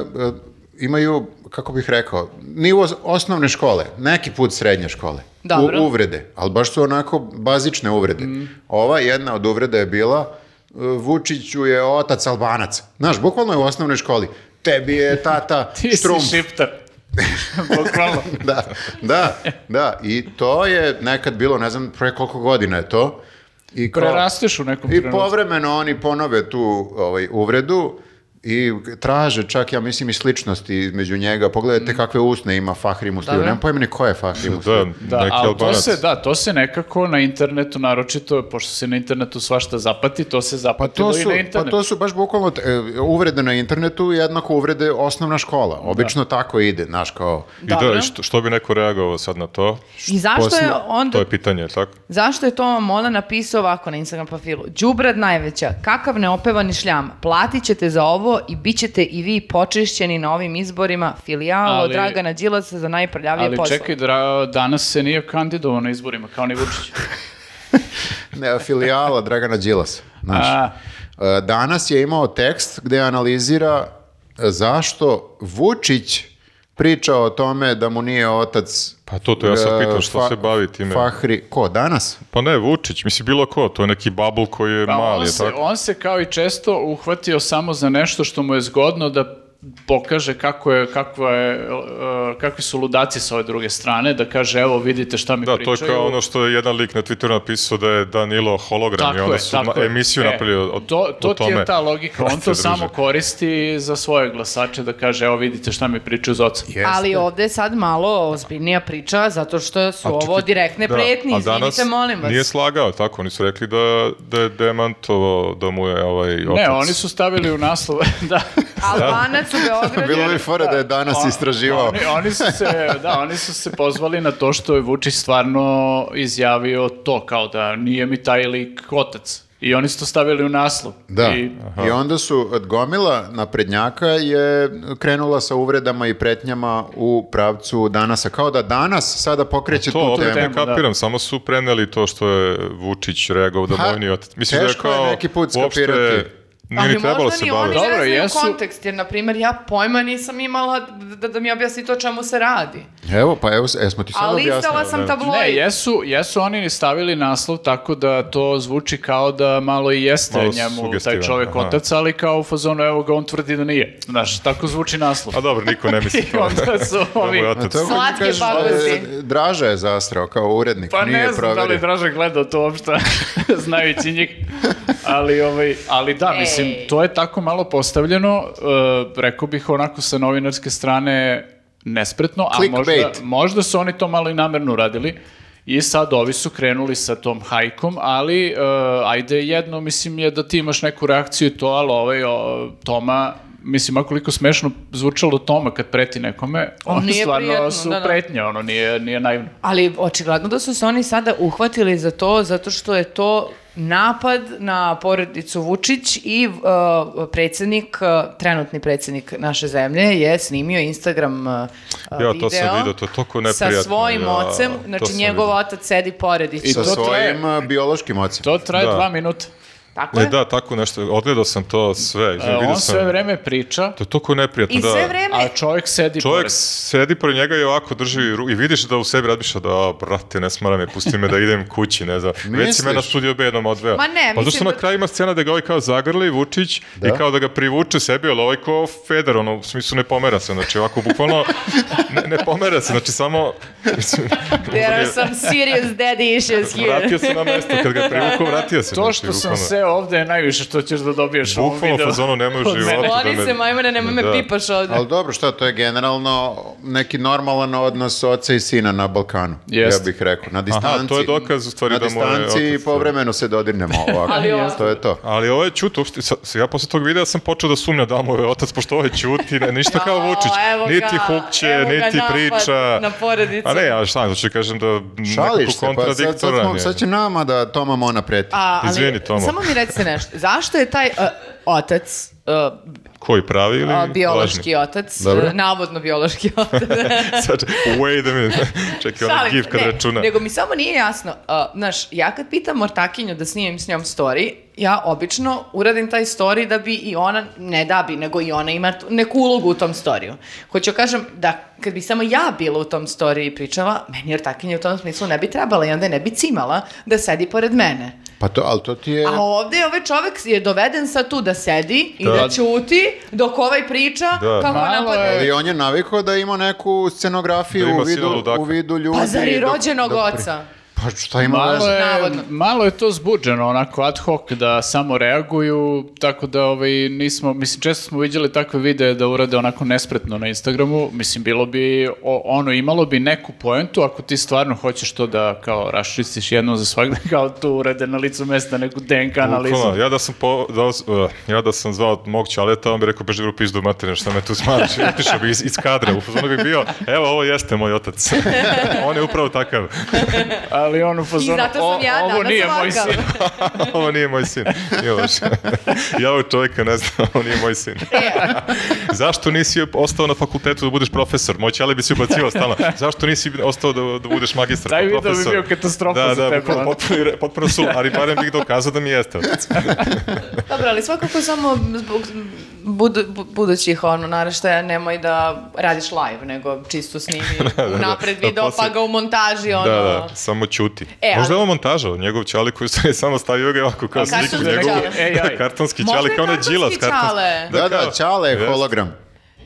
Speaker 1: imaju, kako bih rekao, nivo os- osnovne škole, neki put srednje škole.
Speaker 4: Dobro.
Speaker 1: U, uvrede, ali baš su onako bazične uvrede.
Speaker 2: Mm.
Speaker 1: Ova jedna od uvreda je bila e, Vučiću je otac Albanac. Znaš, bukvalno je u osnovnoj školi. Tebi je tata
Speaker 2: Ti si
Speaker 1: štrumf.
Speaker 2: šiptar. Bukvalno.
Speaker 1: da, da, da. I to je nekad bilo, ne znam pre koliko godina je to. I kao-
Speaker 2: Prerasteš u nekom
Speaker 1: I
Speaker 2: trenutku.
Speaker 1: povremeno oni ponove tu ovaj, uvredu i traže čak, ja mislim, i sličnosti između njega. Pogledajte kakve usne ima Fahri Musliju.
Speaker 4: Dobro.
Speaker 1: Nemam pojma ni ko je Fahri
Speaker 3: Da,
Speaker 1: Musliju.
Speaker 2: Mm. Da,
Speaker 3: neki
Speaker 2: ali to
Speaker 3: albanac.
Speaker 2: se, da, to se nekako na internetu, naročito, pošto se na internetu svašta zapati, to se
Speaker 1: Pa
Speaker 2: zapatilo
Speaker 1: to, su,
Speaker 2: i Znači, na
Speaker 1: pa
Speaker 2: internetu.
Speaker 1: to su baš bukvalno e, uvrede na internetu i jednako uvrede osnovna škola. Obično tako ide, znaš, kao...
Speaker 3: I
Speaker 4: Dobro.
Speaker 3: da, i što, što bi neko reagovao sad na to?
Speaker 4: I zašto je
Speaker 1: Posle-
Speaker 4: onda
Speaker 3: To je pitanje, tako?
Speaker 4: Zašto je to vam ona napisao ovako na Instagram profilu? Đubrad najveća, kakav neopevani šljam, platit ćete za ovo i bit ćete i vi počešćeni na ovim izborima filijalo
Speaker 2: Ali-
Speaker 4: Dragana Đilasa za najprljavije
Speaker 2: Ali
Speaker 4: posla.
Speaker 2: čekaj, dra- danas se nije kandidovao na izborima, kao ni Vučić.
Speaker 1: Ne, filijala Dragana Đilas. Znaš.
Speaker 2: A.
Speaker 1: E, Danas je imao tekst gde analizira e, zašto Vučić priča o tome da mu nije otac
Speaker 3: Pa to, to ja sam
Speaker 1: e,
Speaker 3: pitao, što
Speaker 1: Fa-
Speaker 3: se bavi time?
Speaker 1: Fahri, ko, danas?
Speaker 3: Pa ne, Vučić, mislim bilo ko, to je neki bubble koji je
Speaker 2: Pa
Speaker 3: mali,
Speaker 2: on,
Speaker 3: je
Speaker 2: se,
Speaker 3: tako?
Speaker 2: on se kao i često uhvatio samo za nešto što mu je zgodno da pokaže kako je, kakva je, e, kakvi su ludaci sa ove druge strane, da kaže evo vidite šta mi
Speaker 3: Da, to
Speaker 2: pričaju.
Speaker 3: je kao ono što je jedan lik na Twitteru napisao da je Danilo hologram i onda su ma-
Speaker 2: je.
Speaker 3: emisiju
Speaker 2: E,
Speaker 3: napravili o, o
Speaker 2: to, to
Speaker 3: o
Speaker 2: ti je
Speaker 3: tome.
Speaker 2: ta logika, on
Speaker 3: Hvala
Speaker 2: to
Speaker 3: se,
Speaker 2: samo
Speaker 3: druže.
Speaker 2: koristi za svoje glasače da kaže evo vidite šta mi pričaju za oca.
Speaker 4: Ali ovdje je sad malo ozbiljnija priča zato što su
Speaker 3: čekaj,
Speaker 4: ovo direktne
Speaker 3: Da,
Speaker 4: pretnje,
Speaker 3: a
Speaker 4: izvinite, molim vas.
Speaker 3: Nije slagao, tako, oni su rekli da, da je demantovao da mu je ovaj otac.
Speaker 2: Ne, oni su stavili u naslov, da.
Speaker 4: Albanac u Beogradu.
Speaker 1: Bilo bi fora da je danas istraživao.
Speaker 2: Oni, oni su se, da, oni su se pozvali na to što je Vučić stvarno izjavio to, kao da nije mi taj lik otac. I oni su to stavili u naslov.
Speaker 1: Da.
Speaker 2: I,
Speaker 1: I, onda su od gomila naprednjaka je krenula sa uvredama i pretnjama u pravcu danasa. Kao da danas sada pokreće
Speaker 3: To,
Speaker 1: tu
Speaker 3: opet
Speaker 1: temu.
Speaker 3: ne
Speaker 2: temu, da.
Speaker 3: kapiram, samo su preneli to što je Vučić reagovao da
Speaker 1: Pa,
Speaker 3: mojni otac. Mislim da je
Speaker 1: teško je
Speaker 3: kao,
Speaker 1: neki put
Speaker 3: uopšte
Speaker 1: skapirati.
Speaker 3: nije ni trebalo da se
Speaker 4: ni
Speaker 3: bavi.
Speaker 4: oni
Speaker 2: Dobro,
Speaker 4: ne znaju
Speaker 2: jesu-
Speaker 4: kontekst, jer, na primjer, ja pojma nisam imala da, da mi objasni to čemu se radi.
Speaker 1: Evo, pa evo, jesmo ti sad
Speaker 4: Ali
Speaker 1: objasnili.
Speaker 4: izdala sam tabloid.
Speaker 2: ne, jesu, jesu oni stavili naslov tako da to zvuči kao da malo i jeste
Speaker 3: Malo
Speaker 2: njemu taj
Speaker 3: sugestivan,
Speaker 2: čovjek
Speaker 3: aha.
Speaker 2: otac, ali kao u fazonu, evo ga, on tvrdi da nije. Znaš, tako zvuči naslov.
Speaker 3: A dobro, niko ne misli
Speaker 2: I
Speaker 3: to.
Speaker 2: onda su
Speaker 3: Da mu je
Speaker 2: ovi-
Speaker 3: otac.
Speaker 1: To je kako ti
Speaker 4: Slatke
Speaker 1: kažeš,
Speaker 4: babuzi.
Speaker 1: e, Draža je zastrao kao urednik,
Speaker 2: Pa
Speaker 1: nije
Speaker 2: ne znam da
Speaker 1: provjerio.
Speaker 2: li Draža gledao to uopšte, znajući njih. Ali, ovaj, ali da,
Speaker 4: E.
Speaker 2: mislim,
Speaker 4: Ej.
Speaker 2: to je tako malo postavljeno, e, rekao bih onako sa novinarske strane nespretno, a možda,
Speaker 1: Clickbait.
Speaker 2: možda su oni to malo i namerno uradili. I sad ovi su krenuli sa tom hajkom, ali e, ajde jedno, mislim, je da ti imaš neku reakciju i to, ali ovaj o, Toma, mislim, a koliko smešno zvučalo Toma kad preti nekome,
Speaker 4: On
Speaker 2: oni
Speaker 4: nije
Speaker 2: stvarno
Speaker 4: prijetno,
Speaker 2: su
Speaker 4: da, da.
Speaker 2: pretnje, ono, nije, nije naivno.
Speaker 4: Ali očigledno da su se oni sada uhvatili za to zato što je to napad na porodicu Vučić i uh, predsjednik, uh, trenutni predsjednik naše zemlje je snimio Instagram uh,
Speaker 3: Ja,
Speaker 4: video
Speaker 3: to sam video, to je toliko
Speaker 4: sa
Speaker 3: neprijatno,
Speaker 4: svojim
Speaker 3: ja,
Speaker 4: ocem,
Speaker 3: to
Speaker 4: znači
Speaker 3: sam
Speaker 4: njegov
Speaker 3: vidio.
Speaker 4: otac sedi pored i
Speaker 2: I
Speaker 1: Sa
Speaker 2: to traje-
Speaker 1: svojim e, biološkim ocem.
Speaker 2: To traje
Speaker 3: Da.
Speaker 2: dva minuta.
Speaker 4: tako
Speaker 3: Ne,
Speaker 4: je.
Speaker 3: E, da, tako nešto, odgledao sam to sve,
Speaker 2: E,
Speaker 3: vidio
Speaker 2: on
Speaker 3: sam.
Speaker 2: sve vreme priča,
Speaker 3: To je toliko neprijatno,
Speaker 4: I
Speaker 3: da.
Speaker 4: sve vreme
Speaker 2: a čovjek sedi
Speaker 3: Čovjek
Speaker 2: pored.
Speaker 3: sedi pored njega i ovako drži ru- i vidiš da u sebi razmišlja da, "A, brate, ne smara me, pusti me da idem kući, ne znam. Već si me na
Speaker 1: Misliš?
Speaker 3: studio B jednom odveo.
Speaker 4: Ma ne,
Speaker 3: Pa zato
Speaker 4: mislim
Speaker 3: što na
Speaker 4: da-
Speaker 3: kraju ima scena da ga ovaj kao zagrli Vučić i
Speaker 1: Da.
Speaker 3: kao da ga privuče sebi, ali ovaj ko Feder, ono, u smislu ne pomera se, znači ovako bukvalno ne, ne pomera se, znači samo... mislim,
Speaker 4: There are
Speaker 3: je-
Speaker 4: some serious daddy issues here.
Speaker 3: Vratio se na mesto, kad ga privuku, vratio se.
Speaker 2: To
Speaker 3: znači,
Speaker 2: što sam
Speaker 3: bukvalno.
Speaker 2: se ovde je najviše što ćeš da dobiješ u ovom
Speaker 3: Bukvalno
Speaker 2: videu.
Speaker 3: fazonu nemoj
Speaker 2: Od mene.
Speaker 3: života.
Speaker 4: Skloni
Speaker 3: da me-
Speaker 4: se, majmune, nemoj me
Speaker 3: Da.
Speaker 4: pipaš ovdje.
Speaker 1: Ali dobro, šta, to je generalno neki normalan odnos oca i sina na Balkanu,
Speaker 2: Jest.
Speaker 1: ja bih rekao. Na distanci.
Speaker 3: to je dokaz u stvari
Speaker 1: na
Speaker 3: da mu je
Speaker 1: distanci
Speaker 3: otac-
Speaker 1: povremeno se dodirnemo ovako.
Speaker 4: Ali ovo-
Speaker 1: to je to.
Speaker 3: Ali ovo je Ćut, uopšte, sa, sa- ja posle tog videa sam počeo da sumnja da mu je otac, pošto ovo je Ćuti, ne, ništa kao
Speaker 4: Jao,
Speaker 3: Vučić,
Speaker 4: evo ga,
Speaker 3: niti hukće,
Speaker 4: evo ga
Speaker 3: niti
Speaker 4: napad
Speaker 3: priča.
Speaker 4: na porodicu.
Speaker 3: A ne, ja šta, hoću da kažem da nekako
Speaker 1: Šališ se, pa sad, sad,
Speaker 3: kontradiktoran
Speaker 1: smo-
Speaker 3: je.
Speaker 1: sad će nama da Toma Mona preti.
Speaker 4: A, ali,
Speaker 3: Izvini, Tomo.
Speaker 4: Samo mi recite nešto. Zašto je taj uh, otac uh,
Speaker 3: Koji pravi ili
Speaker 4: A,
Speaker 3: lažni?
Speaker 4: biološki otac,
Speaker 1: Dobro.
Speaker 4: e, navodno biološki otac.
Speaker 3: Sad, wait a minute. Čekaj, onaj
Speaker 4: Šalim se,
Speaker 3: ono gif kad
Speaker 4: ne,
Speaker 3: računa.
Speaker 4: Nego mi samo nije jasno, a, znaš, ja kad pitam Mortakinju da snimim s njom story, ja obično uradim taj story da bi i ona, ne da bi, nego i ona ima tu- neku ulogu u tom storiju. Hoću kažem da kad bi samo ja bila u tom storiji i pričala, meni Mortakinja u tom smislu ne bi trebala i onda je ne bi cimala da sedi pored mene.
Speaker 1: Pa to, ali to ti je...
Speaker 4: A ovdje ovaj čovjek je doveden sad tu da sedi i da,
Speaker 3: Da.
Speaker 4: ćuti dok ovaj priča
Speaker 3: Da.
Speaker 4: kako
Speaker 2: Malo
Speaker 4: napada.
Speaker 2: je.
Speaker 1: Ali on je navikao da ima neku scenografiju
Speaker 3: Da ima
Speaker 1: u, vidu,
Speaker 3: silu ludaka.
Speaker 1: u vidu ljudi.
Speaker 4: Pa zar i
Speaker 1: dok-
Speaker 4: rođenog
Speaker 1: dok pri-
Speaker 4: oca?
Speaker 1: Pa šta ima
Speaker 2: Malo
Speaker 1: veze?
Speaker 2: je,
Speaker 4: Navodno.
Speaker 2: malo je to zbuđeno, onako ad hoc, da samo reaguju, tako da ovaj, nismo, mislim, često smo vidjeli takve videe da urade onako nespretno na Instagramu, mislim, bilo bi, o- ono, imalo bi neku poentu ako ti stvarno hoćeš to da, kao, raščistiš jednom za svakda, kao tu urade na licu mesta neku DNK analizu.
Speaker 3: Bukvalno, ja da sam po, da, vas- uh, ja da sam zvao mog čaleta, on bi rekao beži grupi izdu materine, šta me tu smaraš, išao bi iz, iz kadra, u fazonu bi bio, evo ovo jeste moj otac. on je upravo takav,
Speaker 2: Ali on u fazonu,
Speaker 4: I zato sam
Speaker 2: "O,
Speaker 4: ja
Speaker 2: ovo
Speaker 4: danas
Speaker 2: nije moj
Speaker 4: ovakav."
Speaker 2: sin.
Speaker 3: ovo nije moj sin. Nije loš. ja ovog čovjeka ne znam, on nije moj sin. Zašto nisi ostao na fakultetu da budeš profesor? Moj čale bi se ubacio stalno. Zašto nisi ostao da, da budeš magistar?
Speaker 2: Taj
Speaker 3: pa
Speaker 2: video bi
Speaker 3: profesor?
Speaker 2: bio katastrofa
Speaker 3: da,
Speaker 2: za
Speaker 3: da,
Speaker 2: tebe,
Speaker 3: bukvalno,
Speaker 2: ono.
Speaker 3: potpuno, potpuno su, ali barem bih dokazao da mi jeste otac.
Speaker 4: Dobro, ali svakako samo zbog budu- bu- budućih ono, naraštaja nemoj da radiš live, nego čisto snimi
Speaker 3: da.
Speaker 4: napred
Speaker 3: Da,
Speaker 4: video, pa
Speaker 3: poslije-
Speaker 4: ga u montaži, ono...
Speaker 3: Da, da, samo ćuti.
Speaker 4: E,
Speaker 3: Možda je
Speaker 4: ali-
Speaker 3: ovo montaža, njegov čali koji je samo stavio ga ovako kao
Speaker 4: A kartonski
Speaker 3: sliku njegovu.
Speaker 2: čale. AI.
Speaker 3: kartonski
Speaker 4: Možda
Speaker 3: čali,
Speaker 4: je
Speaker 3: kao onaj
Speaker 4: kartonski
Speaker 3: džilas.
Speaker 4: čale.
Speaker 1: Da, da,
Speaker 3: kao-
Speaker 1: Ćale je
Speaker 3: Jeste.
Speaker 1: hologram.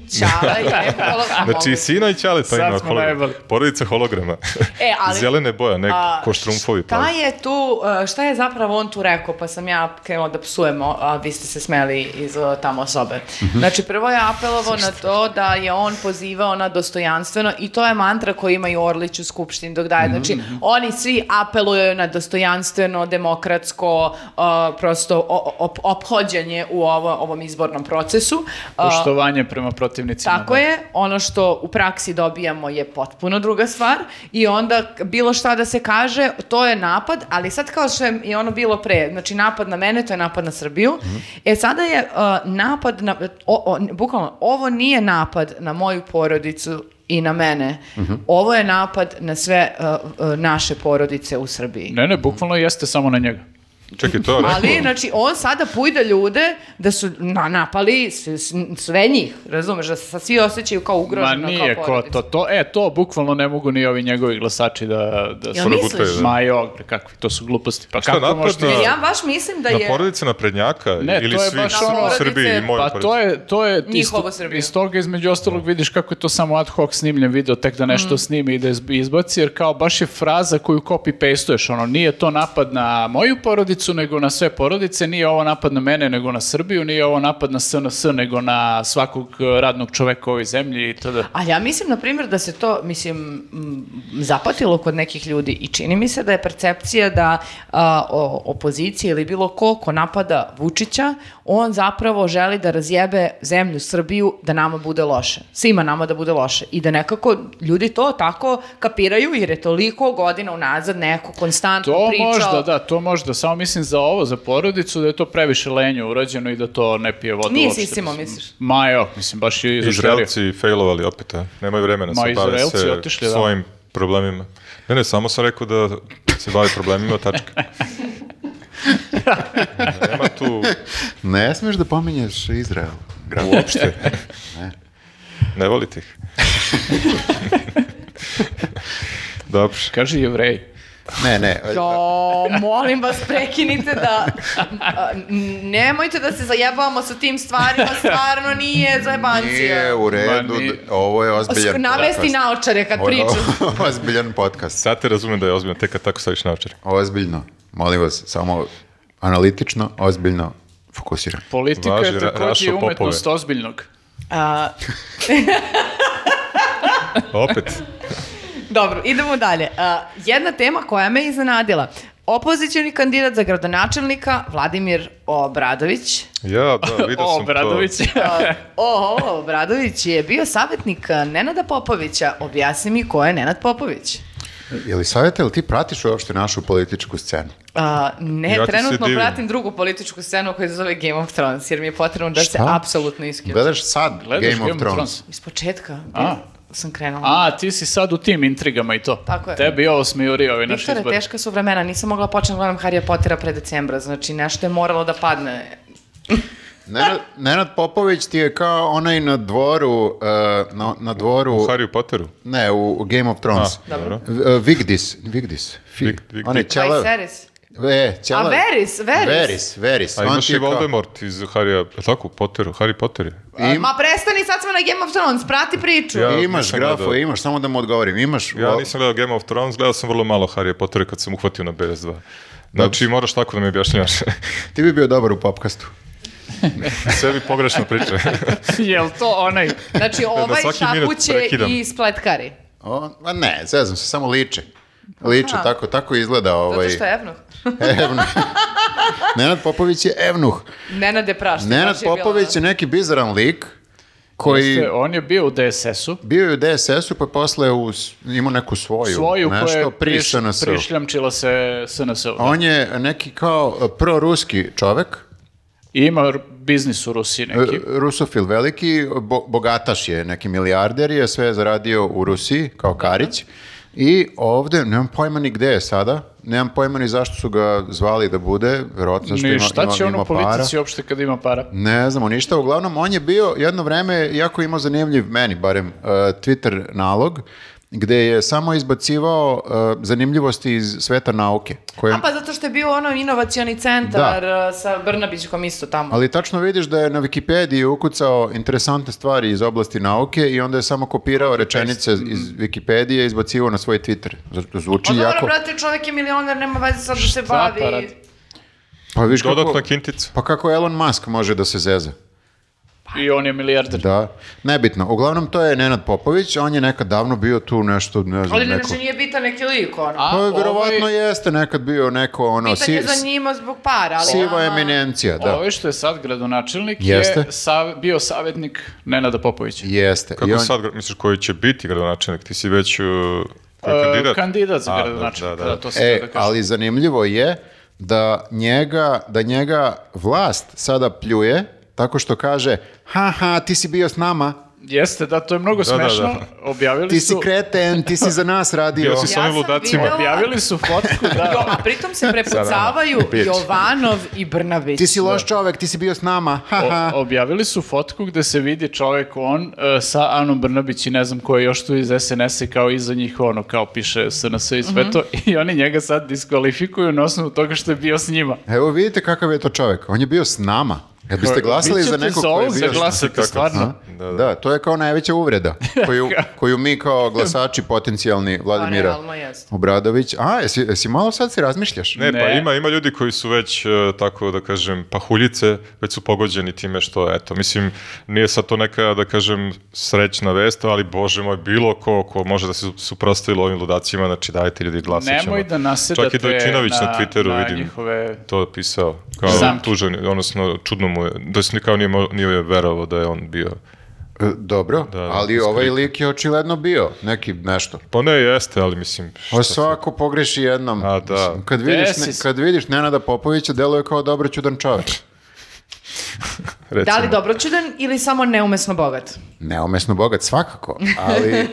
Speaker 4: Ćala i neko holo- a,
Speaker 3: Znači
Speaker 4: mogu-
Speaker 3: i sina i čale pa
Speaker 2: Sad
Speaker 3: ima
Speaker 2: smo
Speaker 3: hologram.
Speaker 2: najebali.
Speaker 3: Porodica holograma.
Speaker 4: E, ali-
Speaker 3: Zelene boja, nek,
Speaker 4: A,
Speaker 3: ko štrumfovi.
Speaker 4: Šta
Speaker 3: plavi.
Speaker 4: je tu, uh, šta je zapravo on tu rekao, pa sam ja krenula da psujemo, a vi ste se smeli iz uh, tamo sobe.
Speaker 3: Mhm.
Speaker 4: Znači, prvo je apelovao na to da je on pozivao na dostojanstveno i to je mantra koju imaju Orlić u Skupštini dok daje. Znači,
Speaker 3: Mhm.
Speaker 4: oni svi apeluju na dostojanstveno, demokratsko, uh, prosto o- op- ophođenje u ovo, ovom izbornom procesu. Uh,
Speaker 2: Poštovanje prema protivnicima.
Speaker 4: tako
Speaker 2: da.
Speaker 4: je, ono što u praksi dobijamo je potpuno druga stvar i onda k- bilo šta da se kaže, to je napad, ali sad kao što je i ono bilo pre, znači napad na mene, to je napad na Srbiju,
Speaker 2: Mhm.
Speaker 4: e sada je uh, napad, na, o- o- n- bukvalno, ovo nije napad na moju porodicu i na mene,
Speaker 2: Mhm.
Speaker 4: ovo je napad na sve uh, uh, naše porodice u Srbiji.
Speaker 2: Ne, ne, bukvalno jeste samo na njega.
Speaker 3: Čekaj, to je
Speaker 4: Ali,
Speaker 3: rekao.
Speaker 4: znači, on sada pujda ljude da su na, napali s- s- sve njih, razumeš, da se sad svi osjećaju kao ugroženo,
Speaker 2: Ma nije
Speaker 4: kao
Speaker 2: ko
Speaker 4: porodica.
Speaker 2: to, to, e, to bukvalno ne mogu ni ovi njegovi glasači da, da
Speaker 4: Jel
Speaker 2: da
Speaker 4: misliš?
Speaker 2: gutaju, da. Ma jog, kakvi, to su gluposti. Pa
Speaker 3: Šta,
Speaker 2: kako
Speaker 3: napad
Speaker 2: možete...
Speaker 3: na-
Speaker 4: Jer ja baš mislim da
Speaker 3: Na
Speaker 4: je...
Speaker 3: porodice naprednjaka
Speaker 2: Ne,
Speaker 3: ili
Speaker 2: to je
Speaker 3: svi
Speaker 2: baš
Speaker 3: svi
Speaker 2: ono-
Speaker 3: u Srbiji i moje
Speaker 2: Pa to je, to je ti
Speaker 4: Njihovo
Speaker 2: sto-
Speaker 4: Srbija.
Speaker 2: iz toga između ostalog vidiš kako je to samo ad hoc snimljen video, tek da
Speaker 4: Mm.
Speaker 2: nešto snimi i da izb- izbaci, jer kao baš je fraza koju copy-pastuješ, ono nije to napad na moju porodicu, nego na sve porodice, nije ovo napad na mene, nego na Srbiju, nije ovo napad na SNS, nego na svakog eh, radnog čoveka u ovoj zemlji i tada.
Speaker 4: Ali ja mislim, na primjer, da se to, mislim, m, zapatilo kod nekih ljudi i čini mi se da je percepcija da a, o- opozicija ili bilo ko ko napada Vučića, on zapravo želi da razjebe zemlju Srbiju da nama bude loše. Svima nama da bude loše. I da nekako ljudi to tako kapiraju jer je toliko godina unazad neko konstantno
Speaker 2: To
Speaker 4: pričao.
Speaker 2: možda, da, to možda. Samo mislim za ovo, za porodicu, da je to previše lenje urađeno i da to ne pije vodu
Speaker 4: Nije
Speaker 2: uopšte.
Speaker 4: sisimo, misliš?
Speaker 2: Ma jo, mislim, baš je izošterio.
Speaker 3: Izraelci failovali opet, a? nemaju vremena,
Speaker 2: Ma,
Speaker 3: se bave
Speaker 2: Izraelci
Speaker 3: se
Speaker 2: otišli, da.
Speaker 3: svojim problemima. Ne, ne, samo sam rekao da se bavi problemima, tačka. Nema tu
Speaker 1: Ne smiješ da pominješ Izrael. Grad.
Speaker 3: uopšte. Ne volite ih. Dobro.
Speaker 2: Kaže jevreji.
Speaker 1: Ne, ne.
Speaker 4: Jo, molim vas, prekinite da... a, n- Nemojte da se zajebavamo sa tim stvarima, stvarno nije
Speaker 1: Nije
Speaker 4: zajebancija.
Speaker 1: u redu,
Speaker 2: Ma, nije.
Speaker 1: d- ovo je ozbiljan
Speaker 4: S- Namesti
Speaker 1: podcast.
Speaker 4: naočare kad
Speaker 1: Ovo je
Speaker 4: pričam.
Speaker 1: ozbiljan podcast.
Speaker 3: Sad te razumem da je ozbiljno, tek kad tako staviš naočare.
Speaker 1: Ozbiljno. Molim vas, samo analitično, ozbiljno fokusiran.
Speaker 2: Politika
Speaker 3: Važi,
Speaker 2: je
Speaker 3: Ra-
Speaker 2: takođe
Speaker 3: Rašo
Speaker 2: i umetnost ozbiljnog.
Speaker 4: A,
Speaker 3: Opet.
Speaker 4: dobro, idemo dalje. A, jedna tema koja me iznenadila. Opozicioni kandidat za gradonačelnika Vladimir Obradović.
Speaker 3: Ja, da, Pa vidio
Speaker 2: O,
Speaker 3: sam
Speaker 2: Obradović.
Speaker 3: to.
Speaker 4: A, O, o, Obradović je bio savjetnik a, Nenada Popovića. Objasni mi ko je Nenad Popović.
Speaker 1: Je li savjeta, jel ti pratiš uopšte našu političku scenu?
Speaker 4: A, ne,
Speaker 3: Ja ti se
Speaker 4: trenutno
Speaker 3: divim.
Speaker 4: pratim drugu političku scenu koja se zove Game of Thrones, jer mi je potrebno da se
Speaker 1: Šta?
Speaker 4: apsolutno isključim.
Speaker 1: Gledaš sad
Speaker 2: Gledaš
Speaker 1: Game of Thrones?
Speaker 4: Iz početka
Speaker 2: A.
Speaker 4: sam krenula.
Speaker 2: A, ti si sad u tim intrigama i to.
Speaker 4: Tako je.
Speaker 2: Tebi ovo smijuri ovi naši
Speaker 4: Viktore,
Speaker 2: izbori.
Speaker 4: teška su vremena, nisam mogla početi gledam Harry Pottera pre decembra, znači nešto je moralo da padne.
Speaker 1: Nenad, Nenad Popović ti je kao onaj na dvoru, eh, na, na dvoru,
Speaker 3: U Harry Potteru.
Speaker 1: ne, u, u Game of Thrones.
Speaker 3: A, dobro.
Speaker 1: V- eh, Vigdis, Vigdis, Fi-
Speaker 3: Vig- Vigdis.
Speaker 1: onaj ćelav.
Speaker 4: Viserys.
Speaker 1: E,
Speaker 4: A
Speaker 1: ćela...
Speaker 4: Veris, Veris.
Speaker 1: Veris, Veris.
Speaker 3: A
Speaker 1: on
Speaker 3: imaš
Speaker 1: ti
Speaker 3: i
Speaker 1: je kao-
Speaker 3: Voldemort iz Harrya, je li tako, Potteru, Harry Potter je.
Speaker 4: A,
Speaker 1: Im-
Speaker 4: Ma prestani, sad smo na Game of Thrones, prati priču.
Speaker 3: Ja-
Speaker 1: imaš
Speaker 3: nisam
Speaker 1: grafo,
Speaker 3: gledao.
Speaker 1: imaš, samo da mu odgovorim. Imaš,
Speaker 3: Ja
Speaker 1: vo-
Speaker 3: nisam gledao Game of Thrones, gledao sam vrlo malo Harry Pottera kad sam uhvatio na BS2. Znači, moraš tako da mi objašnjavaš.
Speaker 1: ti bi bio dobar u popkastu.
Speaker 3: Sebi pogrešno priče.
Speaker 2: Jel to onaj?
Speaker 4: Znači ovaj
Speaker 3: svaki minut
Speaker 4: šapuće
Speaker 3: prekidam.
Speaker 4: i spletkari.
Speaker 1: O, ma ne, zezam se, samo liče. Liče,
Speaker 4: Aha.
Speaker 1: tako, tako izgleda ovaj...
Speaker 4: Zato što je Evnuh.
Speaker 1: Evnuh. Nenad Popović je evnuh.
Speaker 4: Nenade prašta.
Speaker 1: Nenad Popović je neki bizaran lik koji
Speaker 2: Jeste, On je bio u DSS-u.
Speaker 1: bio je u DSS-u pa je posle u, s- imao neku svoju,
Speaker 2: Svoju koja
Speaker 1: nešto
Speaker 2: je
Speaker 1: pri
Speaker 2: priš,
Speaker 1: SNS-u.
Speaker 2: prišljamčila se SNS-u. da.
Speaker 1: A On je neki kao e, proruski čovek,
Speaker 2: I ima r- biznis u Rusiji
Speaker 1: e,
Speaker 2: neki.
Speaker 1: rusofil veliki, bo- bogataš je, neki milijarder je, sve je zaradio u Rusiji kao Karić. I ovde, nemam pojma ni gde je sada, nemam pojma ni zašto su ga zvali da bude, verovatno što
Speaker 2: Ni
Speaker 1: ima,
Speaker 2: šta će
Speaker 1: ima-
Speaker 2: on
Speaker 1: ima
Speaker 2: u
Speaker 1: para.
Speaker 2: politici uopšte kad ima para?
Speaker 1: Ne znamo ništa, uglavnom on je bio jedno vreme jako imao zanimljiv, meni barem, e, Twitter nalog, gde je samo izbacivao e, zanimljivosti iz sveta nauke. Koje,
Speaker 4: A pa zato što je bio ono inovacioni centar eh, sa Brnabićkom isto tamo.
Speaker 1: Ali tačno vidiš da je na Wikipediji ukucao interesantne stvari iz oblasti nauke i onda je samo kopirao rečenice iz
Speaker 3: Mm-hmm.
Speaker 1: Wikipedije i izbacivao na svoj Twitter. Zato zvuči
Speaker 3: Znači,
Speaker 4: Pa dobro,
Speaker 1: jako...
Speaker 4: brate, čovjek je milioner, nema veze sad da se bavi.
Speaker 2: pa radi?
Speaker 1: Pa viš kako,
Speaker 3: Dodatna kintica.
Speaker 1: pa kako Elon Musk može da se zeza.
Speaker 2: I on je milijarder.
Speaker 1: Da, nebitno. Uglavnom, to je Nenad Popović, on je nekad davno bio tu nešto, ne znam,
Speaker 4: Ali
Speaker 1: neko...
Speaker 4: znači nije bitan neki lik, ono.
Speaker 2: A
Speaker 1: Pa
Speaker 2: ovaj-
Speaker 1: verovatno jeste nekad bio neko ono
Speaker 4: Pitanje
Speaker 1: si,
Speaker 4: za njima zbog para, ali...
Speaker 1: siva
Speaker 4: ono-
Speaker 1: eminencija, da.
Speaker 2: Ovo Ovaj što je sad gradonačelnik
Speaker 1: Jeste.
Speaker 2: je sav- bio savjetnik Nenada Popovića.
Speaker 1: Jeste. I
Speaker 3: Kako
Speaker 1: on-
Speaker 3: sad, gra- misliš, koji će biti gradonačelnik? Ti si već uh, koji
Speaker 2: E,
Speaker 3: kandidat?
Speaker 2: kandidat za
Speaker 3: A, da,
Speaker 2: gradonačelnika,
Speaker 3: da,
Speaker 2: da,
Speaker 3: da.
Speaker 2: to sam
Speaker 1: E,
Speaker 2: htio da kažem.
Speaker 1: ali zanimljivo je da njega, da njega vlast sada pljuje tako što kaže, ha ha, ti si bio s nama,
Speaker 2: Jeste, da, to je mnogo
Speaker 3: da, da.
Speaker 2: smešno. Objavili
Speaker 1: ti si
Speaker 2: su...
Speaker 1: kreten, ti si za nas radio.
Speaker 3: Bio si
Speaker 4: Ja
Speaker 3: s onim
Speaker 4: sam
Speaker 3: ludacima.
Speaker 4: videla-
Speaker 2: Objavili su fotku,
Speaker 4: Jo,
Speaker 2: da.
Speaker 4: a pritom
Speaker 3: ono,
Speaker 4: se prepucavaju Jovanov i Brnabić.
Speaker 1: Ti si loš čovek, ti si bio s nama, ha ha.
Speaker 2: O- objavili su fotku gde se vidi čovek on e, sa Anom Brnabić i ne znam ko je još tu iz SNS-a kao iza njih ono kao piše SNS i sve to i oni njega sad diskvalifikuju na osnovu toga što je bio s njima.
Speaker 1: Evo vidite kakav je to čovek, on je bio s nama. Kad biste glasali
Speaker 2: Vi
Speaker 1: za
Speaker 2: ćete
Speaker 1: nekog ko
Speaker 2: za
Speaker 1: je
Speaker 2: ovog
Speaker 1: bio s nama.
Speaker 2: zaglasati, stvarno.
Speaker 1: Da, to je kao najveća uvreda koju, koju mi kao glasači potencijalni Vladimira
Speaker 4: Pa realno jest.
Speaker 1: Obradović. A, jesi, jesi malo sad si razmišljaš?
Speaker 3: Ne, pa
Speaker 2: Ne.
Speaker 3: ima, ima ljudi koji su već, e, tako da kažem, pahuljice, već su pogođeni time što, eto, mislim, nije sad to neka, da kažem, srećna vest, ali, bože moj, bilo ko ko može da se suprostili ovim ludacima, znači dajte ljudi glasat ćemo.
Speaker 2: Nemoj da nasedate
Speaker 3: Čak i Dojčinović na, Twitteru
Speaker 2: na
Speaker 3: vidim
Speaker 2: njihove
Speaker 3: to pisao, kao
Speaker 2: Zamki.
Speaker 3: tužan, odnosno čudno mu je, da se kao nije, mo- nije verovao da je on bio.
Speaker 1: E, Dobro,
Speaker 3: Da, da,
Speaker 1: ali
Speaker 3: skri-
Speaker 1: ovaj lik je očigledno bio neki nešto.
Speaker 3: Pa ne, jeste, ali mislim... šta
Speaker 1: O,
Speaker 3: sad?
Speaker 1: svako pogreši jednom.
Speaker 3: A, da.
Speaker 1: Mislim, Kad vidiš,
Speaker 2: Desi
Speaker 1: ne-
Speaker 2: se.
Speaker 1: kad vidiš Nenada Popovića, deluje kao dobro čudan čovjek.
Speaker 3: Recimo.
Speaker 4: Da li dobročudan ili samo neumesno bogat?
Speaker 1: Neomesno bogat, svakako, ali...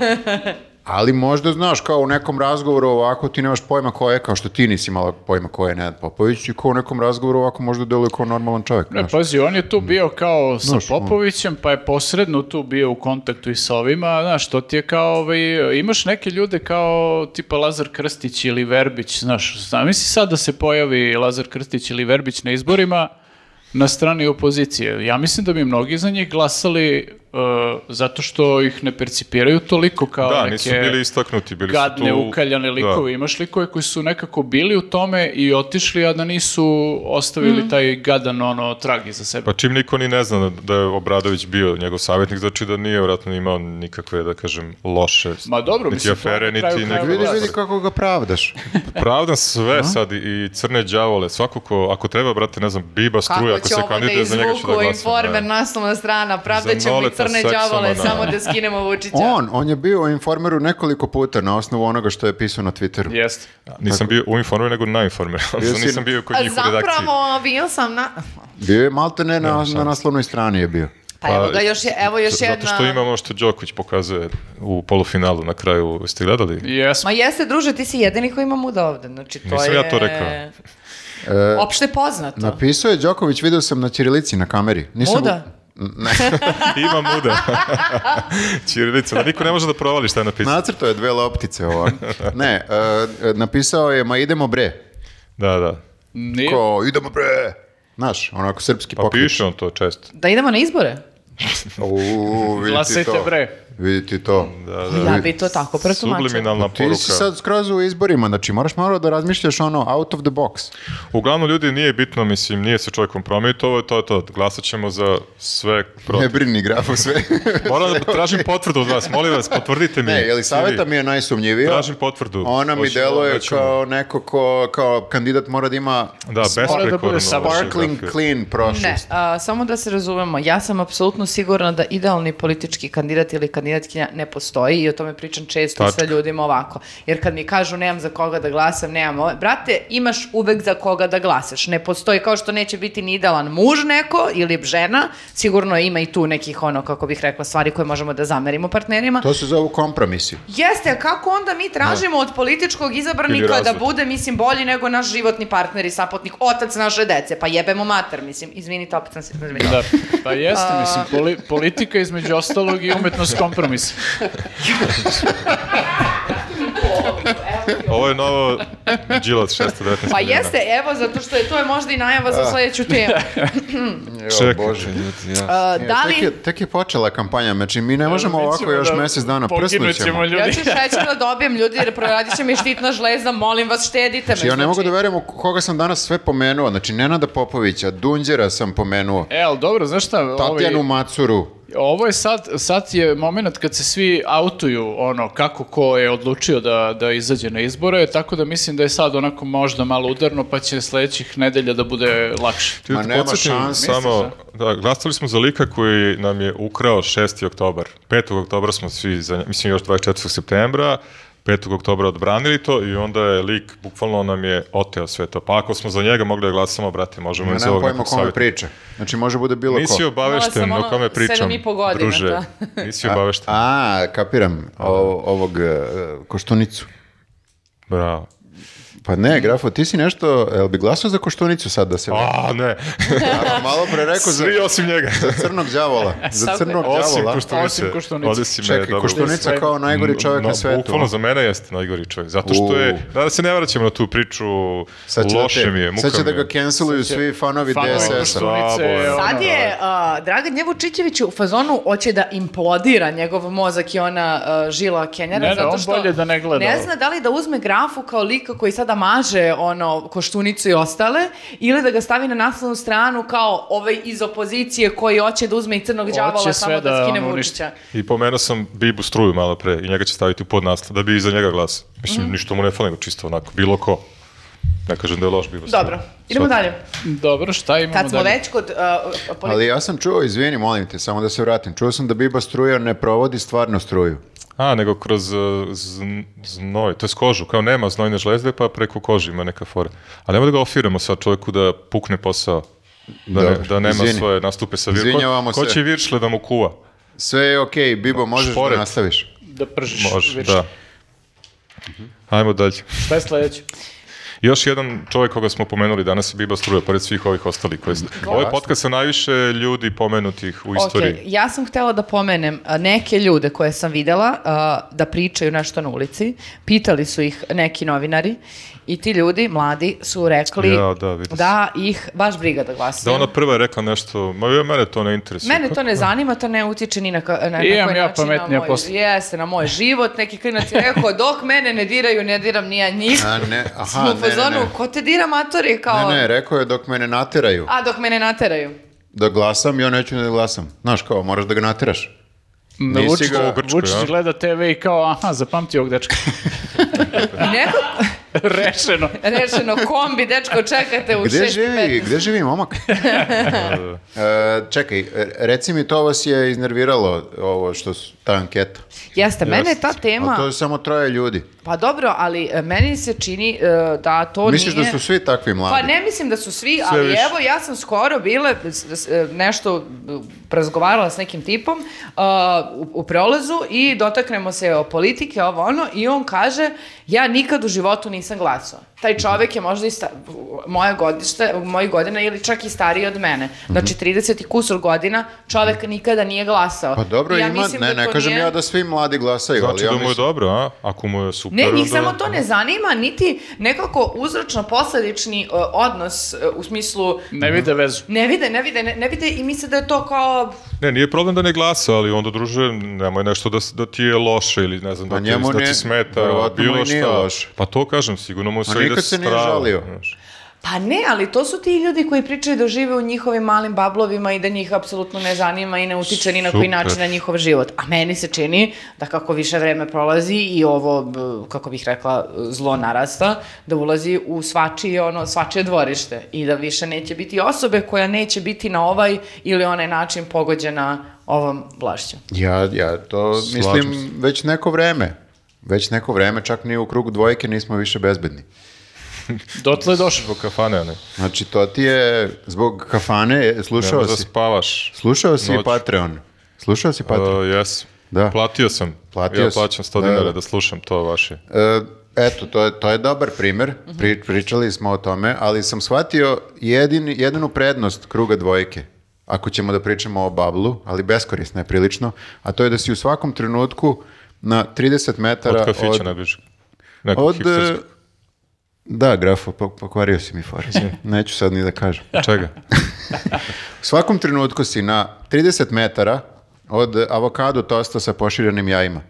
Speaker 1: Ali možda, znaš, kao u nekom razgovoru ovako ti nemaš pojma ko je, kao što ti nisi imala pojma ko je Nenad Popović i ko u nekom razgovoru ovako možda deluje kao normalan čovjek.
Speaker 2: Ne,
Speaker 3: pa-
Speaker 1: znaš.
Speaker 2: pazi, on je tu bio kao sa Popovićem, pa je posredno tu bio u kontaktu i sa ovima, znaš, to ti je kao, ovaj, imaš neke ljude kao tipa Lazar Krstić ili Verbić, znaš, zamisli sad da se pojavi Lazar Krstić ili Verbić na izborima na strani opozicije. Ja mislim da bi mnogi za njih glasali e, zato što ih ne percipiraju toliko kao
Speaker 3: Da,
Speaker 2: neke
Speaker 3: nisu bili istaknuti, bili su tu...
Speaker 2: gadne, ukaljane likove.
Speaker 3: Da.
Speaker 2: Imaš likove koji su nekako bili u tome i otišli, a da nisu
Speaker 4: Mm.
Speaker 2: ostavili taj gadan ono, trag iza sebe.
Speaker 3: Pa čim niko ni ne zna da je Obradović bio njegov savjetnik, znači da nije vjerojatno imao nikakve, da kažem, loše
Speaker 2: Ma dobro,
Speaker 3: niti
Speaker 2: mislim, to je
Speaker 3: afere,
Speaker 2: na kraju
Speaker 3: niti
Speaker 2: krajeva
Speaker 3: neke...
Speaker 1: Vidi,
Speaker 2: Dobro.
Speaker 1: vidi kako ga pravdaš.
Speaker 3: Pravdam sve sad i crne đavole, svako ko, ako treba, brate, ne znam, biba struja, ako
Speaker 4: će
Speaker 3: se
Speaker 4: ovo da
Speaker 3: kandiduje za njega ću da
Speaker 4: izvuku
Speaker 3: glasam.
Speaker 4: informer
Speaker 3: da.
Speaker 4: naslovna strana, pravda
Speaker 3: Za
Speaker 4: ćemo biti
Speaker 3: Noleta
Speaker 4: crne
Speaker 3: Saksona,
Speaker 4: đavole,
Speaker 3: da.
Speaker 4: samo da skinemo Vučića.
Speaker 1: On, on je bio u informeru nekoliko puta na osnovu onoga što je pisao na Twitteru.
Speaker 2: Jeste.
Speaker 3: Nisam bio u informeru, nego na informeru,
Speaker 1: Bio si-
Speaker 3: nisam bio kod
Speaker 4: A
Speaker 3: njih u redakciji.
Speaker 4: zapravo bio sam na...
Speaker 1: Bio je maltene na, na naslovnoj strani je bio.
Speaker 4: Pa evo ga, još je, evo još jedna...
Speaker 3: Zato što imamo ono što Đoković pokazuje u polufinalu na kraju, ste gledali?
Speaker 2: Jesmo.
Speaker 4: Ma jeste, druže, ti si jedini koji ima muda ovde. Znači, to
Speaker 3: Nisam
Speaker 4: je...
Speaker 3: ja to rekao.
Speaker 4: Opšte poznato.
Speaker 1: Napisao je Đoković, video sam na Ćirilici na kameri. Nisam
Speaker 4: Muda?
Speaker 3: Ima muda. Ćirilica, da niko ne može da provali šta je napisao.
Speaker 1: Nacrto je dve loptice ovo. Ne, e, e, napisao je, ma idemo bre.
Speaker 3: Da, da.
Speaker 2: Nije.
Speaker 1: Ko, idemo bre! Znaš, onako srpski
Speaker 3: Pa
Speaker 1: pokret.
Speaker 3: piše on to često.
Speaker 4: Da idemo na izbore?
Speaker 1: Uuu, vidi ti
Speaker 2: Glasajte,
Speaker 1: to.
Speaker 2: bre.
Speaker 1: Vidi ti to.
Speaker 3: Da, da.
Speaker 4: Ja bi to tako pretumačila.
Speaker 3: Subliminalna
Speaker 1: Pa Ti
Speaker 3: poruka.
Speaker 1: si sad skroz u izborima, znači moraš malo da razmišljaš ono, out of the box.
Speaker 3: Uglavnom, ljudi, nije bitno, mislim, nije se čovjek kompromitovao, to je to. Glasat ćemo za sve
Speaker 1: Ne
Speaker 3: protiv.
Speaker 1: brini grafu sve.
Speaker 3: Moram da tražim potvrdu od vas, molim vas, potvrdite mi.
Speaker 1: ne, je li saveta
Speaker 3: Siri,
Speaker 1: mi je najsumnjivija?
Speaker 3: Tražim potvrdu.
Speaker 1: Ona mi
Speaker 3: Hoćemo,
Speaker 1: deluje
Speaker 3: nećemo.
Speaker 1: kao neko ko, kao kandidat mora da ima
Speaker 3: Da,
Speaker 2: Mora da bude
Speaker 3: besprekorno.
Speaker 1: sparkling
Speaker 3: geografija.
Speaker 1: clean
Speaker 4: Ne,
Speaker 1: prošlost.
Speaker 4: a, samo da se razumemo, ja sam apsolutno sigurna da idealni politički kandidat ili kandidatkinja ne postoji i o tome pričam često
Speaker 3: Tačka.
Speaker 4: sa ljudima ovako. Jer kad mi kažu nemam za koga da glasam, nemam ovo- Brate, imaš uvek za koga da glasaš. Ne postoji kao što neće biti ni idealan muž neko ili žena, sigurno ima i tu nekih ono, kako bih rekla, stvari koje možemo da zamerimo partnerima.
Speaker 1: To se zove kompromisi.
Speaker 4: Jeste, ali kako onda mi tražimo od političkog
Speaker 3: Ili
Speaker 4: izabranika da
Speaker 3: razvod.
Speaker 4: bude, mislim, bolji nego naš životni partner i sapotnik, otac naše dece, pa jebemo mater, mislim. Izvinite, opet sam se razumela.
Speaker 2: Da, pa jeste, mislim, poli- politika između ostalog i umetnost kompromisa.
Speaker 3: Ovo je novo Đilas 619.
Speaker 4: Pa
Speaker 3: godina.
Speaker 4: jeste, evo, zato što je to je možda i najava za sledeću temu.
Speaker 3: Čekaj,
Speaker 4: A,
Speaker 1: E,
Speaker 4: da
Speaker 1: Tek
Speaker 4: li,
Speaker 1: je, tek je počela kampanja, znači mi ne možemo
Speaker 2: Mi
Speaker 1: ovako
Speaker 2: ćemo
Speaker 1: još
Speaker 2: da
Speaker 1: mjesec dana
Speaker 2: pokinut
Speaker 1: prsnut ćemo.
Speaker 2: ljudi.
Speaker 4: ja ću šećer da dobijem ljudi jer proradit će mi štitna žlezda, molim vas, štedite me.
Speaker 1: Znači, ja ne mogu da
Speaker 4: znači.
Speaker 1: verujem u koga sam danas sve pomenuo, znači Nenada Popovića, Dunđera sam pomenuo,
Speaker 2: E, ali dobro, znaš šta, ovaj,
Speaker 1: Tatjanu Macuru,
Speaker 2: ovo je sad, sad je moment kad se svi autuju ono kako ko je odlučio da, da izađe na izbore, tako da mislim da je sad onako možda malo udarno, pa će sledećih nedelja da bude lakše.
Speaker 3: Ti
Speaker 1: Ma
Speaker 3: da
Speaker 1: nema
Speaker 3: podsjetim
Speaker 1: šanse.
Speaker 3: Samo, da, glasali smo za lika koji nam je ukrao 6. oktobar. 5. oktobra smo svi, za, nje- mislim još 24. septembra, 5. oktobra odbranili to i onda je lik bukvalno nam je oteo sve to. Pa ako smo za njega mogli da glasamo, brate, možemo
Speaker 1: ja
Speaker 3: i za
Speaker 1: nemam
Speaker 3: ovog
Speaker 1: pojma o
Speaker 3: nekog
Speaker 1: kome
Speaker 3: savjeta.
Speaker 1: priča. Znači može bude bilo
Speaker 3: Nisi
Speaker 1: ko.
Speaker 3: obavešten
Speaker 4: Imala sam
Speaker 3: o
Speaker 4: ono
Speaker 3: kome pričam,
Speaker 4: sedam i po godina,
Speaker 3: druže.
Speaker 4: da.
Speaker 3: Nisi obavešten.
Speaker 1: A, kapiram, o- ovog e, koštunicu.
Speaker 3: Bravo.
Speaker 1: Pa ne, Grafo, ti si nešto, jel bi glasao za koštunicu sad da se...
Speaker 3: Hm? A, ne.
Speaker 1: Ja, malo pre rekao za,
Speaker 3: Svi osim njega.
Speaker 1: za crnog đavola. Za crnog
Speaker 3: Osim
Speaker 1: đavola.
Speaker 3: Koštunice.
Speaker 2: Osim Koštunice.
Speaker 3: Ovde si me
Speaker 1: Čekaj,
Speaker 3: dobro
Speaker 1: Koštunica kao najgori čovjek
Speaker 3: No,
Speaker 1: na svetu. ono.
Speaker 3: Bukvalno za mene jeste najgori čovjek, zato što
Speaker 1: U.
Speaker 3: je, da se ne vraćamo na tu priču,
Speaker 1: Sad će da
Speaker 3: loše
Speaker 1: te-
Speaker 3: mi je, muka
Speaker 1: Sad će da
Speaker 3: mi je.
Speaker 1: ga canceluju svi fanovi
Speaker 2: Fanovi
Speaker 1: DSS-a.
Speaker 2: Koštunice je
Speaker 3: Slabo je.
Speaker 2: ono-
Speaker 4: Sad je uh, Dragan Njevučićević u fazonu hoće da implodira njegov mozak i ona uh, žila Kenjara.
Speaker 2: Ne, ne,
Speaker 4: zato
Speaker 2: on
Speaker 4: što
Speaker 2: bolje da ne gleda
Speaker 4: Ne
Speaker 2: ovo.
Speaker 4: zna da li da uzme grafu kao lika koji sada maže ono, koštunicu i ostale ili da ga stavi na naslovnu stranu kao ovaj iz opozicije koji hoće da uzme i crnog
Speaker 2: Hoće
Speaker 4: đavola
Speaker 2: sve
Speaker 4: samo da,
Speaker 2: da,
Speaker 4: skine
Speaker 2: ono,
Speaker 4: Vučića.
Speaker 3: I pomenuo sam Bibu Struju malo pre i njega će staviti u podnaslov, da bi iza njega glas. Mislim,
Speaker 4: Mhm.
Speaker 3: ništa mu ne fali, nego čisto onako, bilo ko. Ne kažem da je loš Bibu Struja.
Speaker 4: Dobro, idemo
Speaker 3: Svaki.
Speaker 4: dalje.
Speaker 2: Dobro, šta imamo
Speaker 4: Kad smo
Speaker 2: dalje?
Speaker 4: već kod uh, politi-
Speaker 1: Ali ja sam čuo, izvini, molim te, samo da se vratim. Čuo sam da Biba struja ne provodi stvarno struju.
Speaker 3: A, nego kroz uh, zn- znoj, to je s kožu, kao nema znojne žlezde, pa preko kože ima neka fora. A nema da ga ofiramo sad čovjeku da pukne posao, da, ne-
Speaker 1: Dobro,
Speaker 3: da nema
Speaker 1: izvini.
Speaker 3: svoje nastupe sa vir.
Speaker 1: Izvinjavamo
Speaker 3: Ko, ko
Speaker 1: se.
Speaker 3: će viršle da mu kuva?
Speaker 1: Sve je okej, Bibo, možeš
Speaker 3: Šporet.
Speaker 1: da nastaviš.
Speaker 2: Da pržiš.
Speaker 3: Može,
Speaker 2: vidiš.
Speaker 3: da. Ajmo dalje.
Speaker 2: Šta je sledeće?
Speaker 3: Još jedan čovjek koga smo pomenuli danas je Biba Struja, pored svih ovih ostalih koji ste. Ovo je podcast sa najviše ljudi pomenutih u istoriji.
Speaker 4: Ok, ja sam htela da pomenem a, neke ljude koje sam videla a, da pričaju nešto na ulici. Pitali su ih neki novinari i ti ljudi, mladi, su rekli
Speaker 3: Ja, da, vidi se.
Speaker 4: da ih baš briga da
Speaker 3: Da ono-
Speaker 4: glasaju.
Speaker 3: ona prva je rekla nešto, ma ja, mene to ne interesuje.
Speaker 4: Mene to ne zanima, to ne utiče ni na, ka, na
Speaker 2: Imam
Speaker 4: na koji
Speaker 2: ja
Speaker 4: način
Speaker 2: pametnija
Speaker 4: na moj,
Speaker 2: posla.
Speaker 4: jeste, na moj život. Neki klinac je rekao, dok mene ne diraju, ne diram ni ja njih.
Speaker 1: A ne, aha,
Speaker 4: Smo u
Speaker 1: ne, ne,
Speaker 4: fazonu,
Speaker 1: ne.
Speaker 4: ko te dira matori? Kao,
Speaker 1: Ne, ne, rekao je dok me ne nateraju
Speaker 4: A dok mene nateraju.
Speaker 1: da glasam, ja neću da glasam. Znaš kao, moraš da ga nateraš. Nisi
Speaker 2: Vučić,
Speaker 1: ga u
Speaker 3: Grčkoj,
Speaker 2: Vučić
Speaker 3: a?
Speaker 2: gleda TV i kao, aha, zapamti ovog dečka.
Speaker 4: I neko
Speaker 2: Rešeno.
Speaker 4: rešeno kombi, dečko, čekate u
Speaker 1: Gde
Speaker 4: 6.15.
Speaker 1: živi, gde živi momak? E, čekaj, e, reci mi, to vas je iznerviralo, ovo što su, ta anketa.
Speaker 4: Jeste, mene je ta tema...
Speaker 1: A to je samo troje ljudi.
Speaker 4: Pa dobro, ali e, meni se čini e, da to
Speaker 1: Misliš
Speaker 4: nije...
Speaker 1: da su svi takvi mladi?
Speaker 4: Pa ne mislim da su svi, ali
Speaker 3: više.
Speaker 4: evo ja sam skoro bila s- s- e, nešto e, razgovarala s nekim tipom e, u, u prolazu i dotaknemo se o politike, ovo ono i on kaže ja nikad u životu nisam nisam glasao. Taj čovek je možda i sta, moja godište, moji godina ili čak i stariji od mene.
Speaker 1: Mhm.
Speaker 4: Znači 30 i kusur godina čovek nikada nije glasao.
Speaker 1: Pa dobro,
Speaker 4: I ja
Speaker 1: ima,
Speaker 4: mislim
Speaker 1: ne,
Speaker 4: da
Speaker 1: ne
Speaker 4: to
Speaker 1: kažem
Speaker 4: nije-
Speaker 1: ja da svi mladi glasaju,
Speaker 3: Znači
Speaker 1: ali ja
Speaker 3: da mu je
Speaker 1: mislim...
Speaker 3: dobro, a? Ako mu je super,
Speaker 4: Ne, njih
Speaker 3: onda-
Speaker 4: samo to ne zanima, niti nekako uzročno-posledični uh, odnos uh, u smislu
Speaker 2: Ne vide vezu.
Speaker 4: ne vide, ne vide, ne, ne vide i misle da je to kao
Speaker 3: Ne, nije problem da ne glasa, ali onda, druže, nemoj nešto da, s- da ti je loše ili ne znam, da,
Speaker 1: Pa
Speaker 3: ti,
Speaker 1: njemu
Speaker 3: da ti
Speaker 1: ne-
Speaker 3: smeta,
Speaker 1: verovatno mu
Speaker 3: bilo
Speaker 1: i nije
Speaker 3: šta.
Speaker 1: loše.
Speaker 3: Pa to kažem, sigurno mu se ide
Speaker 1: nikad se nije
Speaker 3: strava,
Speaker 1: žalio.
Speaker 3: znaš.
Speaker 4: Pa ne, ali to su ti ljudi koji pričaju da žive u njihovim malim bablovima i da njih apsolutno ne zanima i ne utiče ni na koji
Speaker 3: Super.
Speaker 4: način na njihov život. A meni se čini da kako više vreme prolazi i ovo, b, kako bih rekla, zlo narasta, da ulazi u svačije, ono, svačije dvorište i da više neće biti osobe koja neće biti na ovaj ili onaj način pogođena ovom vlašću.
Speaker 1: Ja, ja to
Speaker 3: Slažem
Speaker 1: mislim već neko vreme. Već neko vreme, čak ni u krugu dvojke nismo više bezbedni.
Speaker 2: Dotle je došao.
Speaker 3: Zbog kafane, ne?
Speaker 1: Znači, to ti je, zbog kafane, e, slušao
Speaker 3: Nemoj da
Speaker 1: si,
Speaker 3: spavaš.
Speaker 1: slušao si
Speaker 3: Noć.
Speaker 1: Patreon. Slušao si Patreon.
Speaker 3: Uh, jes.
Speaker 1: Da.
Speaker 3: Platio sam.
Speaker 1: Platio
Speaker 3: ja
Speaker 1: si.
Speaker 3: plaćam 100
Speaker 1: Da,
Speaker 3: dinara
Speaker 1: da.
Speaker 3: da. slušam to vaše.
Speaker 1: E, eto, to je, to je dobar primer, Pri, pričali smo o tome, ali sam shvatio jedini, jedinu prednost kruga dvojke, ako ćemo da pričamo o bablu, ali beskorisna je prilično, a to je da si u svakom trenutku na 30 metara
Speaker 3: Od kafića
Speaker 1: od-
Speaker 3: najbliže. Nekog
Speaker 1: od, e,
Speaker 3: hipsterskog.
Speaker 1: da, grafo, po- pokvario si mi foru. Neću sad ni da kažem.
Speaker 3: Čega?
Speaker 1: U svakom trenutku si na 30 metara od e, avokado tosta sa poširenim jajima.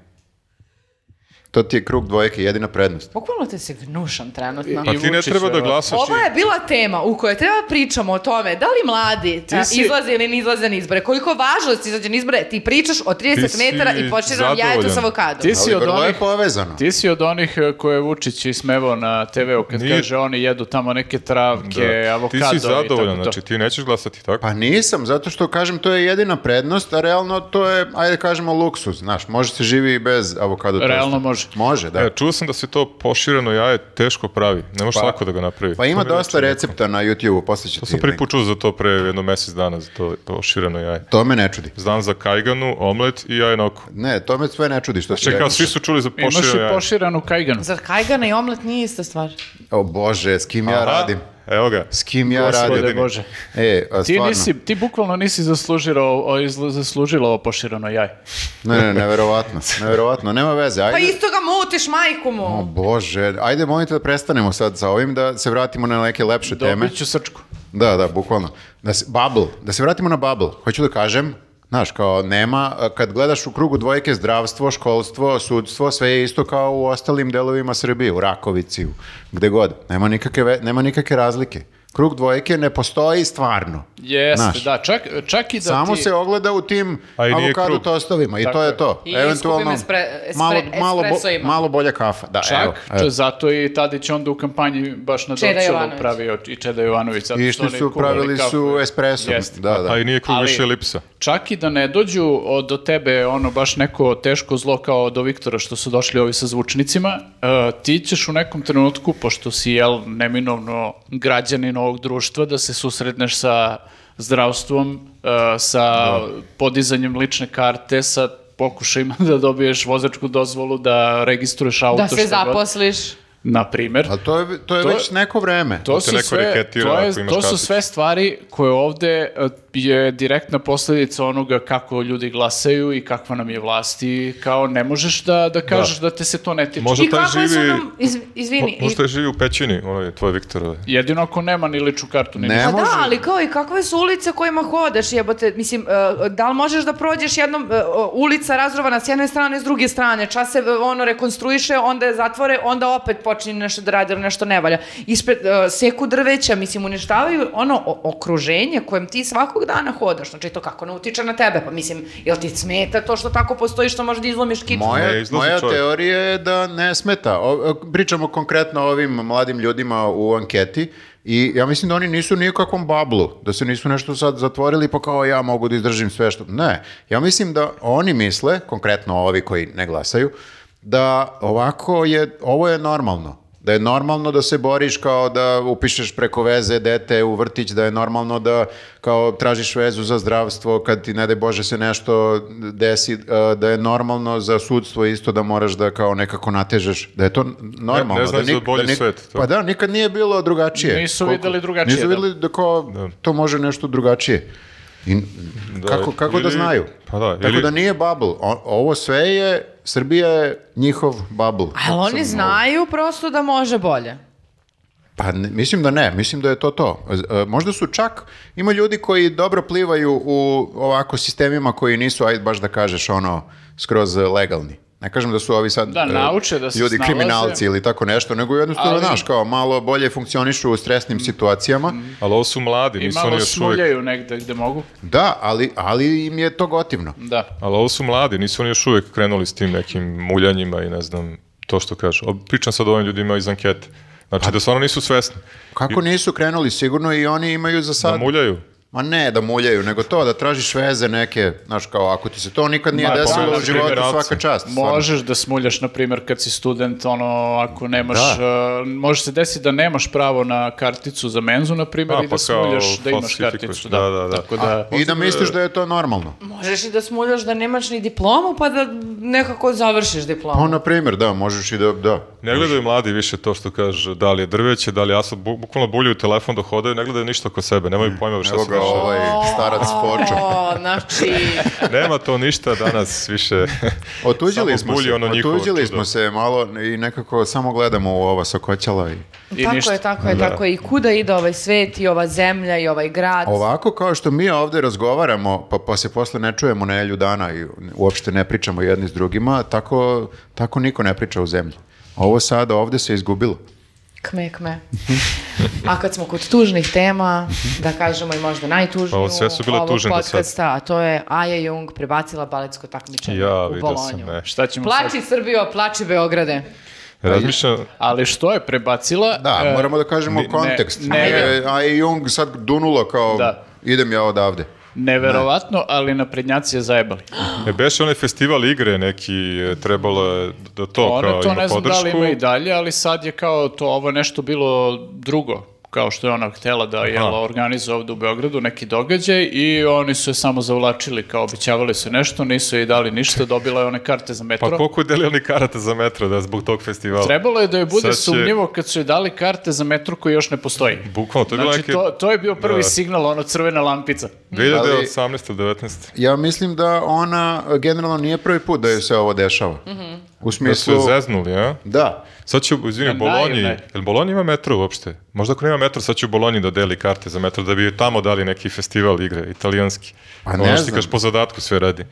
Speaker 1: To ti je krug dvojke, jedina prednost.
Speaker 4: Bukvalno te se gnušam trenutno.
Speaker 3: Pa
Speaker 2: I ovaj
Speaker 3: ti ne
Speaker 2: vuči
Speaker 3: treba
Speaker 2: se,
Speaker 3: da
Speaker 2: da.
Speaker 3: glasaš.
Speaker 4: Ovo
Speaker 3: i-
Speaker 4: je bila tema u kojoj treba pričamo o tome da li mladi
Speaker 2: Ti
Speaker 4: a,
Speaker 2: si-
Speaker 4: izlaze ili ne izlaze na izbore. Koliko važnosti izađe na izbore, ti pričaš o 30
Speaker 3: Ti si
Speaker 4: metara i počneš nam jajetu
Speaker 3: zadovoljan.
Speaker 4: s avokadom.
Speaker 2: Ti si
Speaker 1: Ali
Speaker 2: od
Speaker 1: vrlo je
Speaker 2: onih...
Speaker 1: povezano.
Speaker 2: Ti si od onih e, koje je Vučić ismevao na TV-u kad
Speaker 3: Nije-
Speaker 2: kaže oni jedu tamo neke travke,
Speaker 3: Da.
Speaker 2: avokado i ovaj,
Speaker 3: Ti
Speaker 2: tako
Speaker 3: si zadovoljan,
Speaker 2: to.
Speaker 3: znači ti nećeš glasati tako.
Speaker 1: Pa nisam, zato što kažem to je jedina prednost, a realno to je, ajde kažemo, luksuz, znaš, može se živi i bez avokado tosta.
Speaker 2: Realno može.
Speaker 1: Može, da.
Speaker 3: E, čuo sam da se to pošireno jaje teško pravi. Ne možeš lako da ga napravi.
Speaker 1: pa ima
Speaker 3: To mi reče
Speaker 1: dosta
Speaker 3: neko.
Speaker 1: recepta na YouTube-u, poslije ću
Speaker 3: To
Speaker 1: ti
Speaker 3: sam prvi
Speaker 1: link.
Speaker 3: put čuo za to pre jedno mesec dana, za to pošireno jaje.
Speaker 1: To me ne čudi.
Speaker 3: Znam za kajganu, omlet i jaje na oko.
Speaker 1: Ne, to me sve ne čudi što si
Speaker 3: Čekao,
Speaker 1: rekao.
Speaker 3: svi su čuli za
Speaker 2: Imaš
Speaker 3: pošireno
Speaker 2: i
Speaker 3: jaje.
Speaker 2: poširanu kajganu.
Speaker 4: Zar kajgana i omlet nije ista stvar?
Speaker 1: O bože, s kim ja
Speaker 3: Aha,
Speaker 1: radim?
Speaker 3: Evo ga.
Speaker 1: S kim ja
Speaker 2: Gospode
Speaker 1: radim?
Speaker 2: Bože.
Speaker 1: E, a
Speaker 2: Ti,
Speaker 1: stvarno.
Speaker 2: nisi, ti bukvalno nisi zaslužilo, o, izlu- zaslužilo ovo poširano jaje.
Speaker 1: Ne, ne, neverovatno. Neverovatno, nema veze.
Speaker 4: Pa
Speaker 1: Ajde.
Speaker 4: isto ga mutiš majku mu.
Speaker 1: O bože, ajde molim te da prestanemo sad sa ovim, da se vratimo na neke lepše teme.
Speaker 2: Dobit ću srčku.
Speaker 1: Da, da, bukvalno. Da se, bubble, da se vratimo na bubble. Hoću da kažem, znaš, kao nema, a, kad gledaš u krugu dvojke zdravstvo, školstvo, sudstvo, sve je isto kao u ostalim delovima Srbije, u Rakovici, u, gde god. Nema nikakve, ve- nema nikakve razlike. Krug dvojke ne postoji stvarno.
Speaker 2: Jeste,
Speaker 1: Znaš,
Speaker 2: da, čak, čak i da
Speaker 1: Samo
Speaker 2: ti...
Speaker 1: se ogleda u tim
Speaker 3: A i nije
Speaker 1: avokado
Speaker 3: krug.
Speaker 1: tostovima i to
Speaker 2: Tako
Speaker 1: je
Speaker 2: je.
Speaker 1: to.
Speaker 4: I skupim espre- espre-
Speaker 1: malo, malo, bo-
Speaker 4: espresoima.
Speaker 1: malo bolja kafa. Da,
Speaker 2: Čak,
Speaker 1: evo, evo.
Speaker 2: čo- zato i Tadić onda u kampanji baš na
Speaker 4: Čeda
Speaker 2: Dorčelu
Speaker 4: Jovanović.
Speaker 2: pravio i Čeda Jovanović. zato
Speaker 1: Išli
Speaker 2: oni
Speaker 1: su,
Speaker 2: kuvali
Speaker 1: pravili su
Speaker 2: kafu.
Speaker 1: espresom.
Speaker 2: Jeste.
Speaker 1: Da, da.
Speaker 3: A i nije krug
Speaker 2: Ali-
Speaker 3: više elipsa.
Speaker 2: Čak i da ne dođu od, do tebe ono baš neko teško zlo kao do Viktora što su došli ovi sa zvučnicima, e, ti ćeš u nekom trenutku, pošto si jel neminovno građanin ovog društva, da se susretneš sa zdravstvom, e, sa podizanjem lične karte, sa pokušajima da dobiješ vozačku dozvolu, da registruješ auto.
Speaker 4: Da se
Speaker 2: šta god.
Speaker 4: zaposliš.
Speaker 2: Na primer.
Speaker 1: Ali to je, to je
Speaker 2: To je-
Speaker 1: već neko vreme.
Speaker 2: To
Speaker 3: te
Speaker 2: su,
Speaker 3: neko
Speaker 2: sve,
Speaker 3: reketira
Speaker 2: to,
Speaker 3: ako
Speaker 2: je,
Speaker 3: imaš
Speaker 2: to su
Speaker 3: karticu.
Speaker 2: sve stvari koje ovde e, je direktna posljedica onoga kako ljudi glasaju i kakva nam je vlast i kao ne možeš da, da kažeš da. te se to ne tiče.
Speaker 3: Možda
Speaker 4: I
Speaker 3: taj
Speaker 4: kako je sa
Speaker 3: živi...
Speaker 4: onom, iz, izvini,
Speaker 3: mo- Možda je živi u pećini, onaj tvoj Viktor.
Speaker 2: Jedino ako nema ni ličnu kartu. Ni
Speaker 1: Ne
Speaker 2: ništa.
Speaker 4: Pa da,
Speaker 1: može.
Speaker 4: ali kao i kakve su ulice kojima hodaš, jebote, mislim, e, da li možeš da prođeš jednom, e, o, ulica razrovana s jedne strane, s druge strane, čas se e, ono rekonstruiše, onda je zatvore, onda opet počinje nešto da radi ili nešto ne valja. Ispred, e, seku drveća, mislim, uništavaju ono o- okruženje kojem ti svakog dana hodaš, znači to kako ne utiče na tebe, pa mislim, jel ti smeta to što tako postoji što možeš da izlomiš kičmu?
Speaker 1: Moja,
Speaker 3: Ne, izlazi
Speaker 1: moja
Speaker 3: čovjek.
Speaker 1: teorija je da ne smeta. O, o, pričamo konkretno o ovim mladim ljudima u anketi i ja mislim da oni nisu ni u kakvom bablu, da se nisu nešto sad zatvorili pa kao ja mogu da izdržim sve što... Ne, ja mislim da oni misle, konkretno ovi koji ne glasaju, da ovako je, ovo je normalno. Da je normalno da se boriš kao da upišeš preko veze dete u vrtić, da je normalno da kao tražiš vezu za zdravstvo kad ti ne daj Bože se nešto desi, eh, da je normalno za sudstvo isto da moraš da kao nekako natežeš, da je to n- normalno.
Speaker 3: ne znaš
Speaker 1: da nik-
Speaker 3: za bolji
Speaker 1: da nik-
Speaker 3: svet, to.
Speaker 1: Pa da, nikad nije bilo drugačije.
Speaker 2: Nisu videli drugačije,
Speaker 1: Nisu
Speaker 2: da.
Speaker 1: videli da kao to može nešto drugačije. I, n-
Speaker 3: Da,
Speaker 1: kako kako da
Speaker 3: ili-
Speaker 1: znaju?
Speaker 3: pa da,
Speaker 1: Tako
Speaker 3: ili-
Speaker 1: da nije bubble. O- ovo sve je, Srbija je njihov bubble.
Speaker 4: Ali oni znaju prosto da može bolje.
Speaker 1: Pa ne- mislim da ne, mislim da je to to. Z- e, Možda su čak, ima ljudi koji dobro plivaju u ovako sistemima koji nisu, ajde baš da kažeš ono, skroz e, legalni. Ne kažem da su ovi sad
Speaker 2: Da,
Speaker 1: e,
Speaker 2: nauče da se
Speaker 1: ljudi
Speaker 2: snalaze.
Speaker 1: kriminalci ili tako nešto, nego jednostavno,
Speaker 2: Ali- Mm.
Speaker 1: znaš, kao malo bolje funkcionišu u stresnim situacijama.
Speaker 3: Ali ovo su mladi,
Speaker 2: I
Speaker 3: nisu oni
Speaker 2: malo
Speaker 3: još uvijek...
Speaker 2: smuljaju negde gde mogu.
Speaker 1: Da, ali, ali im je to gotivno.
Speaker 2: Da.
Speaker 3: Ali ovo su mladi, nisu oni još uvijek krenuli s tim nekim muljanjima i ne znam to što kažu. O, Pričam sad o ovim ljudima iz ankete. Znači da stvarno nisu svesni.
Speaker 1: Kako nisu krenuli sigurno i oni imaju za
Speaker 2: Pa-
Speaker 3: Da
Speaker 1: sad...
Speaker 3: muljaju.
Speaker 1: Ma ne da muljaju, nego to da tražiš veze neke, znaš kao ako ti se to nikad nije
Speaker 2: Ma,
Speaker 1: desilo
Speaker 2: pa,
Speaker 1: u životu,
Speaker 3: kriminalci.
Speaker 1: svaka čast. stvarno.
Speaker 2: Možeš da smuljaš, na primjer, kad si student, ono, ako nemaš, e, može se desiti da nemaš pravo na karticu za menzu, na primjer,
Speaker 3: A,
Speaker 2: i
Speaker 3: pa
Speaker 2: da smuljaš
Speaker 3: kao
Speaker 2: da imaš
Speaker 3: falsifikuješ.
Speaker 2: karticu.
Speaker 3: Da, da, da.
Speaker 2: Tako da,
Speaker 1: I da misliš da je to normalno.
Speaker 4: Možeš i da smuljaš da nemaš ni diplomu, pa da nekako završiš diplomu.
Speaker 1: Pa, na primjer, da, možeš i da, da.
Speaker 3: Ne gledaju mladi više to što kaže da li je drveće, da li je asfalt, bu- bukvalno buljuju telefon do hodaju, ne gledaju ništa oko sebe, nemaju pojma šta
Speaker 1: Mm. Evo
Speaker 3: se
Speaker 1: ga
Speaker 3: dešava.
Speaker 1: ovaj starac počo.
Speaker 4: O, znači,
Speaker 3: Nema to ništa danas više.
Speaker 1: Otuđili
Speaker 3: Samo
Speaker 1: smo
Speaker 3: bulji
Speaker 1: se,
Speaker 3: ono njihovo
Speaker 1: otuđili
Speaker 3: čudo.
Speaker 1: smo se malo i nekako samo gledamo u ova sokoćala i...
Speaker 2: i
Speaker 4: tako
Speaker 2: ništa.
Speaker 4: je, tako je, tako je. I kuda ide ovaj svet i ova zemlja i ovaj grad?
Speaker 1: Ovako kao što mi ovdje razgovaramo, pa, pa se posle ne čujemo nelju dana i uopšte ne pričamo jedni s drugima, tako, tako niko ne priča u zemlji. Ovo sada ovdje se izgubilo.
Speaker 4: Kme, kme. A kad smo kod tužnih tema, da kažemo i možda najtužniju
Speaker 3: Ovo sve su bile
Speaker 4: ovog
Speaker 3: tužne do sad.
Speaker 4: podcasta, a to je Aja Jung prebacila baletsko takmičenje
Speaker 3: Ja
Speaker 4: u
Speaker 3: vidio sam,
Speaker 4: Bolonju.
Speaker 3: ne.
Speaker 2: Šta ćemo sad?
Speaker 4: Plači Srbijo, plači Beograde.
Speaker 1: Pa
Speaker 3: Razmišljam,
Speaker 2: Ali što je prebacila?
Speaker 1: Da,
Speaker 2: e,
Speaker 1: moramo da kažemo kontekst.
Speaker 2: ne,
Speaker 1: E, a i Jung sad dunulo kao
Speaker 2: Da.
Speaker 1: idem ja odavde.
Speaker 2: Neverovatno, ali naprednjaci je zajebali.
Speaker 3: e, beše onaj festival igre neki, e, trebalo je da to
Speaker 2: Ona
Speaker 3: kao
Speaker 2: Pa to
Speaker 3: ima
Speaker 2: ne znam da
Speaker 3: podršku.
Speaker 2: li ima i dalje, ali sad je kao to, ovo je nešto bilo drugo kao što je ona htela da je organizuje ovdje u Beogradu neki događaj i oni su je samo zavlačili kao obećavali su nešto, nisu joj dali ništa, dobila je one karte za metro.
Speaker 3: Pa koliko je delio oni karata za metro da zbog tog festivala?
Speaker 2: Trebalo je da joj bude
Speaker 3: Sad će-
Speaker 2: sumnjivo kad su joj dali karte za metro koji još ne postoji.
Speaker 3: Bukvalno, to je bilo
Speaker 2: Znači,
Speaker 3: neke...
Speaker 2: to, to je bio prvi
Speaker 3: Da.
Speaker 2: signal, ono crvena lampica.
Speaker 3: 2018. 19.
Speaker 1: Ja mislim da ona e, generalno nije prvi put da joj se ovo dešava. U
Speaker 3: Da su
Speaker 1: smislu...
Speaker 3: je zeznuli, a?
Speaker 1: Da,
Speaker 3: Sad će, izvini, u
Speaker 2: Na
Speaker 3: Bolonji,
Speaker 2: naivne.
Speaker 3: jel Bolonji ima metro uopšte? Možda ako nema metro, sad će u Bolonji da deli karte za metro, da bi joj tamo dali neki festival igre, italijanski.
Speaker 1: Pa
Speaker 3: Ono
Speaker 1: ne
Speaker 3: što ti
Speaker 1: znam. Pa
Speaker 3: kažeš, po zadatku sve radi.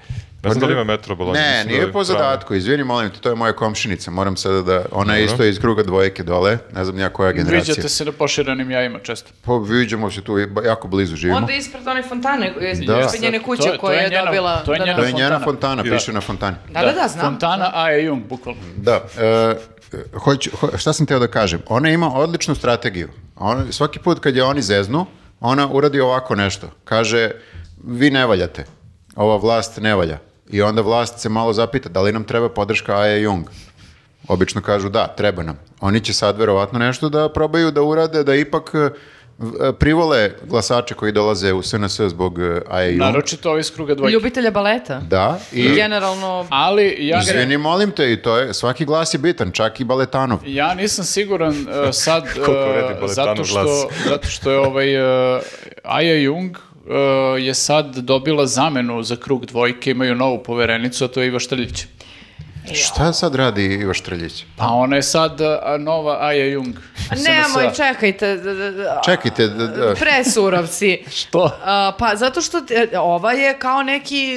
Speaker 3: Ne znam da li ima metro u Bolonji.
Speaker 1: ne,
Speaker 3: mislim da
Speaker 1: nije
Speaker 3: je
Speaker 1: po
Speaker 3: strano.
Speaker 1: zadatku, izvini, molim te, to je moja komšinica, moram sada da, ona je isto iz kruga dvojke dole, ne znam ja koja generacija.
Speaker 2: Viđate se na poširanim jajima često.
Speaker 1: Pa viđamo se tu, ba- jako blizu živimo.
Speaker 4: Onda ispred one fontane,
Speaker 1: Da.
Speaker 4: ispred njene kuće
Speaker 2: To je- to
Speaker 4: koje
Speaker 2: je
Speaker 4: je
Speaker 2: njena-
Speaker 4: dobila.
Speaker 2: to je
Speaker 4: da,
Speaker 2: njena
Speaker 1: to
Speaker 4: da.
Speaker 1: je njena
Speaker 2: fontana.
Speaker 1: fontana,
Speaker 2: Da.
Speaker 1: piše na fontani.
Speaker 4: Pa Da, da, da, znam.
Speaker 2: Fontana A. E. Jung, bukvalno.
Speaker 1: Da, e, hoću- ho- šta sam teo da kažem, ona ima odličnu strategiju. Ona, svaki put kad je oni zeznu, ona uradi ovako nešto. Kaže, vi ne valjate, ova vlast ne valja. I onda vlast se malo zapita, da li nam treba podrška Aja Jung? Obično kažu da, treba nam. Oni će sad verovatno nešto da probaju da urade, da ipak e, v- e, privole glasače koji dolaze u SNS zbog e, Aja Jung.
Speaker 2: Naročito ovi iz kruga dvojke.
Speaker 4: Ljubitelja baleta.
Speaker 1: Da,
Speaker 4: I
Speaker 1: i...
Speaker 4: generalno
Speaker 2: Ali ja,
Speaker 1: Izvini, molim te, i to je, svaki glas je bitan, čak i baletanov.
Speaker 2: ja nisam siguran e, sad e,
Speaker 3: Koliko vredi Baletanu
Speaker 2: zato, što,
Speaker 3: glas.
Speaker 2: zato što je ovaj e, Aja Jung e, je sad dobila zamenu za krug dvojke, imaju novu poverenicu, a to je Iva Štrljić.
Speaker 1: Šta sad radi Ivo Štrljić?
Speaker 2: Pa ona je sad e, a, nova Aja Jung.
Speaker 4: Pa Nemoj,
Speaker 2: SNS.
Speaker 4: čekajte. d- d- d- a-
Speaker 1: Čekajte, da, da.
Speaker 4: Presurov si.
Speaker 2: Što?
Speaker 4: A, pa zato što te- ova je kao neki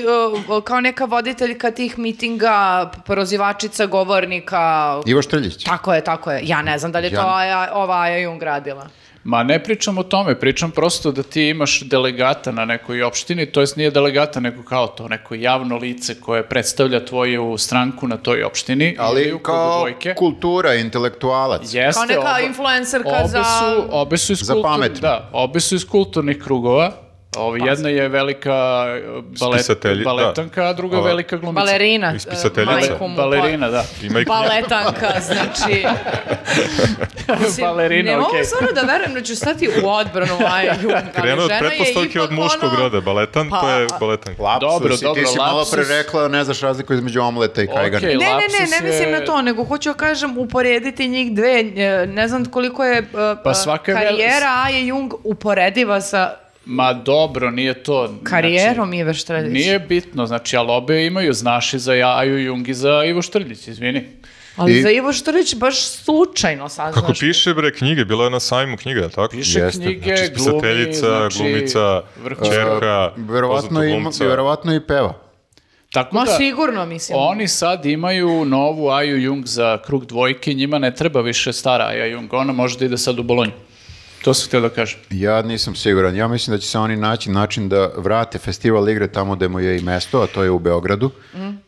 Speaker 4: e, kao neka voditeljka tih mitinga, prozivačica govornika.
Speaker 1: Ivo Štrljić.
Speaker 2: Pa,
Speaker 4: Tako je, tako je. Ja ne znam da li je to
Speaker 1: Ja-
Speaker 4: Aja, ova Aja Jung radila.
Speaker 2: Ma ne pričam o tome, pričam prosto da ti imaš delegata na nekoj opštini, to jest nije delegata, nego kao to, neko javno lice koje predstavlja tvoju stranku na toj opštini. ili u
Speaker 1: Ali
Speaker 2: krugu
Speaker 1: kao
Speaker 2: dvojke.
Speaker 1: kultura, intelektualac.
Speaker 2: Jeste, ono-
Speaker 4: Kao neka
Speaker 2: oba-
Speaker 4: influencerka
Speaker 2: obe
Speaker 4: za-
Speaker 2: Su, obe su iz
Speaker 1: Za
Speaker 2: kultur-
Speaker 1: pametne.
Speaker 2: Da, obe su iz kulturnih krugova Ovi, jedna je velika e, balet,
Speaker 3: Pa. Spisatelji- da.
Speaker 2: baletanka, a druga je
Speaker 3: Bale-
Speaker 2: velika glumica.
Speaker 4: Balerina.
Speaker 3: Iz
Speaker 4: e,
Speaker 3: pisateljica.
Speaker 4: majku mu, pa-
Speaker 2: Balerina, da.
Speaker 3: Ima i knjiga.
Speaker 4: Paletanka, znači... Mislim,
Speaker 2: Balerina,
Speaker 4: ne mogu
Speaker 2: okej.
Speaker 4: stvarno da verujem da ću stati u odbranu Aju. ali
Speaker 3: Krenuo od
Speaker 4: žena je
Speaker 3: pretpostavke od
Speaker 4: ipak
Speaker 3: muškog
Speaker 4: ono-
Speaker 3: roda. Baletan,
Speaker 4: Pa,
Speaker 3: to je
Speaker 4: a-
Speaker 3: baletan.
Speaker 1: Lapsus,
Speaker 2: Dobro,
Speaker 1: i ti
Speaker 2: dobro,
Speaker 1: si malo pre
Speaker 2: lapsus.
Speaker 1: rekla, ne znaš razliku između omleta i kajgana.
Speaker 2: Okej.
Speaker 4: Ne, ne, ne,
Speaker 2: Lapsus
Speaker 4: ne mislim
Speaker 2: je-
Speaker 4: na to, nego hoću da kažem uporediti njih dve, e, ne znam koliko je e,
Speaker 3: Pa
Speaker 4: e,
Speaker 2: svaka je vel-
Speaker 4: karijera Aje Jung uporediva sa
Speaker 3: Znači,
Speaker 2: Ma dobro, nije to.
Speaker 4: karijerom
Speaker 2: znači,
Speaker 4: Ive Štradić.
Speaker 2: Nije bitno, znači, ali obe imaju znaši za Jaju Jung i za Ivo Štrljić, izvini.
Speaker 4: Ali
Speaker 1: I-
Speaker 4: za Ivo Štradić baš slučajno saznaš.
Speaker 3: Kako piše bre knjige, bila je na sajmu knjiga, je li tako?
Speaker 2: Piše
Speaker 1: Jeste.
Speaker 2: knjige,
Speaker 3: Znači,
Speaker 2: glumi,
Speaker 3: spisateljica,
Speaker 2: znači,
Speaker 3: glumica,
Speaker 2: vrhunska.
Speaker 3: čerka,
Speaker 1: Pa, Verovatno,
Speaker 3: poznatog
Speaker 1: ima,
Speaker 3: glumca.
Speaker 1: verovatno i peva.
Speaker 2: Tako
Speaker 4: Ma
Speaker 2: da,
Speaker 4: sigurno, mislim.
Speaker 2: oni sad imaju novu Aju Jung za krug dvojke, njima ne treba više stara Aja Jung, ona može da ide sad u Bolonju. To sam htio da kažem.
Speaker 1: Ja nisam siguran. Ja mislim da će se oni naći način da vrate festival igre tamo gde mu je i mesto, a to je u Beogradu,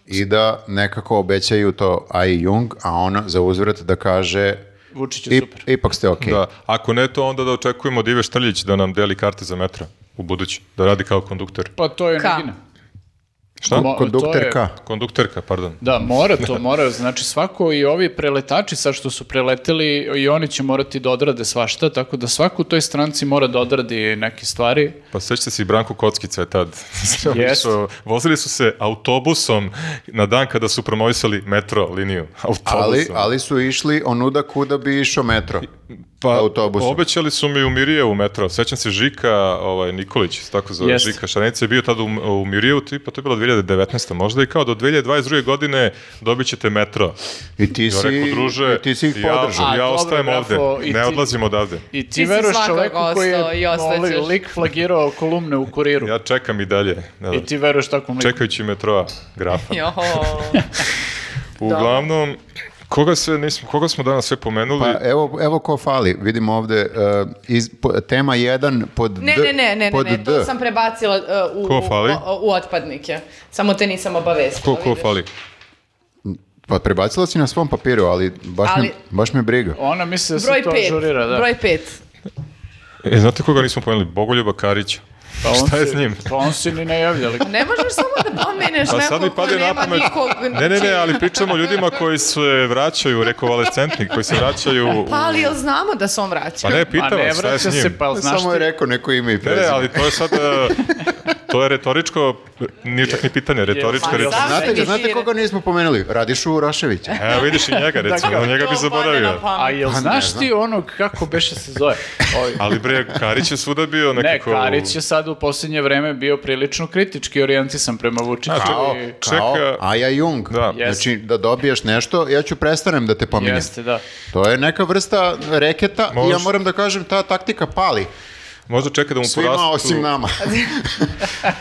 Speaker 1: i da nekako obećaju to Ai Jung, a ona za uzvrat da kaže
Speaker 2: Vučić je
Speaker 1: "Ip-
Speaker 2: super.
Speaker 1: ipak ste okej.
Speaker 3: Da, ako ne to, onda da očekujemo od Ive Štrljić da nam deli karte za metra u budući, da radi kao konduktor.
Speaker 2: Pa to je
Speaker 4: Ka.
Speaker 2: negina.
Speaker 3: Šta?
Speaker 2: Mo- to
Speaker 1: Kondukterka.
Speaker 2: je-
Speaker 3: Kondukterka, pardon.
Speaker 2: Da, mora to, mora. Znači svako i ovi preletači sad što su preleteli i oni će morati da odrade svašta, tako da svako u toj stranci mora da odradi neke stvari.
Speaker 3: Pa sećate se i Branko Kockica je tad. Sve
Speaker 2: Jeste.
Speaker 3: išao- Vozili su se autobusom na dan kada su promovisali metro liniju. Autobusom.
Speaker 1: Ali, ali su išli onuda kuda bi išao metro.
Speaker 3: pa,
Speaker 1: autobusom.
Speaker 3: Obećali su mi u Mirijevu metro. Sećam se Žika ovaj, Nikolić, se tako zove
Speaker 2: Jeste.
Speaker 3: Žika Šarenica, je bio tada u, u Mirijevu, ti- pa to je bilo 2019. možda i kao do 2022. godine dobit ćete metro.
Speaker 1: I ti
Speaker 3: Ja
Speaker 1: si,
Speaker 3: rekao, druže,
Speaker 1: i ti si ih
Speaker 3: ja,
Speaker 1: podržao.
Speaker 2: A,
Speaker 3: ja
Speaker 2: dobro,
Speaker 3: ostajem
Speaker 2: Grafo,
Speaker 3: ovde,
Speaker 2: i
Speaker 3: ne
Speaker 2: ti-
Speaker 3: odlazim odavde.
Speaker 2: I ti,
Speaker 4: Ti si
Speaker 2: veruješ
Speaker 4: svakog
Speaker 2: čoveku koji
Speaker 4: ostao i
Speaker 2: je
Speaker 4: ostaćeš.
Speaker 2: ovaj lik flagirao kolumne u kuriru.
Speaker 3: Ja čekam i dalje. Ne znam.
Speaker 2: I ti veruješ takvom liku.
Speaker 3: Čekajući metroa, grafa.
Speaker 4: Joho.
Speaker 3: Uglavnom, koga, sve nismo, koga smo danas sve pomenuli?
Speaker 1: Pa evo, evo ko fali, vidimo ovde, e, iz, po- tema 1 pod
Speaker 4: Ne,
Speaker 1: D.
Speaker 4: ne, ne, ne, ne,
Speaker 1: pod
Speaker 4: ne, to
Speaker 1: D.
Speaker 4: sam prebacila uh, u,
Speaker 3: Ko fali?
Speaker 4: u, u otpadnike. Samo te nisam obavestila.
Speaker 3: Ko, ko
Speaker 4: vidiš.
Speaker 3: fali?
Speaker 1: Pa prebacila si na svom papiru, ali baš,
Speaker 4: Ali-
Speaker 1: Me, baš me briga.
Speaker 2: Ona misli da se
Speaker 4: Broj
Speaker 2: to
Speaker 4: pet.
Speaker 2: ažurira, da.
Speaker 4: Broj pet.
Speaker 3: E, znate koga nismo pomenuli? Bogoljuba Karića.
Speaker 2: Pa on
Speaker 3: Šta je
Speaker 2: se-
Speaker 3: s njim?
Speaker 2: Pa on se ni ne javlja, ali
Speaker 4: Ne možeš samo da pomeneš
Speaker 3: Pa sad mi
Speaker 4: nekog ko
Speaker 3: pade na
Speaker 4: nema
Speaker 3: pamet.
Speaker 4: nikog. Znači,
Speaker 3: Ne, ne, ne, ali pričamo o ljudima koji se vraćaju, rekovalescentni, koji se vraćaju... u-
Speaker 4: Pa ali jel znamo da se on vraća?
Speaker 3: Pa ne,
Speaker 2: Pa
Speaker 3: pitam
Speaker 2: ne
Speaker 3: vas, šta je
Speaker 2: vraća
Speaker 3: s njim?
Speaker 2: se, pa jel znaš
Speaker 1: Samo je
Speaker 2: ti?
Speaker 1: rekao neko ime i
Speaker 3: Ne,
Speaker 1: prezime.
Speaker 3: ne, ali to je sad... e, to je retoričko, nije čak ni pitanje, retoričko
Speaker 2: Pa,
Speaker 3: recimo.
Speaker 4: zašto?
Speaker 1: Znate,
Speaker 4: Sve
Speaker 1: znate
Speaker 4: više.
Speaker 1: koga nismo pomenuli? Radišu Uraševića.
Speaker 3: Evo E, vidiš i njega, recimo,
Speaker 2: Dakle,
Speaker 3: na njega bi
Speaker 4: To pade
Speaker 3: zaboravio.
Speaker 4: na pamet.
Speaker 2: A jel
Speaker 1: Pa ne
Speaker 2: znaš
Speaker 1: znam.
Speaker 2: ti onog, kako beše se zove? Ovi-
Speaker 3: Ali bre, Karić je svuda bio
Speaker 2: Ne,
Speaker 3: nekako...
Speaker 2: Karić je sad u posljednje vreme bio prilično kritički orijentisan prema Vučiću.
Speaker 3: Znači,
Speaker 2: i-
Speaker 1: Kao, kao
Speaker 3: čeka-
Speaker 1: Aja Jung.
Speaker 3: Da.
Speaker 1: Znači, da dobiješ nešto, ja ću prestanem da te pominjem.
Speaker 2: Jeste, da.
Speaker 1: To je neka vrsta reketa i ja
Speaker 3: Možda.
Speaker 1: moram da kažem, ta taktika pali.
Speaker 3: Možda čeka da mu
Speaker 1: Svima
Speaker 3: porastu...
Speaker 1: osim nama.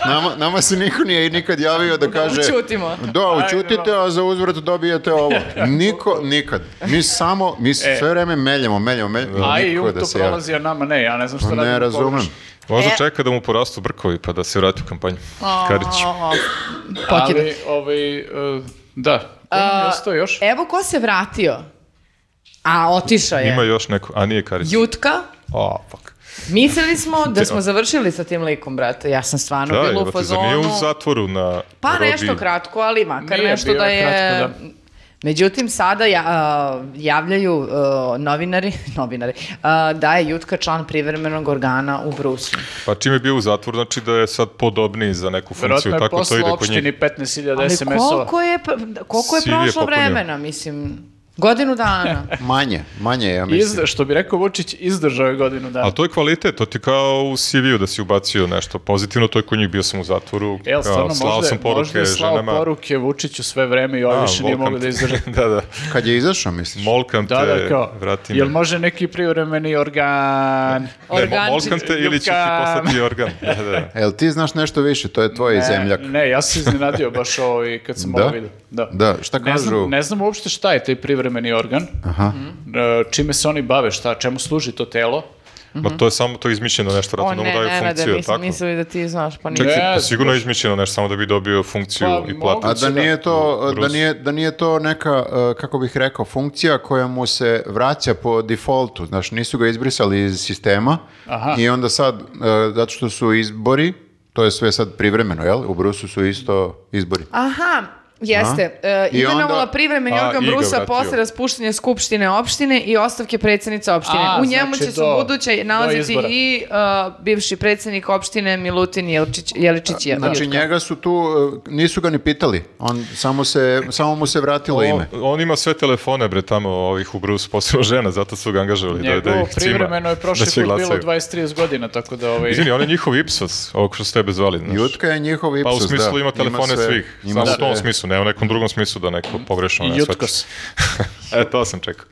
Speaker 1: nama. Nama se niko nije nikad javio da kaže...
Speaker 4: Učutimo.
Speaker 1: Da, učutite, a za uzvrat dobijete ovo.
Speaker 2: E.
Speaker 1: Niko, nikad. Mi samo, mi sve vreme meljemo, meljemo, meljemo.
Speaker 2: A i
Speaker 1: niko
Speaker 2: Jung
Speaker 1: da
Speaker 2: to
Speaker 1: se javi.
Speaker 2: prolazi, a nama ne, ja ne znam što
Speaker 1: Pa Ne razumem.
Speaker 3: Možda
Speaker 4: E.
Speaker 3: čeka da mu porastu brkovi pa da se vrati u kampanju. Karić.
Speaker 4: Aha. Pokidam.
Speaker 2: Ali, ovaj, e, da, ko nam je
Speaker 4: A, e-
Speaker 2: ostao još?
Speaker 4: Evo ko se vratio. A, otišao je.
Speaker 3: Ima još neko, a nije Karić.
Speaker 4: Jutka.
Speaker 3: A, fuck.
Speaker 4: Mislili smo da smo završili sa tim likom, brate. Ja sam stvarno
Speaker 3: Da,
Speaker 4: bila Ono u
Speaker 3: jebote, zar nije
Speaker 4: fazonu.
Speaker 3: u zatvoru na
Speaker 4: Pa
Speaker 3: robiji?
Speaker 4: nešto kratko, ali makar
Speaker 2: Nije,
Speaker 4: nešto
Speaker 2: bio
Speaker 4: da
Speaker 2: je
Speaker 4: je...
Speaker 2: kratko,
Speaker 4: Međutim, sada ja, a, javljaju a, novinari, novinari a, da je Jutka član privremenog organa u Brusu.
Speaker 3: Pa čim je bio u zatvoru, znači da je sad podobniji za neku funkciju,
Speaker 2: Vjerojatno je
Speaker 3: tako to ide
Speaker 2: poslao
Speaker 3: kod njih.
Speaker 2: opštini 15.000
Speaker 4: Ali
Speaker 2: SMS-ova.
Speaker 4: koliko je, koliko je
Speaker 3: Siv je
Speaker 4: prošlo
Speaker 3: popunio.
Speaker 4: vremena, mislim, godinu dana.
Speaker 1: Manje, manje, ja mislim.
Speaker 2: Izda, što bi rekao Vučić, izdržao je godinu dana.
Speaker 3: Ali to je kvalitet, to ti kao u CV-u da si ubacio nešto pozitivno, to je kod njih bio sam u zatvoru,
Speaker 2: Jel,
Speaker 3: kao,
Speaker 2: E, stvarno, možda,
Speaker 3: sam poruke
Speaker 2: možda je slao
Speaker 3: ženama.
Speaker 2: poruke Vučiću sve vreme i
Speaker 3: A,
Speaker 2: ovo više nije
Speaker 3: volkam
Speaker 2: mogao da
Speaker 3: te.
Speaker 2: izdrži.
Speaker 3: da, da,
Speaker 1: Kad je izašao, misliš?
Speaker 3: molkam
Speaker 2: Da,
Speaker 3: te,
Speaker 2: da, kao,
Speaker 3: vrati me.
Speaker 2: jel može neki privremeni organ?
Speaker 3: Ne, mo-
Speaker 4: Organčić,
Speaker 3: molkam te ili ću ti
Speaker 2: ljubkam.
Speaker 3: poslati organ. Da, da.
Speaker 1: Jel ti znaš nešto više? To je tvoj zemljak.
Speaker 2: Ne, ja sam se iznenadio baš ovo i kad sam
Speaker 1: Da?
Speaker 2: ovo vidio. Da.
Speaker 1: Da, šta
Speaker 2: Ne
Speaker 1: kažu?
Speaker 2: znam, ne znam uopšte šta je taj privremeni organ,
Speaker 1: Aha.
Speaker 2: e, čime se oni bave, šta, čemu služi to telo.
Speaker 3: Ma to je samo, to je izmišljeno nešto,
Speaker 4: O
Speaker 3: vratno da
Speaker 4: ne,
Speaker 3: mu daju
Speaker 4: ne, ne,
Speaker 3: funkciju,
Speaker 4: da
Speaker 3: je li
Speaker 4: nisam
Speaker 3: tako?
Speaker 4: mislili da ti znaš, pa nije.
Speaker 3: Čekaj,
Speaker 2: Ne
Speaker 3: pa
Speaker 2: znam.
Speaker 3: sigurno je izmišljeno nešto, samo da bi dobio funkciju
Speaker 2: Pa,
Speaker 3: i
Speaker 1: A
Speaker 3: platu.
Speaker 2: moguće.
Speaker 1: da nije, to, da,
Speaker 3: Bruce.
Speaker 1: nije, da nije to neka, uh, kako bih rekao, funkcija koja mu se vraća po defaultu. Znaš, nisu ga izbrisali iz sistema
Speaker 2: Aha.
Speaker 1: i onda sad, uh, zato što su izbori, to je sve sad privremeno, jel? U Brusu su isto izbori.
Speaker 4: Aha, jeste.
Speaker 1: A?
Speaker 4: E,
Speaker 1: I
Speaker 4: imenovala
Speaker 1: onda-
Speaker 4: privremeni
Speaker 3: A,
Speaker 4: organ
Speaker 3: i ga
Speaker 4: Brusa
Speaker 3: vratio.
Speaker 4: posle raspuštanja skupštine opštine i ostavke predsjednice opštine.
Speaker 2: A,
Speaker 4: U njemu
Speaker 2: znači
Speaker 4: će se
Speaker 2: do-
Speaker 4: u buduće
Speaker 2: do
Speaker 4: nalaziti
Speaker 2: izbora.
Speaker 4: i e, bivši predsjednik opštine Milutin Jeličić, Jeličić je-
Speaker 1: Znači,
Speaker 4: Jutka.
Speaker 1: njega su tu, uh, nisu ga ni pitali. On, samo, se, samo mu se vratilo ime.
Speaker 3: On, on ima sve telefone, bre, tamo ovih u Brusu, posebno žena, zato su ga angažovali da, da
Speaker 2: Njegovo
Speaker 3: ih cima.
Speaker 2: privremeno je prošli
Speaker 3: da će
Speaker 2: put bilo
Speaker 3: glasaju.
Speaker 2: 20-30 godina, tako da ovaj...
Speaker 3: Izvini, on je njihov Ipsos, ovog što ste tebe zvali. Znaš.
Speaker 1: Jutka je njihov
Speaker 3: Pa
Speaker 1: Ipsos,
Speaker 3: u smislu
Speaker 1: da.
Speaker 3: ima telefone
Speaker 1: sve,
Speaker 3: svih.
Speaker 1: ima
Speaker 3: Samo u
Speaker 1: sve.
Speaker 3: tom smislu, ne u nekom drugom smislu da neko pogrešno ne
Speaker 2: Jutkos.
Speaker 3: shvati. e, to sam čekao.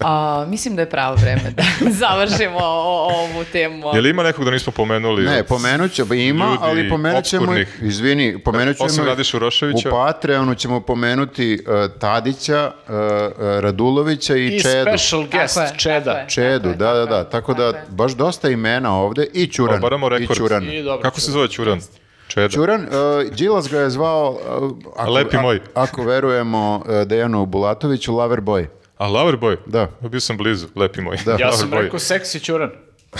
Speaker 4: A, mislim da je pravo vreme da završimo o- ovu temu.
Speaker 3: Je li ima nekog da nismo pomenuli?
Speaker 1: Ne,
Speaker 3: od-
Speaker 1: pomenut ćemo, ima,
Speaker 3: ljudi
Speaker 1: ali pomenut ćemo,
Speaker 3: obskurnih.
Speaker 1: izvini, pomenut ćemo,
Speaker 3: Osim Radiša Uroševića.
Speaker 1: u Patreonu ćemo pomenuti uh, Tadića, uh, uh, Radulovića i,
Speaker 2: I
Speaker 1: Čedu.
Speaker 2: special guest,
Speaker 4: Tako je, tako
Speaker 2: Čeda.
Speaker 4: je.
Speaker 1: Čedu, da, da, da, tako da
Speaker 4: tako je.
Speaker 1: baš dosta imena ovde i Ćuran,
Speaker 3: Obaramo
Speaker 1: i
Speaker 3: rekord.
Speaker 1: Ćuran.
Speaker 2: I dobro.
Speaker 3: Kako se zove Ćuran? Čeda.
Speaker 1: Ćuran, uh, Đilas ga je zvao, uh, ako,
Speaker 3: Lepi
Speaker 1: a-
Speaker 3: moj.
Speaker 1: ako verujemo uh, Dejanu Bulatoviću, Lover Boy.
Speaker 3: A Loverboy? Pa
Speaker 1: Da.
Speaker 3: Bio sam blizu, lepi moj.
Speaker 1: Da.
Speaker 2: Ja sam
Speaker 3: Loverboy.
Speaker 2: rekao seksi čuran.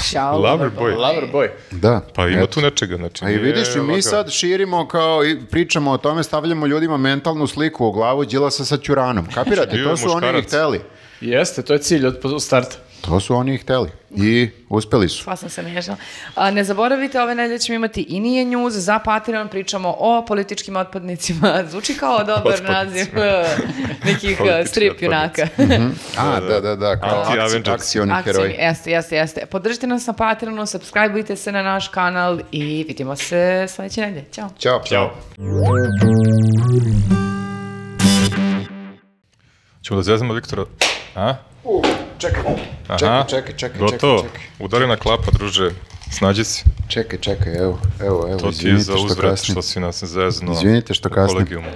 Speaker 4: Šao,
Speaker 3: Lover
Speaker 4: dobro.
Speaker 3: boy.
Speaker 2: Lover boy.
Speaker 1: Da.
Speaker 3: Pa ima
Speaker 1: Eto.
Speaker 3: tu nečega, znači.
Speaker 1: A i
Speaker 3: nije
Speaker 1: vidiš, i mi
Speaker 3: lagano.
Speaker 1: sad širimo kao i pričamo o tome, stavljamo ljudima mentalnu sliku u glavu Đilasa sa Ćuranom. Kapirate,
Speaker 3: Bio je
Speaker 1: to su oni i
Speaker 3: muškarac.
Speaker 1: hteli.
Speaker 2: Jeste, to je cilj od od starta.
Speaker 1: To su oni i hteli. I uspeli su.
Speaker 4: Pa sam se miješala. A, ne zaboravite, ove nedelje ćemo imati i nije news za Patreon, pričamo o političkim otpadnicima. Zvuči kao dobar
Speaker 3: Otpadnicima.
Speaker 4: naziv e, nekih e,
Speaker 3: Politički
Speaker 4: strip junaka.
Speaker 1: Mhm, A, da, da, da, kao
Speaker 3: Anti-Avengers.
Speaker 1: akci- akcioni
Speaker 4: Akcijni,
Speaker 1: heroj.
Speaker 4: jeste, jeste, jeste. Podržite nas na Patreonu, subscribeujte se na naš kanal i vidimo se sledeće nedelje. Ćao.
Speaker 1: Ćao.
Speaker 3: Ćao. Ćemo da zvezamo Viktora. A? čekaj.
Speaker 1: Čekaj, čekaj,
Speaker 2: E,
Speaker 1: čekaj,
Speaker 3: Gotovo.
Speaker 1: čekaj,
Speaker 3: Udari na klapa, druže. Snađi se.
Speaker 1: Čekaj, čekaj, evo, evo, evo,
Speaker 3: To ti je
Speaker 1: izvinite
Speaker 3: za
Speaker 1: što
Speaker 3: uzvrat
Speaker 1: kasnim.
Speaker 3: što si nas zeznuo.
Speaker 1: Izvinite što
Speaker 3: u
Speaker 1: kasnim.
Speaker 3: kolegijumu.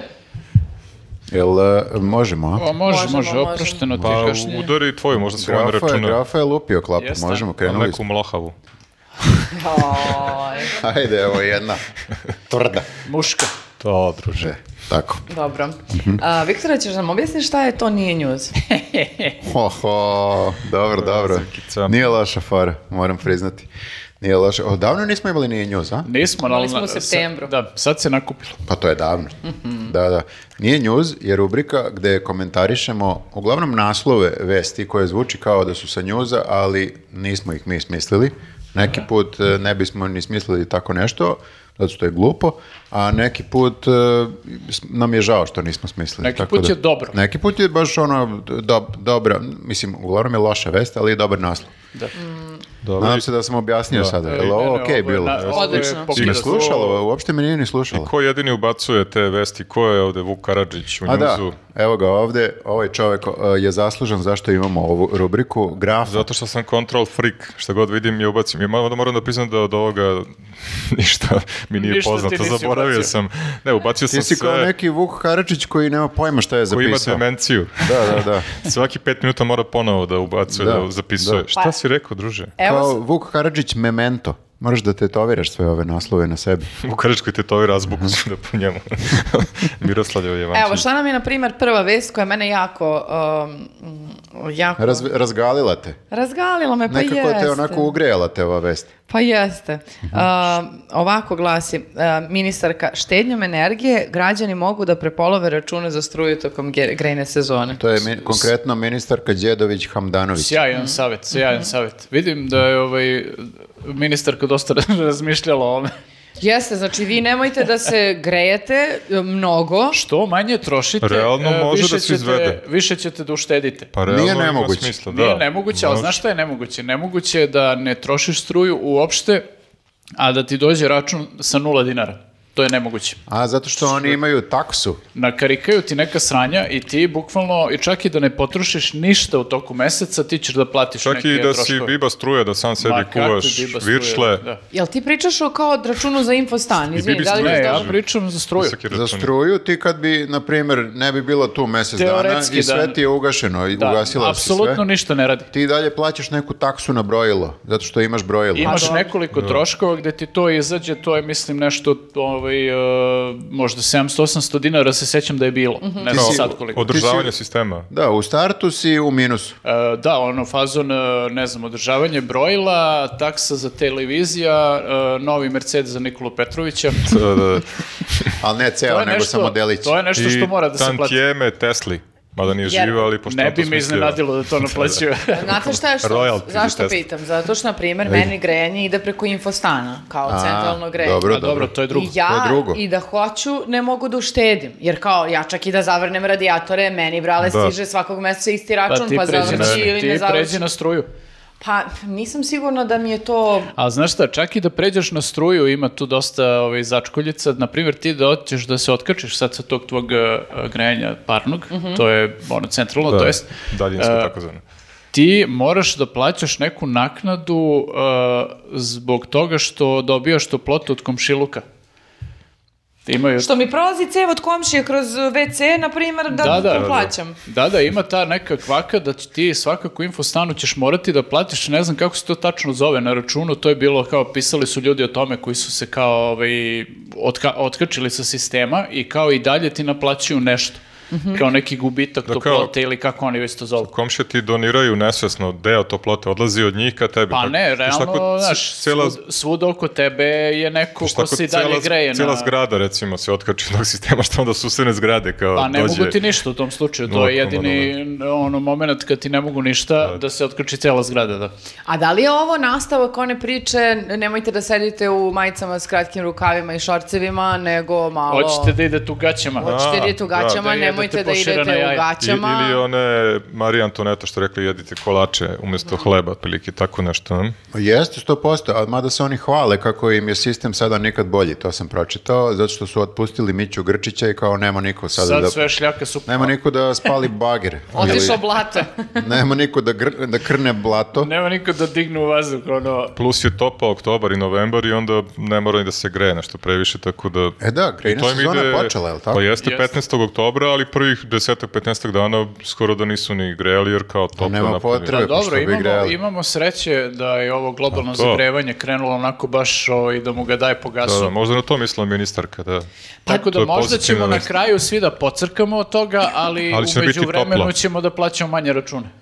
Speaker 1: Jel, e, možemo, a?
Speaker 2: Pa može, može,
Speaker 4: Možemo, možemo.
Speaker 2: oprošteno ti
Speaker 3: Pa
Speaker 2: kašnjenje.
Speaker 3: udari tvoju, možda se vam
Speaker 1: Grafa je,
Speaker 3: računa.
Speaker 1: grafa je lupio klapu,
Speaker 2: Jeste.
Speaker 1: možemo,
Speaker 3: Ali
Speaker 1: krenuli
Speaker 3: Neku
Speaker 1: smo.
Speaker 3: mlahavu.
Speaker 4: Oj,
Speaker 1: Ajde, evo jedna tvrda.
Speaker 2: Muška.
Speaker 3: To,
Speaker 1: E,
Speaker 3: druže.
Speaker 1: Tako.
Speaker 4: dobro. A, Viktora, ćeš nam objasniti šta je to nije news?
Speaker 1: Oho, dobro, dobro.
Speaker 3: Razlikica.
Speaker 1: Nije loša fora, moram priznati. Nije loša. Odavno nismo imali nije njuz, a?
Speaker 2: Nismo,
Speaker 4: Imali
Speaker 2: ali...
Speaker 4: smo u
Speaker 2: na-
Speaker 4: septembru.
Speaker 2: sa- Da, sad se nakupilo.
Speaker 1: Pa to je davno.
Speaker 2: Mhm.
Speaker 1: Da, da. Nije njuz je rubrika gde komentarišemo uglavnom naslove vesti koje zvuči kao da su sa njuza, ali nismo ih mi smislili. Neki put e, ne bismo ni smislili tako nešto, zato što je glupo, a neki put e, s- nam je žao što nismo smislili.
Speaker 2: Neki put je dobro.
Speaker 1: Neki put je baš ono do, dobra, mislim, uglavnom je loša vest, ali je dobar naslov.
Speaker 4: Mm.
Speaker 3: Dobro.
Speaker 1: Nadam se da sam objasnio sada. Je li
Speaker 2: Ne, ne,
Speaker 1: ovo okej
Speaker 2: je
Speaker 1: bilo?
Speaker 2: ovaj, na- ovo je
Speaker 4: Odlično.
Speaker 2: pokazalo-
Speaker 1: Ne slušalo, uopšte me nije ni slušalo.
Speaker 3: Ko jedini ubacuje te vesti? Ko je ovde Vuk Karadžić u
Speaker 1: A da,
Speaker 3: njuzu?
Speaker 1: evo ga ovde, ovaj čovek uh, je zaslužan zašto imamo ovu rubriku, graf,
Speaker 3: Zato što sam control freak, šta god vidim i ubacim. Ja malo moram da priznam da od ovoga ništa mi nije
Speaker 2: Ništa ti
Speaker 3: poznato.
Speaker 2: nisi
Speaker 3: Zaboravio
Speaker 2: ubacio.
Speaker 3: sam. Ne, ubacio
Speaker 1: ti
Speaker 3: sam
Speaker 1: si kao
Speaker 3: sve
Speaker 1: neki Vuk Karadžić koji nema pojma šta je
Speaker 3: koji ima
Speaker 1: zapisao.
Speaker 3: demenciju.
Speaker 1: Da, da, da.
Speaker 3: Svaki pet minuta mora ponovo da ubacuje, da,
Speaker 1: Da,
Speaker 3: zapisuje.
Speaker 1: da.
Speaker 4: Pa-
Speaker 3: Šta si rekao, druže?
Speaker 1: Kao
Speaker 4: Evo,
Speaker 1: Vuk Karadžić memento. Moraš da tetoviraš sve ove naslove na sebi.
Speaker 3: U Karadžičkoj tetovira azbuku
Speaker 1: Mhm.
Speaker 3: da po njemu. Miroslavljevo je
Speaker 4: evo, šta nam je, na primjer, prva vest koja je mene jako... um, jako...
Speaker 1: Raz, razgalila te.
Speaker 4: Razgalila me, pa
Speaker 1: Nekako
Speaker 4: jeste.
Speaker 1: te onako ugrejala te ova vest.
Speaker 4: Pa jeste.
Speaker 1: Mhm.
Speaker 4: A, ovako glasi a, ministarka, štednjom energije građani mogu da prepolove račune za struju tokom ge- grejne sezone.
Speaker 1: To je mi- konkretno ministarka Đedović Hamdanović.
Speaker 4: Mhm.
Speaker 2: Sjajan savjet, sjajan savjet. Vidim da je ovaj ministarka dosta razmišljala o ovome.
Speaker 4: Jeste, znači vi nemojte da se grejete e, mnogo.
Speaker 2: Što manje trošite,
Speaker 3: Realno
Speaker 2: e,
Speaker 3: može
Speaker 2: više,
Speaker 3: da se
Speaker 2: ćete,
Speaker 3: izvede.
Speaker 2: više ćete da uštedite.
Speaker 3: Pa
Speaker 1: Nije
Speaker 3: realno ima
Speaker 1: nemoguće.
Speaker 3: Smisla, da. Ono,
Speaker 2: Nije nemoguće, ali znaš šta je nemoguće? Nemoguće je da ne trošiš struju uopšte, a da ti dođe račun sa nula dinara. to je nemoguće.
Speaker 1: A zato što oni imaju taksu.
Speaker 2: Nakarikaju ti neka sranja i ti bukvalno, i čak i da ne potrošiš ništa u toku meseca, ti ćeš da platiš
Speaker 3: Čak
Speaker 2: neke
Speaker 3: i da si
Speaker 2: troškove.
Speaker 3: biba struje, da sam sebi
Speaker 2: Ma kakvi
Speaker 3: kuvaš
Speaker 2: biba struje,
Speaker 3: viršle,
Speaker 2: da.
Speaker 4: Jel ti pričaš o kao od računu za infostan? Izvini,
Speaker 3: bibi
Speaker 4: da li
Speaker 2: Ne,
Speaker 3: struje,
Speaker 2: ja
Speaker 3: Kažem.
Speaker 2: pričam za struju.
Speaker 3: visoki
Speaker 1: Za
Speaker 3: računi.
Speaker 1: struju ti kad bi, na primjer, ne bi bilo tu mjesec dana
Speaker 2: Teoretski
Speaker 1: i sve
Speaker 2: da-
Speaker 1: ti je ugašeno, i
Speaker 2: Da,
Speaker 1: ugasila si sve.
Speaker 2: apsolutno ništa ne radi.
Speaker 1: Ti dalje plaćaš neku taksu na brojilo, zato što imaš brojilo.
Speaker 2: Imaš
Speaker 4: dobro.
Speaker 2: nekoliko troškova gde ti to izađe, to je mislim nešto ovaj, e, možda 700-800 dinara se sećam da je bilo.
Speaker 4: Mhm.
Speaker 2: Ne znam
Speaker 1: Ti si-
Speaker 2: sad koliko.
Speaker 3: Održavanje sistema.
Speaker 1: Da, u startu si u minusu.
Speaker 2: E, da, ono fazon, e, ne znam, održavanje brojila, taksa za televizija, e, novi Mercedes za Nikolu Petrovića.
Speaker 3: Da, da, da.
Speaker 1: Ali ne
Speaker 2: To
Speaker 1: ceo,
Speaker 2: je
Speaker 1: nego
Speaker 2: nešto-
Speaker 1: samo delić.
Speaker 2: To je nešto što mora da se
Speaker 3: I
Speaker 2: plati.
Speaker 3: tantijeme Tesli. Mada nije
Speaker 4: Jer-
Speaker 3: živa, ali pošto
Speaker 2: Ne
Speaker 3: on to
Speaker 2: bi me
Speaker 3: smislio.
Speaker 2: iznenadilo da to naplaćuje.
Speaker 4: Znate šta je što,
Speaker 3: Royalty za
Speaker 4: zašto
Speaker 3: test.
Speaker 4: pitam? Zato što, na primjer, meni grejanje ide preko infostana, kao
Speaker 1: A,
Speaker 4: centralno grejanje.
Speaker 1: dobro,
Speaker 2: A dobro, to je drugo.
Speaker 4: I ja
Speaker 1: To je drugo.
Speaker 4: i da hoću ne mogu da uštedim, jer kao ja čak i da zavrnem radijatore, meni brale
Speaker 3: Da.
Speaker 4: stiže svakog mjeseca isti
Speaker 2: Pa
Speaker 4: račun,
Speaker 2: ti
Speaker 4: pa,
Speaker 2: pređi na,
Speaker 4: završi ili ne
Speaker 2: ti
Speaker 4: završi.
Speaker 2: pređi na struju.
Speaker 4: Pa nisam sigurna da mi je to...
Speaker 2: A znaš šta, čak i da pređeš na struju, ima tu dosta ovaj, začkoljica. Naprimjer, ti da otiš da se otkačiš sad sa tog tvog e, grejanja parnog, to je ono centralno,
Speaker 3: Da,
Speaker 2: to jest,
Speaker 3: daljinsko,
Speaker 2: e,
Speaker 3: tako zvano.
Speaker 2: ti moraš da plaćaš neku naknadu e, zbog toga što dobijaš toplotu od komšiluka. Imaju
Speaker 4: Što mi prolazi cev od komšije kroz WC, na primjer, da,
Speaker 2: Da, da,
Speaker 4: to
Speaker 2: da.
Speaker 4: plaćam.
Speaker 2: Da, da, ima ta neka kvaka da će ti svakako infostanu ćeš morati da platiš, ne znam kako se to tačno zove na računu, to je bilo kao, pisali su ljudi o tome koji su se kao ovaj, otka, otkačili sa sistema i kao i dalje ti naplaćuju nešto. Kao neki gubitak
Speaker 3: Da, kao-
Speaker 2: toplote ili kako oni već to zovu.
Speaker 3: Komšije ti doniraju nesvesno, deo toplote odlazi od njih ka tebi.
Speaker 2: Pa
Speaker 3: Tako-
Speaker 2: ne,
Speaker 3: Znaš, tako
Speaker 2: realno,
Speaker 3: c-
Speaker 2: znaš,
Speaker 3: cijela-
Speaker 2: svud, svud oko tebe je neko
Speaker 3: znaš,
Speaker 2: ko
Speaker 3: tako
Speaker 2: se i dalje
Speaker 3: cijela-
Speaker 2: greje.
Speaker 3: Cijela
Speaker 2: na-
Speaker 3: zgrada, recimo, se otkači od tog sistema, što onda susedne zgrade, kao
Speaker 2: Pa ne
Speaker 3: dođe...
Speaker 2: mogu ti ništa u tom slučaju, to je
Speaker 3: Lokalno,
Speaker 2: jedini ono moment kad ti ne mogu ništa da, se otkači cijela zgrada, da.
Speaker 4: A da li je ovo nastavak one priče, nemojte da sedite u majicama s kratkim rukavima i šorcevima, nego malo...
Speaker 2: Hoćete da idete u gaćama.
Speaker 3: Hoćete
Speaker 4: Hoćete
Speaker 3: A,
Speaker 4: da idete u
Speaker 3: da,
Speaker 4: gaćama,
Speaker 2: da jedete
Speaker 4: nemojte da
Speaker 2: poširena
Speaker 4: idete u
Speaker 2: jaja.
Speaker 3: I-
Speaker 4: gaćama.
Speaker 3: ili one Marija Antoneta što rekli jedite kolače umjesto hleba, otprilike tako nešto. ne?
Speaker 1: Jeste, 100%, a mada se oni hvale kako im je sistem sada nikad bolji, to sam pročitao, zato što su otpustili Miću Grčića i kao nema niko sada
Speaker 2: Sad
Speaker 1: da...
Speaker 2: sve šljaka su...
Speaker 1: Nema niko da spali bager.
Speaker 4: Otišao blato.
Speaker 1: Ili nema niko da, gr- da krne blato.
Speaker 2: Nema niko da dignu u vazduh, ono...
Speaker 3: Plus je topa oktobar i novembar i onda ne mora ni da se greje nešto previše, tako da...
Speaker 1: E da, grejna
Speaker 3: To im
Speaker 1: sezona
Speaker 3: ide-
Speaker 1: je počela, je li tako?
Speaker 3: Pa jeste
Speaker 2: Jeste.
Speaker 3: 15. oktobra, ali prvih 10-15 dana skoro da nisu ni grejali jer kao toplo
Speaker 1: nema
Speaker 3: napolju.
Speaker 1: potrebe. pa što
Speaker 2: Dobro,
Speaker 1: bi
Speaker 2: imamo,
Speaker 1: grejali?
Speaker 2: imamo sreće da je ovo globalno
Speaker 3: A to?
Speaker 2: zagrevanje krenulo onako baš i da mu ga daje po
Speaker 3: Da,
Speaker 2: gasu.
Speaker 3: da, možda na to mislila ministarka, da.
Speaker 2: Tako
Speaker 3: To
Speaker 2: da
Speaker 3: je
Speaker 2: možda
Speaker 3: pozitivna
Speaker 2: ćemo na
Speaker 3: vest.
Speaker 2: kraju svi da pocrkamo od toga, ali,
Speaker 3: Ali
Speaker 2: ali
Speaker 3: će biti
Speaker 2: umeđu vremenu
Speaker 3: toplo.
Speaker 2: ćemo da plaćamo manje račune.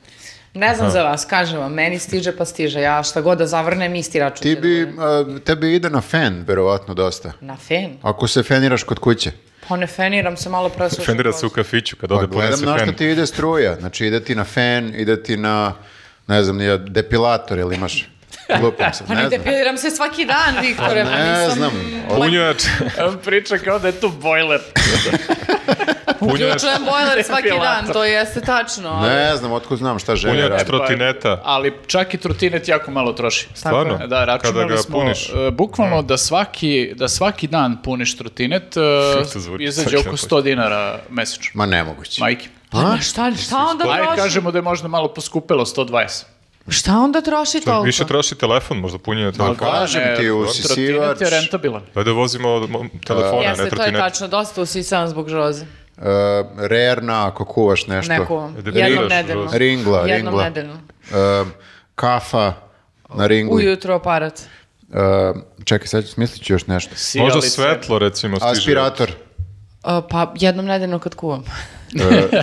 Speaker 4: Ne znam za vas, kažem vam, meni stiže pa stiže. Ja šta god da zavrnem, isti račun.
Speaker 1: Ti
Speaker 4: će da
Speaker 1: bi,
Speaker 4: bude.
Speaker 1: a, tebi ide na fen, verovatno, dosta.
Speaker 4: Na fen?
Speaker 1: Ako se feniraš kod kuće.
Speaker 4: Pa ne feniram se malo presušno.
Speaker 3: Fendira se u kafiću kad
Speaker 1: Pa
Speaker 3: ode
Speaker 1: gledam
Speaker 3: ponese
Speaker 1: na što
Speaker 3: fen.
Speaker 1: ti ide struja. Znači ide ti na fen, ide ti na, ne znam, nije depilator ili imaš... Lupam se,
Speaker 4: Pa ne
Speaker 1: ne znam.
Speaker 4: depiliram se svaki dan, Viktore. pa
Speaker 1: Ne
Speaker 4: nisam-
Speaker 1: znam.
Speaker 3: Punjač,
Speaker 2: Priča kao da je tu bojler.
Speaker 3: punjač,
Speaker 4: Pa Uključujem bojler svaki dan, to jeste tačno. ali-
Speaker 1: Ne znam, otko znam šta žele
Speaker 3: punjač
Speaker 1: raditi.
Speaker 3: trotineta.
Speaker 2: Ali čak i trotinet jako malo troši.
Speaker 3: Stvarno?
Speaker 4: Tako
Speaker 2: Da,
Speaker 3: Kada
Speaker 2: računali
Speaker 3: ga
Speaker 2: smo
Speaker 3: puniš.
Speaker 2: e, bukvalno da svaki, da svaki dan puniš trotinet, e,
Speaker 3: to zvuči?
Speaker 2: izađe
Speaker 3: Svaki
Speaker 2: oko
Speaker 3: dan
Speaker 2: 100 dinara mesečno.
Speaker 1: Ma nemoguće.
Speaker 2: Majke.
Speaker 1: A?
Speaker 4: Pa Ma Šta, šta onda
Speaker 2: Ajde
Speaker 4: troši?
Speaker 2: kažemo da je možda malo poskupilo 120.
Speaker 4: Šta onda troši toliko?
Speaker 3: Više troši telefon, možda punjenje telefona.
Speaker 1: Kažem
Speaker 2: Ne,
Speaker 1: ti,
Speaker 2: trotinet
Speaker 1: usisivač,
Speaker 2: je rentabilan.
Speaker 3: Ajde vozimo od mo- telefona, ne
Speaker 4: Jeste, to je
Speaker 3: trotineta.
Speaker 4: tačno, dosta usisam zbog žoze.
Speaker 1: e, rerna ako kuvaš nešto.
Speaker 4: Neku,
Speaker 3: Debeliraš
Speaker 4: jednom nedeljno.
Speaker 3: žozu.
Speaker 1: Ringla,
Speaker 4: Jednom
Speaker 1: ringla.
Speaker 4: nedeljno.
Speaker 1: E, kafa na ringli.
Speaker 4: Ujutro aparat.
Speaker 1: E, čekaj, sad smislit ću još nešto.
Speaker 3: Možda
Speaker 2: Sijalice.
Speaker 3: svetlo, recimo, stiže.
Speaker 1: Aspirator.
Speaker 4: A, pa jednom nedeljno kad kuvam.
Speaker 1: E,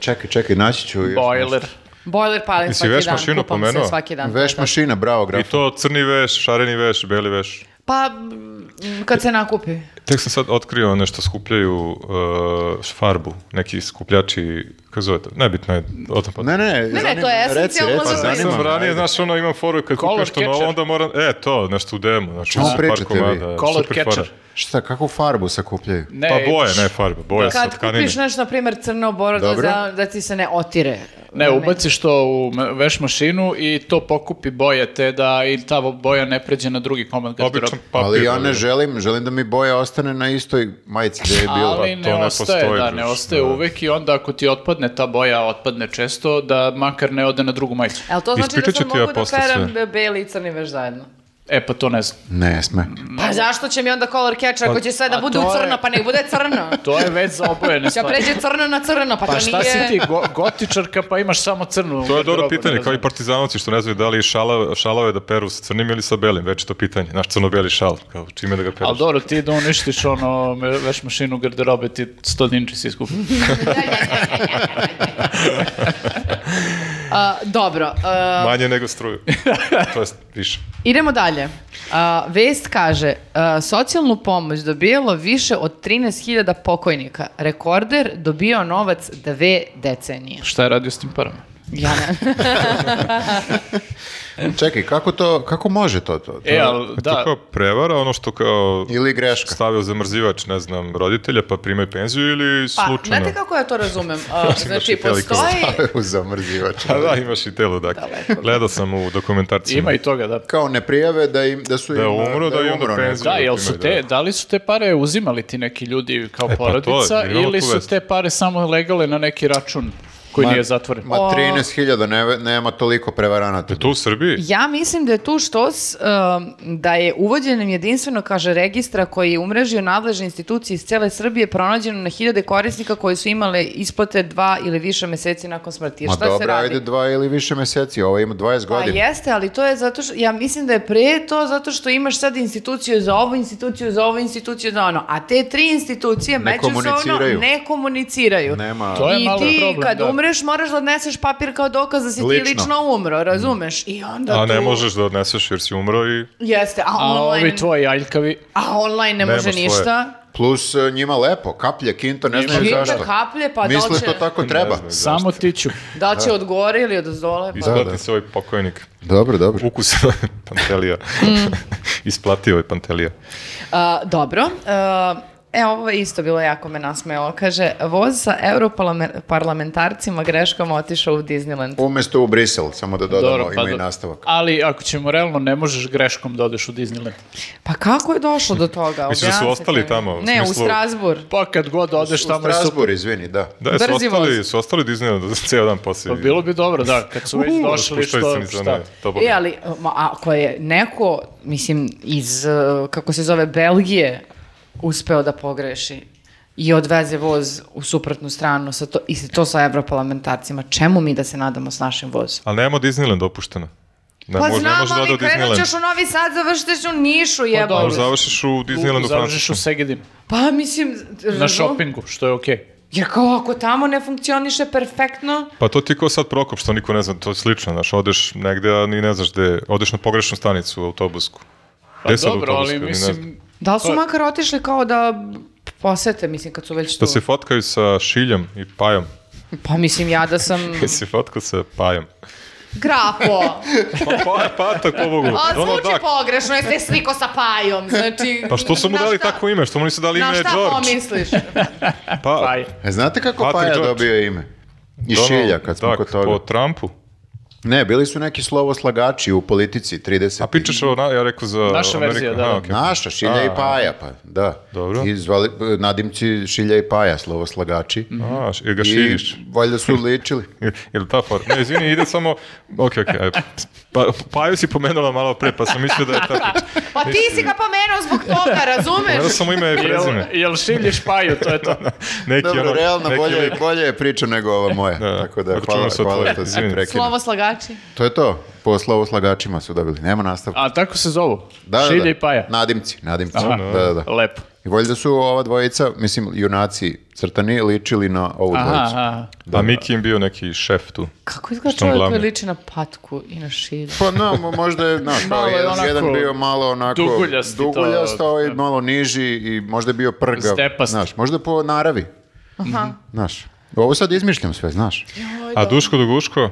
Speaker 1: čekaj, čekaj, naći ću još
Speaker 2: Bojler.
Speaker 4: Bojler palim
Speaker 3: Jesi
Speaker 4: svaki dan.
Speaker 3: veš mašinu
Speaker 4: kupam
Speaker 3: pomenuo?
Speaker 4: se svaki dan.
Speaker 1: nešto. Veš mašina, bravo,
Speaker 3: I
Speaker 1: graf.
Speaker 3: to crni veš, šareni veš, beli veš.
Speaker 4: Pa, mm, kad se nakupi.
Speaker 3: Tek sam sad otkrio nešto skupljaju uh, farbu, neki eh, skupljači kako zove to? Nebitno je o tom potom.
Speaker 1: Ne, ne, ne,
Speaker 4: ne, to je esencijalno
Speaker 3: Pa
Speaker 4: za
Speaker 3: znam
Speaker 4: zanima
Speaker 3: sam ranije, znaš, ono imam foru kad
Speaker 2: Color
Speaker 3: kupiš to novo,
Speaker 2: catcher.
Speaker 3: onda moram, e, to, nešto u demo, znači,
Speaker 1: Čemu
Speaker 3: par
Speaker 1: pričate vi?
Speaker 3: komada,
Speaker 2: Color
Speaker 3: super
Speaker 2: catcher.
Speaker 3: fora.
Speaker 1: Šta, kakvu farbu sakupljaju?
Speaker 2: Ne,
Speaker 3: Pa boje, ne farba, boje sa
Speaker 4: Kad
Speaker 3: tkanine.
Speaker 4: kupiš nešto, na primjer, crno boro, da,
Speaker 1: Dobro.
Speaker 4: za- da ti se ne otire.
Speaker 2: Ne, ubaciš to u me- veš mašinu i to pokupi boje te da i ta boja ne pređe na drugi komad garderobe.
Speaker 3: Običan papir.
Speaker 1: Ali ja ne želim, želim da mi boja ostane na istoj majici gdje je bila.
Speaker 2: Ali
Speaker 3: pa
Speaker 2: ne,
Speaker 3: to ne
Speaker 2: ostaje,
Speaker 3: postoji,
Speaker 2: da, ne
Speaker 3: druže,
Speaker 2: ostaje
Speaker 3: da.
Speaker 2: uvek i onda ako ti otpadne ta boja, a otpadne često, da makar ne ode na drugu majicu.
Speaker 4: Jel to znači da
Speaker 3: Ispričat ću
Speaker 4: sam
Speaker 3: ti ja
Speaker 4: mogu da
Speaker 3: posle
Speaker 4: peram
Speaker 3: sve.
Speaker 4: be- beli i crni veš zajedno?
Speaker 2: E, pa to ne znam.
Speaker 1: Ne sme.
Speaker 4: Pa zašto će mi onda color catcher ako će sve da
Speaker 2: Mm. a
Speaker 4: bude
Speaker 2: to je-
Speaker 4: crno, pa nek bude crno.
Speaker 2: To je već za obojene
Speaker 4: Će
Speaker 2: stvari.
Speaker 4: pređe crno na crno,
Speaker 2: Pa
Speaker 4: pa, to nije...
Speaker 2: šta si ti, go- gotičarka, pa imaš samo crnu.
Speaker 3: To je dobro
Speaker 2: garderobu, ne
Speaker 3: pitanje, kao i
Speaker 2: znam.
Speaker 3: partizanovci što ne znaju da li šala, šalave da peru sa crnim ili sa belim, već je to pitanje. Znaš, crno-beli šal, kao čime da ga
Speaker 2: Ali
Speaker 3: pereš.
Speaker 2: dobro, ti da uništiš ono me- veš mašinu garderobe, ti 100 dinči si iskupi.
Speaker 4: A, dobro, e, a,
Speaker 3: Manje nego struju. to je više.
Speaker 4: idemo dalje. A, vest kaže, a, socijalnu pomoć dobijelo više od 13.000 pokojnika. Rekorder dobio novac dve decenije.
Speaker 2: Šta je radio s tim parama?
Speaker 4: Ja ne.
Speaker 1: Čekaj, kako to, kako može to? to?
Speaker 2: E, ali
Speaker 3: Da. To
Speaker 2: da,
Speaker 3: je kao prevara, ono što kao
Speaker 1: Ili greška?
Speaker 3: stave u zamrzivač, ne znam, roditelja pa primaju penziju ili
Speaker 4: Pa,
Speaker 3: slučajno.
Speaker 4: znate kako ja to razumem? A, znači,
Speaker 3: baš i veliko
Speaker 4: postoji...
Speaker 1: U zamrzivač.
Speaker 3: A Pa da, imaš i telo, dakle. Gledao sam u dokumentarciji.
Speaker 2: ima i toga, da.
Speaker 1: Kao ne prijave da, im, da su
Speaker 3: Da je
Speaker 1: im,
Speaker 3: umro, da
Speaker 1: je
Speaker 3: i onda
Speaker 1: umro, ne
Speaker 3: penziju.
Speaker 1: znam.
Speaker 2: Da, jel
Speaker 3: Ima
Speaker 2: su
Speaker 3: i
Speaker 2: te,
Speaker 3: da.
Speaker 2: da li su te pare uzimali ti neki ljudi kao
Speaker 3: E, pa to je,
Speaker 2: porodica
Speaker 3: imamo tu
Speaker 2: ili su
Speaker 3: vest.
Speaker 2: te pare samo legale na neki račun koji
Speaker 1: Ma-
Speaker 2: nije zatvoren?
Speaker 1: Ma 13.000, ne, nema toliko prevaranata.
Speaker 3: E, Tu u Srbiji?
Speaker 4: Ja mislim da je tu štos um, da je uvođenjem jedinstvenog, kaže, registra koji je umrežio nadležne institucije iz cele Srbije pronađeno na hiljade korisnika koji su imale isplate dva ili više meseci nakon smrti. Jer
Speaker 1: Ma
Speaker 4: šta se
Speaker 1: dobro,
Speaker 4: radi?
Speaker 1: ajde dva ili više meseci, ovo ima 20
Speaker 4: Pa
Speaker 1: godina.
Speaker 4: jeste, ali to je zato što, ja mislim da je pre to zato što imaš sad instituciju za ovu instituciju, za ovu instituciju, za ono, a te tri institucije
Speaker 1: Ne
Speaker 4: međusobno
Speaker 1: komuniciraju.
Speaker 4: ne komuniciraju.
Speaker 1: Nema.
Speaker 2: To je
Speaker 4: I
Speaker 2: malo
Speaker 4: ti
Speaker 2: problem,
Speaker 4: kad
Speaker 2: da.
Speaker 4: umreš moraš da odneseš papir kao dokaz da si ti
Speaker 1: Lično.
Speaker 4: lično umro, razumeš? I onda
Speaker 3: A ne
Speaker 4: tu-
Speaker 3: možeš da odneseš jer si umro i...
Speaker 4: Jeste, a,
Speaker 2: A
Speaker 4: online,
Speaker 2: ovi tvoji aljkavi,
Speaker 4: a online ne
Speaker 3: Nema
Speaker 4: može
Speaker 3: svoje.
Speaker 4: ništa.
Speaker 1: Plus e, njima lepo, kaplje, kinto, ne znaju
Speaker 4: Kinto,
Speaker 1: zašto.
Speaker 4: kaplje, pa da li
Speaker 1: Misle
Speaker 4: će-
Speaker 1: to tako treba.
Speaker 3: znaju.
Speaker 2: samo tiću.
Speaker 4: Da li će od gore ili od dole? Pa.
Speaker 3: Isplati
Speaker 1: da.
Speaker 3: se ovaj pokojnik.
Speaker 1: Dobro, dobro.
Speaker 3: Ukus Pantelija. Isplatio je Pantelija.
Speaker 4: A, dobro. A, e, ovo je isto bilo jako me nasmejalo. Kaže, voz sa europarlamentarcima greškama otišao u Disneyland.
Speaker 1: Umjesto u Brisel, samo da dodamo,
Speaker 2: Dobro, pa
Speaker 1: ima i
Speaker 2: do-
Speaker 1: nastavak.
Speaker 2: Ali ako ćemo realno, ne možeš greškom da odeš u Disneyland.
Speaker 4: Pa kako je došlo do toga?
Speaker 3: Misliš da su
Speaker 4: Objasnite
Speaker 3: ostali
Speaker 4: mi.
Speaker 3: tamo, u
Speaker 4: Ne, u
Speaker 3: smislu-
Speaker 4: Strasbur.
Speaker 2: Pa kad god odeš
Speaker 1: U
Speaker 2: tamo je super.
Speaker 1: Strasbur, izvini, da.
Speaker 3: Da, su
Speaker 4: Brzi
Speaker 3: ostali,
Speaker 4: voz.
Speaker 3: su ostali Disney da ceo dan poslije.
Speaker 2: Pa bilo bi dobro, da, kad su već došli, što, šta.
Speaker 4: E, ali ma, ako je neko, mislim, iz, e, kako se zove, Belgije uspeo da pogreši i odveze voz u suprotnu stranu sa to, i to sa evroparlamentarcima, čemu mi da se nadamo s našim vozom?
Speaker 3: Ali nema Disneyland dopušteno. Ne,
Speaker 4: Pa
Speaker 3: može- ne
Speaker 4: znam,
Speaker 3: može da ode
Speaker 4: ali
Speaker 3: u
Speaker 4: krenut ćeš
Speaker 3: Disneyland. Pa
Speaker 4: u Novi Sad, završiš u Nišu, jebote.
Speaker 2: dobro.
Speaker 3: Možda završiš u Disneylandu u
Speaker 2: Završiš u
Speaker 3: Francusku.
Speaker 2: Segedinu,
Speaker 4: Pa mislim,
Speaker 2: na
Speaker 4: razum-
Speaker 2: šopingu, što je okej.
Speaker 4: Jer kao ako tamo ne funkcioniše perfektno,
Speaker 3: Pa to ti je kao sad Prokop, što niko ne zna, to je slično, znaš, odeš negde, a ni ne znaš gde, odeš na pogrešnu stanicu u autobusku.
Speaker 2: Pa
Speaker 3: Gde sad
Speaker 2: dobro,
Speaker 3: autobuska,
Speaker 2: ali
Speaker 3: ni ne znam.
Speaker 2: mislim,
Speaker 4: da li su
Speaker 2: To
Speaker 3: Pa-
Speaker 2: je-
Speaker 4: makar otišli kao da posete, mislim, kad su već tu.
Speaker 3: Da se fotkaju sa Šiljom i Pajom.
Speaker 4: Pa mislim, ja da sam
Speaker 3: Da se fotkao sa Pajom.
Speaker 4: grafo.
Speaker 3: Pa, pa, pa, tako pobogu.
Speaker 4: A
Speaker 3: Ono,
Speaker 4: zvuči
Speaker 3: da,
Speaker 4: pogrešno, jeste sliko sa pajom, znači...
Speaker 3: pa što su mu
Speaker 4: na
Speaker 3: dali
Speaker 4: šta-
Speaker 3: tako ime? Što mu nisu dali ime
Speaker 4: Na šta
Speaker 3: George?
Speaker 4: pomisliš?
Speaker 3: Pa,
Speaker 2: aj.
Speaker 1: E, znate kako
Speaker 3: Patrick
Speaker 1: Paja
Speaker 3: George.
Speaker 1: dobio ime? I
Speaker 3: Donald
Speaker 1: Šilja, kad smo
Speaker 3: Duck
Speaker 1: kod toga.
Speaker 3: Po Trumpu.
Speaker 1: Ne, bili su neki slovoslagači u politici 30.
Speaker 3: A pičeš ovo, na- ja rekao za
Speaker 2: Naša
Speaker 3: Ameriku.
Speaker 2: verzija, da.
Speaker 3: Aha, okej.
Speaker 1: Naša, Šilja
Speaker 3: A.
Speaker 1: i Paja, pa da.
Speaker 3: Dobro.
Speaker 1: I zvali, nadimci Šilja i Paja, slovoslagači.
Speaker 3: A, š- ili ga
Speaker 1: I
Speaker 3: Mm. širiš.
Speaker 1: valjda su ličili.
Speaker 3: Ili ta for? Ne, izvini, ide samo... Ok, ok, ajde. Pa, Paju si pomenula malo pre, pa sam mislio da je ta priča.
Speaker 4: Pa ti si ga pomenuo zbog toga,
Speaker 3: Gledao
Speaker 4: razumeš?
Speaker 3: sam mu ime i
Speaker 2: Jel,
Speaker 3: prezime.
Speaker 2: jel šiljiš paju, to je to.
Speaker 3: Neki
Speaker 1: Dobro,
Speaker 3: ono,
Speaker 1: realno
Speaker 3: neki
Speaker 1: bolje,
Speaker 3: lik.
Speaker 1: bolje je priča nego ova moja.
Speaker 3: da.
Speaker 1: Tako da,
Speaker 3: Ako
Speaker 1: hvala,
Speaker 3: čujemo sad
Speaker 1: hvala
Speaker 3: tvoje,
Speaker 1: što si
Speaker 3: izvini.
Speaker 1: prekinuo.
Speaker 4: Slovo slagači.
Speaker 1: To je to. Po slovoslagačima su dobili. Nema nastavka.
Speaker 2: A tako se zovu,
Speaker 1: Da, da,
Speaker 2: šilje
Speaker 1: da.
Speaker 2: i paja.
Speaker 1: Nadimci, nadimci. Da, da, da.
Speaker 2: Lepo.
Speaker 1: I valjda su ova dvojica, mislim, junaci crtani ličili na ovu
Speaker 2: Aha,
Speaker 1: dvojicu.
Speaker 2: aha.
Speaker 3: A Miki im bio neki šef tu.
Speaker 4: Kako izgleda
Speaker 3: Što on
Speaker 4: čovjek koji
Speaker 3: glavni?
Speaker 4: liči na patku i na šilju?
Speaker 1: Pa no, mo- možda je, znaš,
Speaker 2: Malo
Speaker 1: kao
Speaker 2: je
Speaker 1: jedan,
Speaker 2: onako
Speaker 1: jedan bio malo onako
Speaker 2: duguljasti to-
Speaker 1: duguljast, a ovaj malo niži i možda je bio prgav.
Speaker 2: Stepast. Mhm.
Speaker 1: Znaš, možda po naravi,
Speaker 4: Aha.
Speaker 1: znaš. Ovo sad izmišljam sve, znaš.
Speaker 3: A Duško do Guško?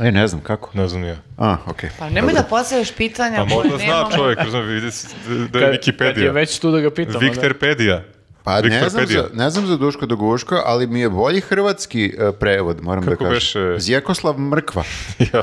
Speaker 1: E, ne znam kako.
Speaker 3: Ne znam ja.
Speaker 1: A, okej.
Speaker 4: Pa nemoj da postavljaš pitanja
Speaker 3: Pa
Speaker 4: koje
Speaker 3: možda zna
Speaker 4: nemamo.
Speaker 3: čovjek, razumije, vidi se da je
Speaker 2: Kad je
Speaker 3: Wikipedia.
Speaker 2: već tu da ga pitamo. da.
Speaker 3: Viktorpedia.
Speaker 1: Pa ne znam,
Speaker 3: Viktorpedia.
Speaker 1: za, ne znam za Duško do Guško, ali mi je bolji hrvatski e, prevod, moram
Speaker 3: Kako
Speaker 1: da kažem.
Speaker 3: beše?
Speaker 1: Zjekoslav Mrkva.
Speaker 3: Ja, da.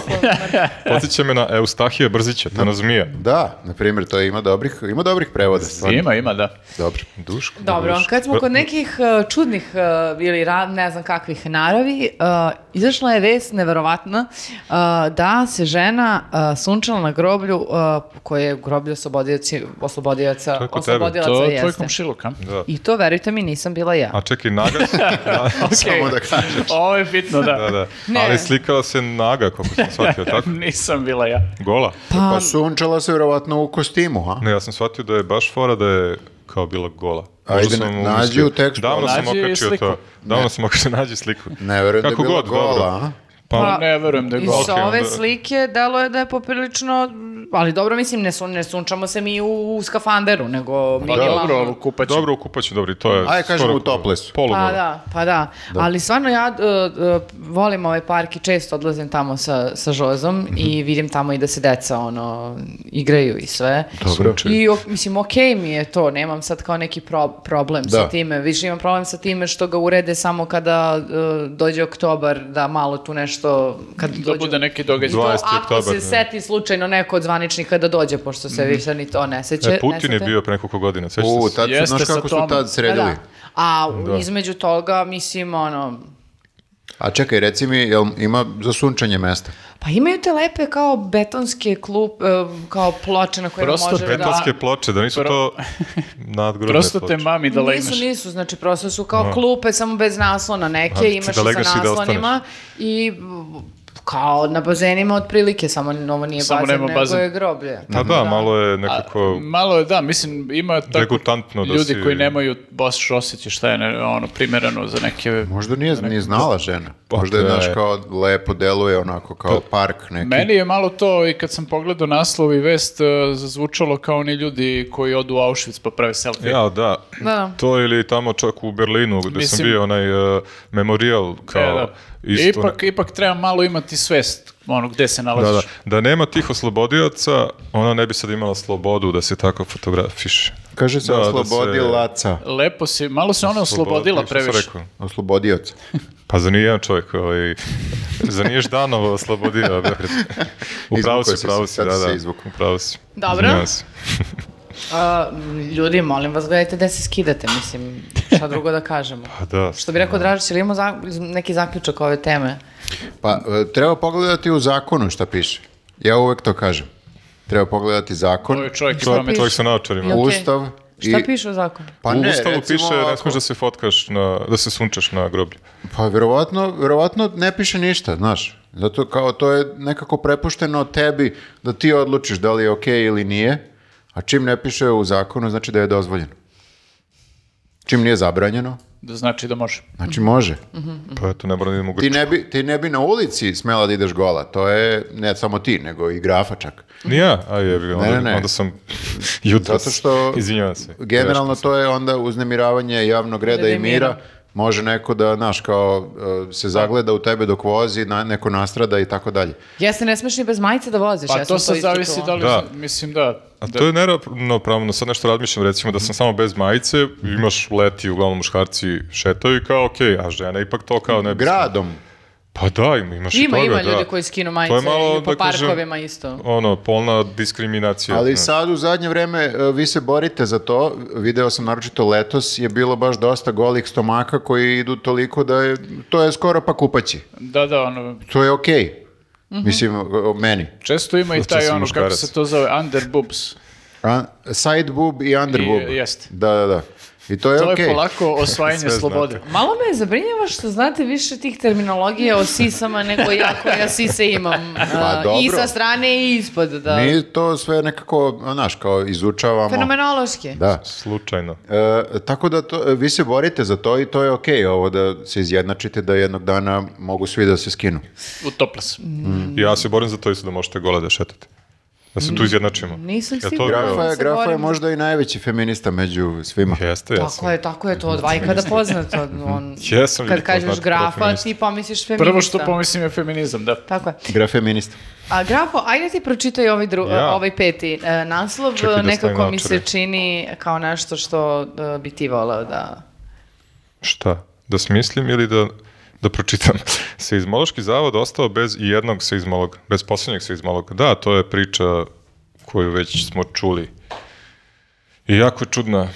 Speaker 4: Zjekoslav-
Speaker 3: Podsjeća me na Eustahija Brzića, to na zmija.
Speaker 1: Da, na primjer, to ima dobrih, ima dobrih prevoda. Stvarno.
Speaker 2: Ima, ima, da.
Speaker 1: Dobro.
Speaker 3: Duško.
Speaker 4: Dobro,
Speaker 3: Duško.
Speaker 4: kad smo
Speaker 3: Pa-
Speaker 4: kod nekih uh, čudnih uh, ili ra- ne znam kakvih naravi, uh, izašla je vest neverovatna uh, da se žena uh, sunčala na groblju uh, koje je groblje oslobodioci,
Speaker 3: To
Speaker 4: oslobodioca,
Speaker 3: je kod tebe.
Speaker 4: oslobodilaca
Speaker 2: To je tvoj
Speaker 4: jeste.
Speaker 2: komšiluka.
Speaker 3: Da.
Speaker 4: I to, verujte mi, nisam bila ja.
Speaker 3: A čekaj, naga, da,
Speaker 2: E.
Speaker 1: Samo da kažem.
Speaker 2: Ovo je bitno,
Speaker 3: da,
Speaker 2: da.
Speaker 3: da.
Speaker 4: Ne.
Speaker 3: ali slikala se naga, koliko sam shvatio, tako?
Speaker 2: Nisam bila ja.
Speaker 3: Gola?
Speaker 1: Pa sunčala se vjerovatno u kostimu, a?
Speaker 3: Ne, ja sam shvatio da je baš fora da je kao bila gola.
Speaker 1: Ajde,
Speaker 3: sam
Speaker 1: na-
Speaker 3: umislio.
Speaker 1: nađi u tekstu. ono.
Speaker 3: Davno sam
Speaker 2: Nađi
Speaker 3: okačio
Speaker 2: sliku.
Speaker 3: to. Davno sam okačio, nađi sliku.
Speaker 1: Ne vjerujem da je
Speaker 3: Kako
Speaker 1: bila
Speaker 3: god, dobro.
Speaker 1: gola, a?
Speaker 4: Pa,
Speaker 2: Ne verujem da je
Speaker 4: Iz
Speaker 2: gol.
Speaker 3: Okej,
Speaker 4: ove
Speaker 3: onda-
Speaker 4: slike delo je da je poprilično, ali dobro, mislim, ne, sun, ne sunčamo se mi u, u skafanderu, nego minimalno.
Speaker 2: Pa Dobro, ali kupaću.
Speaker 3: Dobro, u kupaću, dobro, i to je...
Speaker 1: Ajde, kažemo
Speaker 3: skoro
Speaker 1: u toplesu.
Speaker 3: polugola.
Speaker 4: Pa da, pa da. Ali stvarno ja e, e, volim ovaj park i često odlazim tamo sa, sa Žozom i
Speaker 3: Mhm.
Speaker 4: vidim tamo i da se deca ono, igraju i sve.
Speaker 1: Dobro.
Speaker 4: I ok- mislim, okej mi je to, nemam sad kao neki pro- problem
Speaker 1: Da.
Speaker 4: sa time. Više imam problem sa time što ga urede samo kada e, dođe oktobar, da malo tu nešto... Kad
Speaker 2: Da
Speaker 4: dođu-
Speaker 2: bude neki događaj.
Speaker 4: To
Speaker 3: 20.
Speaker 4: ako
Speaker 3: oktobar,
Speaker 4: se
Speaker 3: da. Mhm.
Speaker 4: seti slučajno neko od zvaničnika da dođe, pošto se više ni to ne seće.
Speaker 3: E,
Speaker 4: ne
Speaker 3: Putin je
Speaker 4: sete. Pa
Speaker 3: bio pre nekoliko godina, sveća
Speaker 1: U,
Speaker 3: se.
Speaker 1: tad,
Speaker 2: Jeste
Speaker 1: znaš
Speaker 2: sa
Speaker 1: kako su
Speaker 2: Tomom.
Speaker 1: tad
Speaker 4: Da,
Speaker 1: sredili?
Speaker 4: da. A između toga, mislim, ono,
Speaker 1: A čekaj, reci mi, jel ima za sunčanje mesta?
Speaker 4: Pa imaju te lepe kao betonske klub, e, kao ploče na kojima
Speaker 2: Prosto
Speaker 4: može da...
Speaker 3: Betonske ploče, da nisu
Speaker 2: Pro-
Speaker 3: to nadgrudne
Speaker 2: Prosto
Speaker 3: ploče.
Speaker 2: te mami da legneš.
Speaker 4: Nisu, nisu, znači prosto su kao klupe, samo bez naslona neke,
Speaker 3: Ali ti
Speaker 4: imaš
Speaker 3: da
Speaker 4: i sa
Speaker 3: legneš i da
Speaker 4: naslonima i m, kao na bazenima otprilike, samo ovo nije
Speaker 2: Samo
Speaker 4: bazen,
Speaker 2: nema
Speaker 4: nego
Speaker 2: bazen.
Speaker 4: je groblje.
Speaker 3: Pa da, malo je nekako...
Speaker 2: Malo je, da, mislim, ima tako
Speaker 3: Degutantno da
Speaker 2: ljudi
Speaker 3: si-
Speaker 2: koji nemaju baš osjećaj šta je ne- ono, primjereno za neke...
Speaker 1: Možda nije ni znala žena.
Speaker 3: Pa,
Speaker 1: Možda je,
Speaker 3: da
Speaker 1: znaš,
Speaker 3: je. Pa
Speaker 1: kao lepo deluje, onako kao park neki.
Speaker 2: Meni je malo to, i kad sam pogledao naslov i vest, eh, zazvučalo kao oni ljudi koji odu u Auschwitz pa prave selfie.
Speaker 3: Ja, da.
Speaker 4: Da.
Speaker 3: To ili tamo čak u Berlinu gde sam
Speaker 2: Mislim-
Speaker 3: bio onaj e, memorijal
Speaker 2: E,
Speaker 3: kao
Speaker 2: da.
Speaker 3: isto.
Speaker 2: ipak, ipak treba malo imati svest ono, gde se
Speaker 3: Da,
Speaker 2: nalaziš.
Speaker 3: da. Pa Da nema tih oslobodioca, ona ne bi sad imala slobodu da se tako fotografiše.
Speaker 1: Kaže se
Speaker 3: Da, da se-
Speaker 1: oslobodilaca.
Speaker 2: Lepo si, malo se ona oslobodila
Speaker 3: Slobodi- šta sam
Speaker 2: previše.
Speaker 3: rekao?
Speaker 1: Oslobodioca.
Speaker 3: Pa za nije jedan čovjek, ovaj, za nije Ždanova oslobodio. Beograd. U pravu
Speaker 1: Izvukao
Speaker 3: si,
Speaker 1: si
Speaker 3: u pravu
Speaker 1: se,
Speaker 3: si,
Speaker 1: sad
Speaker 3: da,
Speaker 1: si se
Speaker 3: da.
Speaker 1: izvukao.
Speaker 3: U pravu si.
Speaker 4: Dobro.
Speaker 3: Izvinjavam se.
Speaker 4: A, m, ljudi, molim vas, gledajte gde se skidate, mislim, šta drugo da kažemo.
Speaker 3: Pa da.
Speaker 4: Što bi rekao Dražić, ili imamo za- neki zaključak ove teme?
Speaker 1: Pa, e, treba pogledati u zakonu šta piše. Ja uvek to kažem. Treba pogledati zakon,
Speaker 2: Ovo je čovjek, iz
Speaker 3: Čovjek,
Speaker 2: pameti.
Speaker 3: čovjek sa naočarima.
Speaker 4: Jel- Okej.
Speaker 1: ustav i...
Speaker 4: Šta piše u zakonu?
Speaker 1: Pa
Speaker 3: u
Speaker 1: ne,
Speaker 3: ustavu
Speaker 1: recimo
Speaker 3: piše ne
Speaker 1: ovako.
Speaker 3: smiješ da se fotkaš, na, da se sunčaš na groblju.
Speaker 1: Pa verovatno, verovatno ne piše ništa, znaš. Zato kao to je nekako prepušteno tebi da ti odlučiš da li je okej ili nije, a čim ne piše u zakonu znači da je dozvoljeno. Čim nije zabranjeno,
Speaker 2: Da znači da može.
Speaker 3: Mhm.
Speaker 1: znači može.
Speaker 4: Mm.
Speaker 3: Pa eto, ne moram da idem u
Speaker 1: Ti
Speaker 3: Grčku.
Speaker 1: ne, bi, ti ne bi na ulici smela da ideš gola, to je ne samo ti, nego i grafa čak.
Speaker 3: Ni ja, a je, onda,
Speaker 1: Ne, ne, ne.
Speaker 3: onda sam jutro.
Speaker 1: Zato što-
Speaker 3: Izvinjavam se.
Speaker 1: Generalno to je onda uznemiravanje javnog reda
Speaker 4: Reda
Speaker 1: i
Speaker 4: i mira.
Speaker 1: mira. Može neko da, znaš, kao e, se zagleda u tebe dok vozi, na, neko nastrada i tako dalje.
Speaker 4: Jeste, ne smiješ ni bez majice da voziš.
Speaker 2: Pa
Speaker 4: ja sam
Speaker 2: to sad
Speaker 4: isto
Speaker 2: zavisi
Speaker 4: čula.
Speaker 2: da li,
Speaker 3: Da.
Speaker 2: mislim da...
Speaker 3: A
Speaker 2: da-
Speaker 3: to je neravnopravno, sad nešto razmišljam, recimo da sam samo bez majice, imaš leti, uglavnom muškarci šetaju i kao okej, a žena ipak to kao ne... bi-
Speaker 1: Gradom,
Speaker 3: Pa da, im- imaš
Speaker 4: Ima,
Speaker 3: i toga,
Speaker 4: ima
Speaker 3: da.
Speaker 4: ljudi koji skinu majice
Speaker 3: To je malo,
Speaker 4: i po
Speaker 3: da kažem,
Speaker 4: parkovima isto.
Speaker 3: Ono, polna diskriminacija.
Speaker 1: Ali
Speaker 3: znaš.
Speaker 1: sad u zadnje vreme e, vi se borite za to. Video sam naročito letos je bilo baš dosta golih stomaka koji idu toliko da je to je skoro pa kupaći.
Speaker 2: Da, da, ono,
Speaker 1: To je okej. Mislim o- o meni.
Speaker 2: često ima i
Speaker 3: Zato
Speaker 2: taj
Speaker 3: sam
Speaker 2: ono, kako
Speaker 3: muškarac.
Speaker 2: se to zove, under boobs.
Speaker 1: A, side boob i under
Speaker 2: I-
Speaker 1: boob.
Speaker 2: jeste.
Speaker 1: Da, da, da. I to je
Speaker 2: To
Speaker 1: okej.
Speaker 2: je polako osvajanje
Speaker 3: Sve znate.
Speaker 2: slobode.
Speaker 4: Malo me zabrinjava što znate više tih terminologija o sisama nego ja koja sise imam.
Speaker 1: Pa,
Speaker 4: Uh,
Speaker 1: dobro.
Speaker 4: I sa strane i ispod, da.
Speaker 1: Mi to sve nekako, znaš, kao izučavamo.
Speaker 4: Fenomenološki.
Speaker 1: Da.
Speaker 3: Slučajno.
Speaker 1: E, tako da to, vi se borite za to i to je okej, ovo da se izjednačite da jednog dana mogu svi da se skinu.
Speaker 2: U toplas.
Speaker 3: Ja se borim za to isto da možete gola da šetate. Da se tu izjednačimo.
Speaker 4: Mm. Nisam
Speaker 3: Jel to
Speaker 4: sigurna.
Speaker 3: bio-
Speaker 1: Grafa je,
Speaker 4: se
Speaker 1: grafa je
Speaker 4: borim.
Speaker 1: možda i najveći feminista među svima.
Speaker 3: Jeste, ja sam.
Speaker 4: Tako je, tako je to od vajkada poznato. On,
Speaker 3: Jesam
Speaker 4: kad
Speaker 3: ljudi,
Speaker 4: kažeš
Speaker 3: poznati
Speaker 4: grafa,
Speaker 3: feminist.
Speaker 4: ti pomisliš feminista.
Speaker 2: Prvo što pomislim je feminizam, da.
Speaker 4: Tako je.
Speaker 1: Graf feminista.
Speaker 4: A grafo, ajde ti pročitaj ovaj, dru,
Speaker 3: Ja?
Speaker 4: ovaj peti e, naslov,
Speaker 3: Čekaj da
Speaker 4: nekako
Speaker 3: stavim
Speaker 4: mi se
Speaker 3: naočare.
Speaker 4: čini kao nešto što e, bi ti voleo da...
Speaker 3: Šta? Da smislim ili da, da pročitam? Seizmološki zavod ostao bez i jednog seizmologa, bez posljednjeg seizmologa. Da, to je priča koju već smo čuli. I jako je čudna.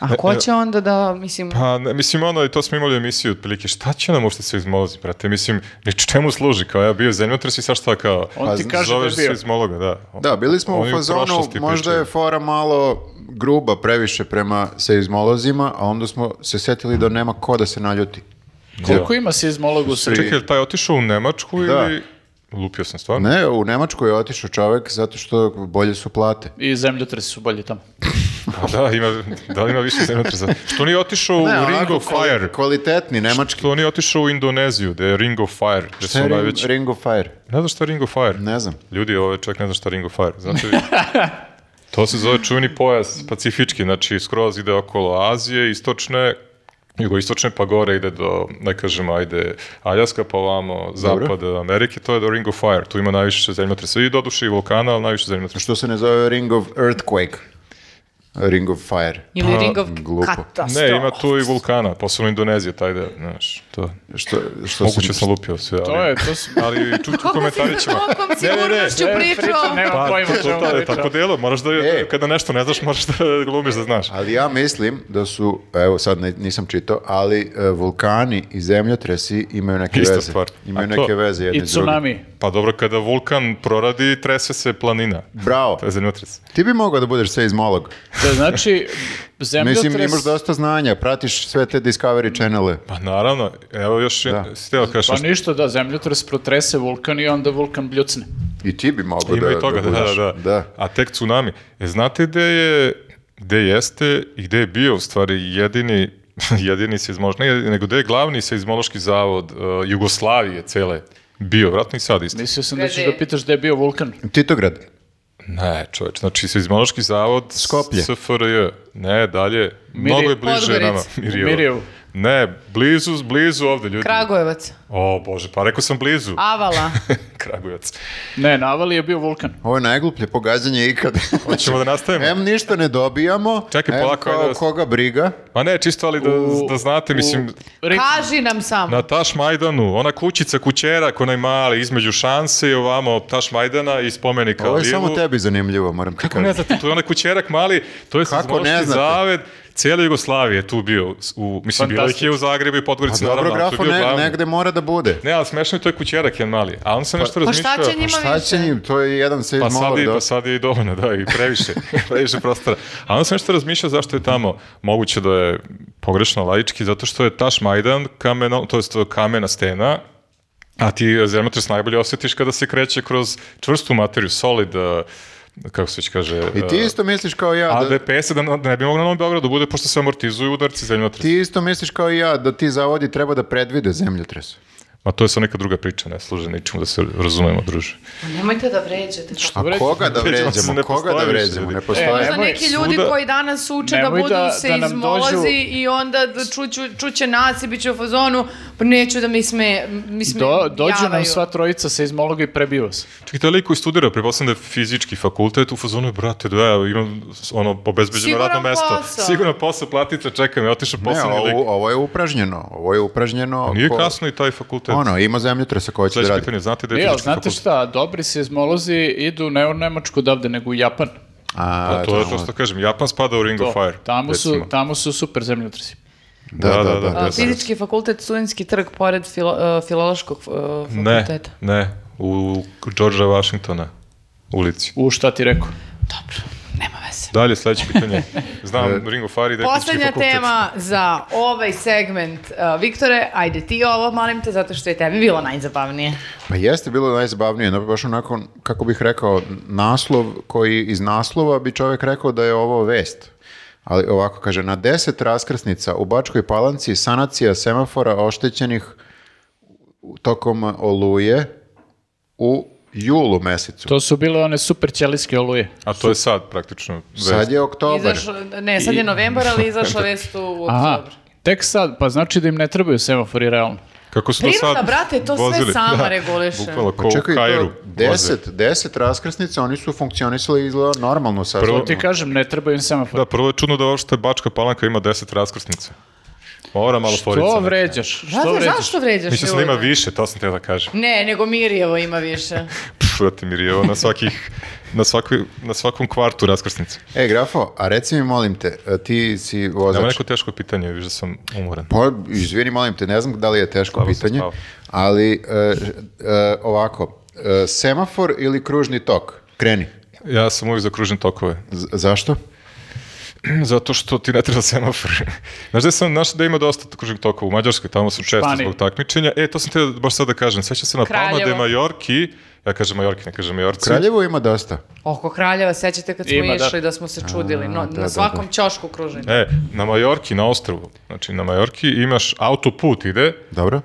Speaker 4: A ko
Speaker 3: e,
Speaker 4: će onda da, mislim,
Speaker 3: Pa, ne, mislim, ono, i to smo imali u emisiji otprilike, šta će nam uopšte seizmolozi, brate? Mislim, ni čemu služi, kao ja bio zemljotres i sad šta kao...
Speaker 2: On ti kaže da je
Speaker 3: zoveš
Speaker 2: bio.
Speaker 3: seizmologa, da.
Speaker 1: Da, bili smo
Speaker 3: Oni
Speaker 1: u fazonu,
Speaker 3: prošlosti
Speaker 1: možda
Speaker 3: pričaju.
Speaker 1: je fora malo gruba previše prema seizmolozima, a onda smo se setili da nema ko da se naljuti.
Speaker 2: Koliko ima seizmologa u Srbiji?
Speaker 3: Čekaj, je li taj otišao u Nemačku ili... Lupio sam stvarno.
Speaker 1: Ne, u Nemačku je otišao čovek zato što bolje su plate.
Speaker 2: I zemljotresi su bolji tamo.
Speaker 3: Pa Da, ima, da li ima više zemljotresa? Što nije otišao u
Speaker 1: onako
Speaker 3: Ring of
Speaker 1: kvali-
Speaker 3: Fire?
Speaker 1: Kvalitetni nemački.
Speaker 3: Što nije otišao u Indoneziju, gde je Ring of Fire, gde su
Speaker 1: Šta je Ring,
Speaker 3: najveći...
Speaker 1: Ring of Fire?
Speaker 3: Ne znaš šta je Ring of Fire?
Speaker 1: Ne znam.
Speaker 3: Ljudi, ovo je čak ne zna šta je Ring of Fire. Znači, to se zove čuveni pojas pacifički, znači skroz ide okolo Azije, istočne, jugoistočne pa gore ide do, ne kažem, ajde, Aljaska pa ovamo, zapad Amerike, to je do Ring of Fire. Tu ima najviše zemljotresa i doduše i vulkana, ali najviše zemljotresa.
Speaker 1: Što se ne zove Ring of Earthquake? Ring of Fire.
Speaker 4: ili Ring of
Speaker 1: glupo.
Speaker 4: Katastrofa.
Speaker 3: pa, Ne, ima tu i vulkana, posebno Indonezija, taj deo, znaš, to.
Speaker 1: Što, što
Speaker 3: Moguće
Speaker 1: se-
Speaker 3: sam lupio sve, ali...
Speaker 2: To je, to su...
Speaker 3: ali čuti u komentarićima.
Speaker 4: Koliko si
Speaker 3: Ne, ne, ne,
Speaker 4: sigurnošću
Speaker 2: ne, priča,
Speaker 4: pričao?
Speaker 2: nema
Speaker 3: Pa,
Speaker 2: pojma o
Speaker 3: to,
Speaker 2: čemu
Speaker 3: to je
Speaker 2: pričam.
Speaker 3: tako delo, moraš da,
Speaker 1: E.
Speaker 3: kada nešto ne znaš, moraš da glumiš da znaš.
Speaker 1: Ali ja mislim da su, evo sad ne- nisam čitao, ali e, vulkani i zemljotresi imaju neke
Speaker 3: Ista
Speaker 1: veze.
Speaker 3: stvar.
Speaker 1: Imaju
Speaker 3: A to-
Speaker 1: neke veze jedni
Speaker 2: I
Speaker 1: s drugim.
Speaker 2: tsunami.
Speaker 3: Pa dobro, kada vulkan proradi, trese se planina.
Speaker 1: Bravo.
Speaker 3: To je zemljotres.
Speaker 1: Ti bi mogao da budeš seizmolog.
Speaker 2: To znači, zemljotres...
Speaker 1: Mislim, imaš dosta znanja, pratiš sve te Discovery channele.
Speaker 3: Pa naravno, evo još da.
Speaker 1: Da.
Speaker 3: steo kažeš,
Speaker 2: Pa
Speaker 3: nešto.
Speaker 2: ništa, da, zemljotres protrese vulkan i onda vulkan bljucne.
Speaker 1: I ti bi mogao
Speaker 3: ima
Speaker 1: da,
Speaker 3: i toga, da, da,
Speaker 1: budeš.
Speaker 3: da, A tek tsunami. E, znate gde je, gde jeste i gde je bio u stvari jedini jedini seizmološki, ne, jedini, nego gde je glavni seizmološki zavod uh, Jugoslavije cele bio, vratno i sad isto.
Speaker 2: Mislio sam da
Speaker 4: Gde
Speaker 2: ćeš
Speaker 4: je?
Speaker 2: da pitaš gde je bio vulkan.
Speaker 1: Titograd.
Speaker 3: Ne, čoveč, znači Seizmološki zavod
Speaker 1: Skoplje.
Speaker 3: SFRJ. Ne, dalje, mnogo je bliže
Speaker 4: Podgorica.
Speaker 3: nama. Mirjevo.
Speaker 2: Mirjevo.
Speaker 3: Ne, blizu, blizu ovde ljudi.
Speaker 4: Kragujevac,
Speaker 3: O, Bože, pa rekao sam blizu.
Speaker 4: Avala.
Speaker 3: Kragujevac.
Speaker 2: Ne, na Avali je bio vulkan.
Speaker 1: Ovo je najgluplje pogađanje ikad.
Speaker 3: Hoćemo da nastavimo?
Speaker 1: Em ništa ne dobijamo,
Speaker 3: Čekaj,
Speaker 1: em
Speaker 3: polako,
Speaker 1: kao
Speaker 3: ajde da-
Speaker 1: koga briga.
Speaker 3: Ma ne, čisto ali da,
Speaker 2: U-
Speaker 3: da znate, mislim,
Speaker 2: u Rim-
Speaker 4: Kaži nam samo.
Speaker 3: na Taš Majdanu, ona kućica kućera, onaj mali, između šanse i ovamo Taš Majdana i spomenika
Speaker 1: Ovo je
Speaker 3: Livu.
Speaker 1: samo tebi zanimljivo, moram ti
Speaker 3: Kako ne
Speaker 1: kažem.
Speaker 3: znate, to je onaj kućerak mali, to je
Speaker 1: Kako ne
Speaker 3: Seizmološki
Speaker 1: znate?
Speaker 3: zaved, cijela Jugoslavija je tu bio, u, mislim, bilo ih je u Zagrebu i
Speaker 1: A
Speaker 3: Podgorici,
Speaker 1: Pa dobro,
Speaker 3: naravno, ali to
Speaker 1: grafo
Speaker 3: je bio
Speaker 1: ne,
Speaker 3: glavni.
Speaker 1: negde mora da bude.
Speaker 3: Ne, ali smešno je to je kućerak jedan mali. A on se nešto
Speaker 4: Pa
Speaker 3: razmišljao.
Speaker 4: šta će njima
Speaker 1: Šta će
Speaker 4: više?
Speaker 1: njim, to je jedan
Speaker 3: Pa sad,
Speaker 1: seizmolog.
Speaker 3: je,
Speaker 1: dosta.
Speaker 3: pa sad je i dovoljno, da, i previše, previše prostora. A on se nešto razmišljao zašto je tamo, moguće da je pogrešno laički, zato što je Taš Majdan, kameno, to je to je kamena stena, a ti zemljotres najbolje osjetiš kada se kreće kroz čvrstu materiju, solid, eh, kako se već kaže...
Speaker 1: I ti
Speaker 3: eh,
Speaker 1: isto misliš kao ja da,
Speaker 3: ADPS-e da, da ne bi moglo na Novom Beogradu bude, pošto se amortizuju udarci zemljotresa.
Speaker 1: ti isto misliš kao i ja da ti zavodi treba da predvide zemljotres.
Speaker 3: Ma to je sad neka druga priča, ne služe ničemu da se razumemo, druže.
Speaker 4: Nemojte da vređate.
Speaker 1: A
Speaker 2: Vređamo.
Speaker 1: koga da
Speaker 3: Vređamo se,
Speaker 1: vređamo?
Speaker 3: ne
Speaker 1: Koga da
Speaker 3: postoji više
Speaker 1: vređamo?
Speaker 3: ljudi.
Speaker 1: Ne postoje.
Speaker 2: E,
Speaker 4: Možda
Speaker 2: Nemoj
Speaker 4: neki ljudi
Speaker 3: svuda-
Speaker 4: koji danas uče da
Speaker 2: nemoj
Speaker 4: budu
Speaker 2: da- da nam
Speaker 4: seizmolozi
Speaker 2: dođu-
Speaker 4: i onda d- čuću, čuće nas i bit će u fazonu, pa neću da mi sme, mi sme
Speaker 2: Do, dođu nam
Speaker 4: javaju.
Speaker 2: sva trojica seizmologa i prebiju vas.
Speaker 3: Čekaj, taj lik koji studira, pretpostavljam da je fizički fakultet, u fazonu je, brate, da ja imam ono, obezbeđeno
Speaker 4: Siguran
Speaker 3: radno mesto.
Speaker 4: posao.
Speaker 3: Sigurno posao, platica, čekam, ja otišao
Speaker 1: Ne,
Speaker 3: posao, lik. Pa
Speaker 1: ovo, ovo je upražnjeno. Ovo je upražnjeno.
Speaker 3: Nije
Speaker 1: ko-
Speaker 3: kasno i taj fakultet.
Speaker 1: Ono, ima zemljotresa koja će da
Speaker 3: Sljedeće
Speaker 1: radi.
Speaker 3: pitanje, znate da je
Speaker 2: Nije, E, ali
Speaker 3: fizički
Speaker 2: znate
Speaker 3: fakultet?
Speaker 2: šta, dobri seizmolozi idu ne u Nemačku odavde, nego u Japan.
Speaker 1: A,
Speaker 3: Pa to je
Speaker 1: tamo-
Speaker 3: to što kažem, Japan spada u Ring
Speaker 2: To,
Speaker 3: of Fire.
Speaker 2: tamo, su,
Speaker 3: recimo.
Speaker 2: tamo su super zemljotresi.
Speaker 1: Da, da, da.
Speaker 4: A,
Speaker 3: da.
Speaker 4: Fizički fakultet, studentski trg, pored filo- e, filološkog e,
Speaker 3: Ne,
Speaker 4: fakulteta.
Speaker 3: ne, u Georgea Washingtona ulici.
Speaker 2: U, šta ti rekao?
Speaker 4: Dobro, nema veze.
Speaker 3: Dalje, sljedeće pitanje.
Speaker 1: E,
Speaker 3: Znam, Ring of Fire i da je fizički
Speaker 4: Poslednja
Speaker 3: fakultet.
Speaker 4: tema za ovaj segment. e, Viktore, ajde ti ovo, molim te, zato što je tebi bilo najzabavnije.
Speaker 1: Pa jeste bilo najzabavnije, no, baš onako, kako bih rekao, naslov koji iz naslova bi čovjek rekao da je ovo vest. Ali ovako kaže, na deset raskrsnica u Bačkoj palanci sanacija semafora oštećenih tokom oluje u julu mesecu.
Speaker 2: To su bile one super ćelijske oluje.
Speaker 3: A to je sad praktično. vest.
Speaker 1: Sad je oktobar.
Speaker 4: Izašao, ne, sad je novembar, ali izašla vest u
Speaker 2: Aha,
Speaker 4: oktobar.
Speaker 2: tek sad, pa znači da im ne trebaju semafori realno.
Speaker 3: Kako su
Speaker 4: Priroda,
Speaker 3: to sad
Speaker 4: brate, to sve
Speaker 3: vozili?
Speaker 4: sama reguliše.
Speaker 3: Bukvalno ko
Speaker 1: Pa Čekaj,
Speaker 3: u
Speaker 1: to
Speaker 3: Kairu. voze.
Speaker 1: deset, deset raskrsnica, oni su funkcionisali izgleda normalno sad.
Speaker 3: Prvo-
Speaker 2: Ti kažem, ne trebaju im semafori.
Speaker 3: Da, prvo je čudno da uopšte Bačka Palanka ima 10 raskrsnica. Mora malo forica.
Speaker 2: to
Speaker 3: neka.
Speaker 2: vređaš, što
Speaker 4: Zato,
Speaker 2: vređaš?
Speaker 4: zašto vređaš
Speaker 3: Mislim da
Speaker 4: ljude?
Speaker 3: ima više, to sam te da kažem.
Speaker 4: Ne, nego Mirjevo ima više.
Speaker 3: Pff, vrati mi Rijevo, na, svakih, na, svakoj, na svakom kvartu raskrsnice.
Speaker 1: E, Grafo, a reci mi, molim te, e, ti si vozač.
Speaker 3: Nema neko teško pitanje, viš da sam umoran.
Speaker 1: Pa, izvini, molim te, ne znam da li je teško
Speaker 3: Slabo sam
Speaker 1: pitanje,
Speaker 3: spao.
Speaker 1: ali e, e, ovako, e, semafor ili kružni tok? Kreni.
Speaker 3: Ja sam uvijek za kružne tokove.
Speaker 1: Z- zašto?
Speaker 3: Zato što ti ne treba semafor. Znaš da sam našao da ima dosta kružnih tokova u Mađarskoj, tamo sam često
Speaker 2: Španiji.
Speaker 3: zbog takmičenja. E, to sam te baš sad da kažem, sveća se na Palma de
Speaker 4: Kraljevo.
Speaker 3: Majorki, ja kažem Majorki, ne kažem Majorci.
Speaker 1: Kraljevo ima dosta.
Speaker 4: Oko Kraljeva, sećate kad smo
Speaker 2: Ima, da.
Speaker 4: išli da. smo se čudili. No,
Speaker 1: da, da,
Speaker 4: na svakom ćošku kruženi.
Speaker 3: E, na Majorki, na ostrvu, znači na Majorki imaš autoput ide
Speaker 1: Dobro?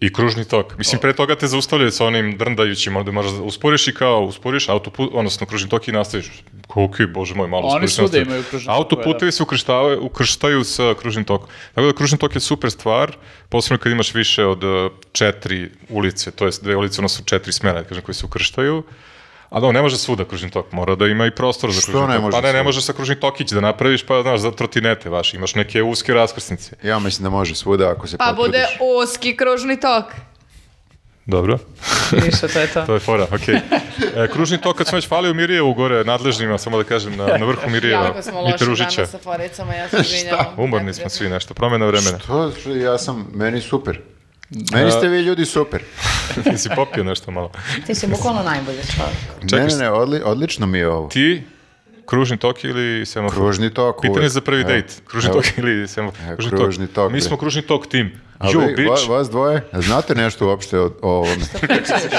Speaker 3: i kružni tok. Mislim, pre toga te zaustavljaju sa onim drndajućim, onda možeš da usporiš i kao usporiš autoput, odnosno kružni tok i nastaviš. Koliko bože moj, malo
Speaker 2: Oni
Speaker 3: usporiš,
Speaker 2: svuda
Speaker 3: nastaviš.
Speaker 2: imaju kružne tokove,
Speaker 3: Autoputevi se ukrštavaju, ukrštaju sa kružnim tokom. Tako da kružni tok je super stvar, posebno kad imaš više od e, četiri ulice, to jest dve ulice, odnosno četiri smera, da kažem, koji se ukrštaju. A da, ne može svuda kružni tok, mora da ima i prostor za
Speaker 1: Što
Speaker 3: kružni
Speaker 1: ne
Speaker 3: tok.
Speaker 1: može
Speaker 3: Pa ne, ne
Speaker 1: svuda?
Speaker 3: možeš sa kružni tokić da napraviš, pa znaš, za trotinete vaš, imaš neke uske raskrsnice.
Speaker 1: Ja mislim da može svuda ako se
Speaker 4: Pa
Speaker 1: potrudiš.
Speaker 4: bude oski kružni tok.
Speaker 3: Dobro.
Speaker 4: Ništa, to je to.
Speaker 3: To je fora, okej. E, kružni tok kad sam već falio Mirijevu gore nadležnima, samo da kažem, na, na vrhu Mirijeva
Speaker 4: Jako smo
Speaker 3: i
Speaker 4: loši
Speaker 3: Peružića.
Speaker 4: danas sa foricama, ja se izvinjavam.
Speaker 3: Umorni smo svi nešto, promjena vremena.
Speaker 1: To što ja sam, meni super. Meni ste vi ljudi super.
Speaker 3: Ti si popio nešto malo.
Speaker 4: Ti si bukvalno najbolji čovjek.
Speaker 1: Ne,
Speaker 3: Čekaj,
Speaker 1: ne, ne, odli- odlično mi je ovo.
Speaker 3: Ti, kružni tok ili semafor?
Speaker 1: Kružni tok
Speaker 3: Pitanje
Speaker 1: uvek.
Speaker 3: za prvi
Speaker 1: Evo.
Speaker 3: dejt. Kružni
Speaker 1: Evo.
Speaker 3: tok ili semafor?
Speaker 1: Evo, kružni tok,
Speaker 3: Mi
Speaker 1: bre.
Speaker 3: smo kružni tok tim.
Speaker 1: A
Speaker 3: Yo,
Speaker 1: vi,
Speaker 3: bitch.
Speaker 1: va- vas dvoje, znate nešto uopšte o, o ovome?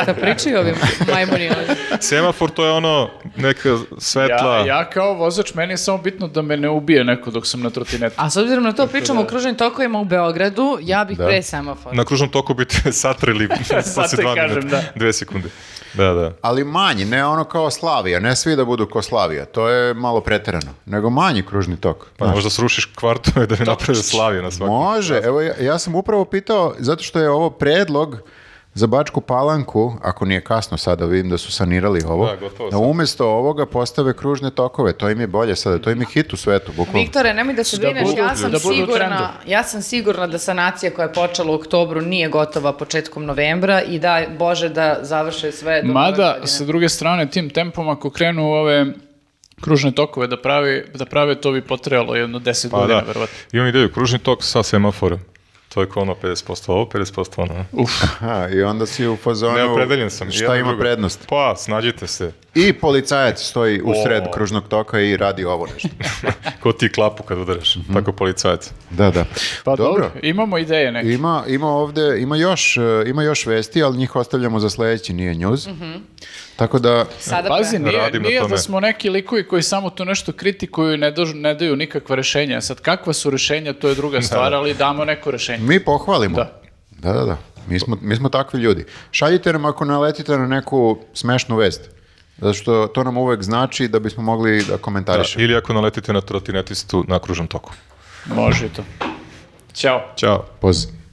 Speaker 4: Šta pričaju ovim majmuni ovdje?
Speaker 3: Semafor to je ono neka svetla...
Speaker 2: Ja, ja kao vozač, meni je samo bitno da me ne ubije neko dok sam na trotinetu.
Speaker 4: A s obzirom na to pričamo o kružnim tokovima u Beogradu, ja bih pre semafor.
Speaker 3: Na kružnom toku bi te satrili
Speaker 2: Zato
Speaker 3: posle
Speaker 2: i
Speaker 3: dva
Speaker 2: kažem,
Speaker 3: minuta,
Speaker 2: da.
Speaker 3: dve sekunde. Da, da.
Speaker 1: Ali manji, ne ono kao Slavija, ne svi da budu kao Slavija, to je malo preterano, nego manji kružni tok. Znači,
Speaker 3: Pa ne možeš da srušiš kvartove da bi napravio slavije na svakom.
Speaker 1: Može, evo ja, ja sam upravo pitao, zato što je ovo predlog za Bačku palanku, ako nije kasno sada, vidim da su sanirali ovo,
Speaker 3: Da, gotovo
Speaker 1: da
Speaker 3: sad.
Speaker 1: umjesto ovoga postave kružne tokove, to im je bolje sada, to im je hit u svetu, bukvalno.
Speaker 4: Viktore, nemoj da se brineš,
Speaker 2: budu-
Speaker 4: ja sam
Speaker 2: da budu u trendu.
Speaker 4: sigurna, ja sam sigurna da sanacija koja je počela u oktobru nije gotova početkom novembra i da Bože da završe sve do nove
Speaker 2: Mada,
Speaker 4: godine.
Speaker 2: sa druge strane, tim tempom ako krenu ove kružne tokove da, pravi, da prave, to bi potrebalo jedno 10
Speaker 3: Pa
Speaker 2: godina,
Speaker 3: da,
Speaker 2: verovatno.
Speaker 3: imam ideju, kružni tok sa semaforom. To je kao ono 50% ovo, 50% ono.
Speaker 2: Uf,
Speaker 1: Aha, I onda si u fazonu,
Speaker 3: Neopredeljen sam.
Speaker 1: šta
Speaker 3: jedno i
Speaker 1: ima
Speaker 3: drugo.
Speaker 1: prednost.
Speaker 3: Pa, snađite se.
Speaker 1: I policajac stoji u sred
Speaker 3: O.
Speaker 1: kružnog toka i radi ovo nešto.
Speaker 3: Ko ti klapu kad udaraš,
Speaker 1: Mhm.
Speaker 3: tako policajac.
Speaker 1: Da, da.
Speaker 2: pa dobro. imamo ideje neke.
Speaker 1: Ima, ima ovde, ima još, e, ima još vesti, ali njih ostavljamo za sledeći, nije njuz. Tako da,
Speaker 4: Sada
Speaker 2: Pazi,
Speaker 4: pre-
Speaker 2: nije,
Speaker 3: Radim na
Speaker 2: nije
Speaker 3: tome.
Speaker 2: da smo neki likovi koji samo tu nešto kritikuju i ne, dož- ne daju nikakva rešenja. Sad, kakva su rešenja, to je druga stvar, ali damo neko rešenje.
Speaker 1: mi pohvalimo.
Speaker 2: Da.
Speaker 1: Da, da, da. Mi smo, mi smo takvi ljudi. Šaljite nam ako naletite na neku smešnu vest. Zato što to nam uvek znači da bismo mogli da
Speaker 3: Da,
Speaker 1: komentarišemo.
Speaker 3: ili ako naletite na trotinetistu na kružnom toku.
Speaker 2: Može i to. Ćao.
Speaker 3: Ćao.
Speaker 1: Poz.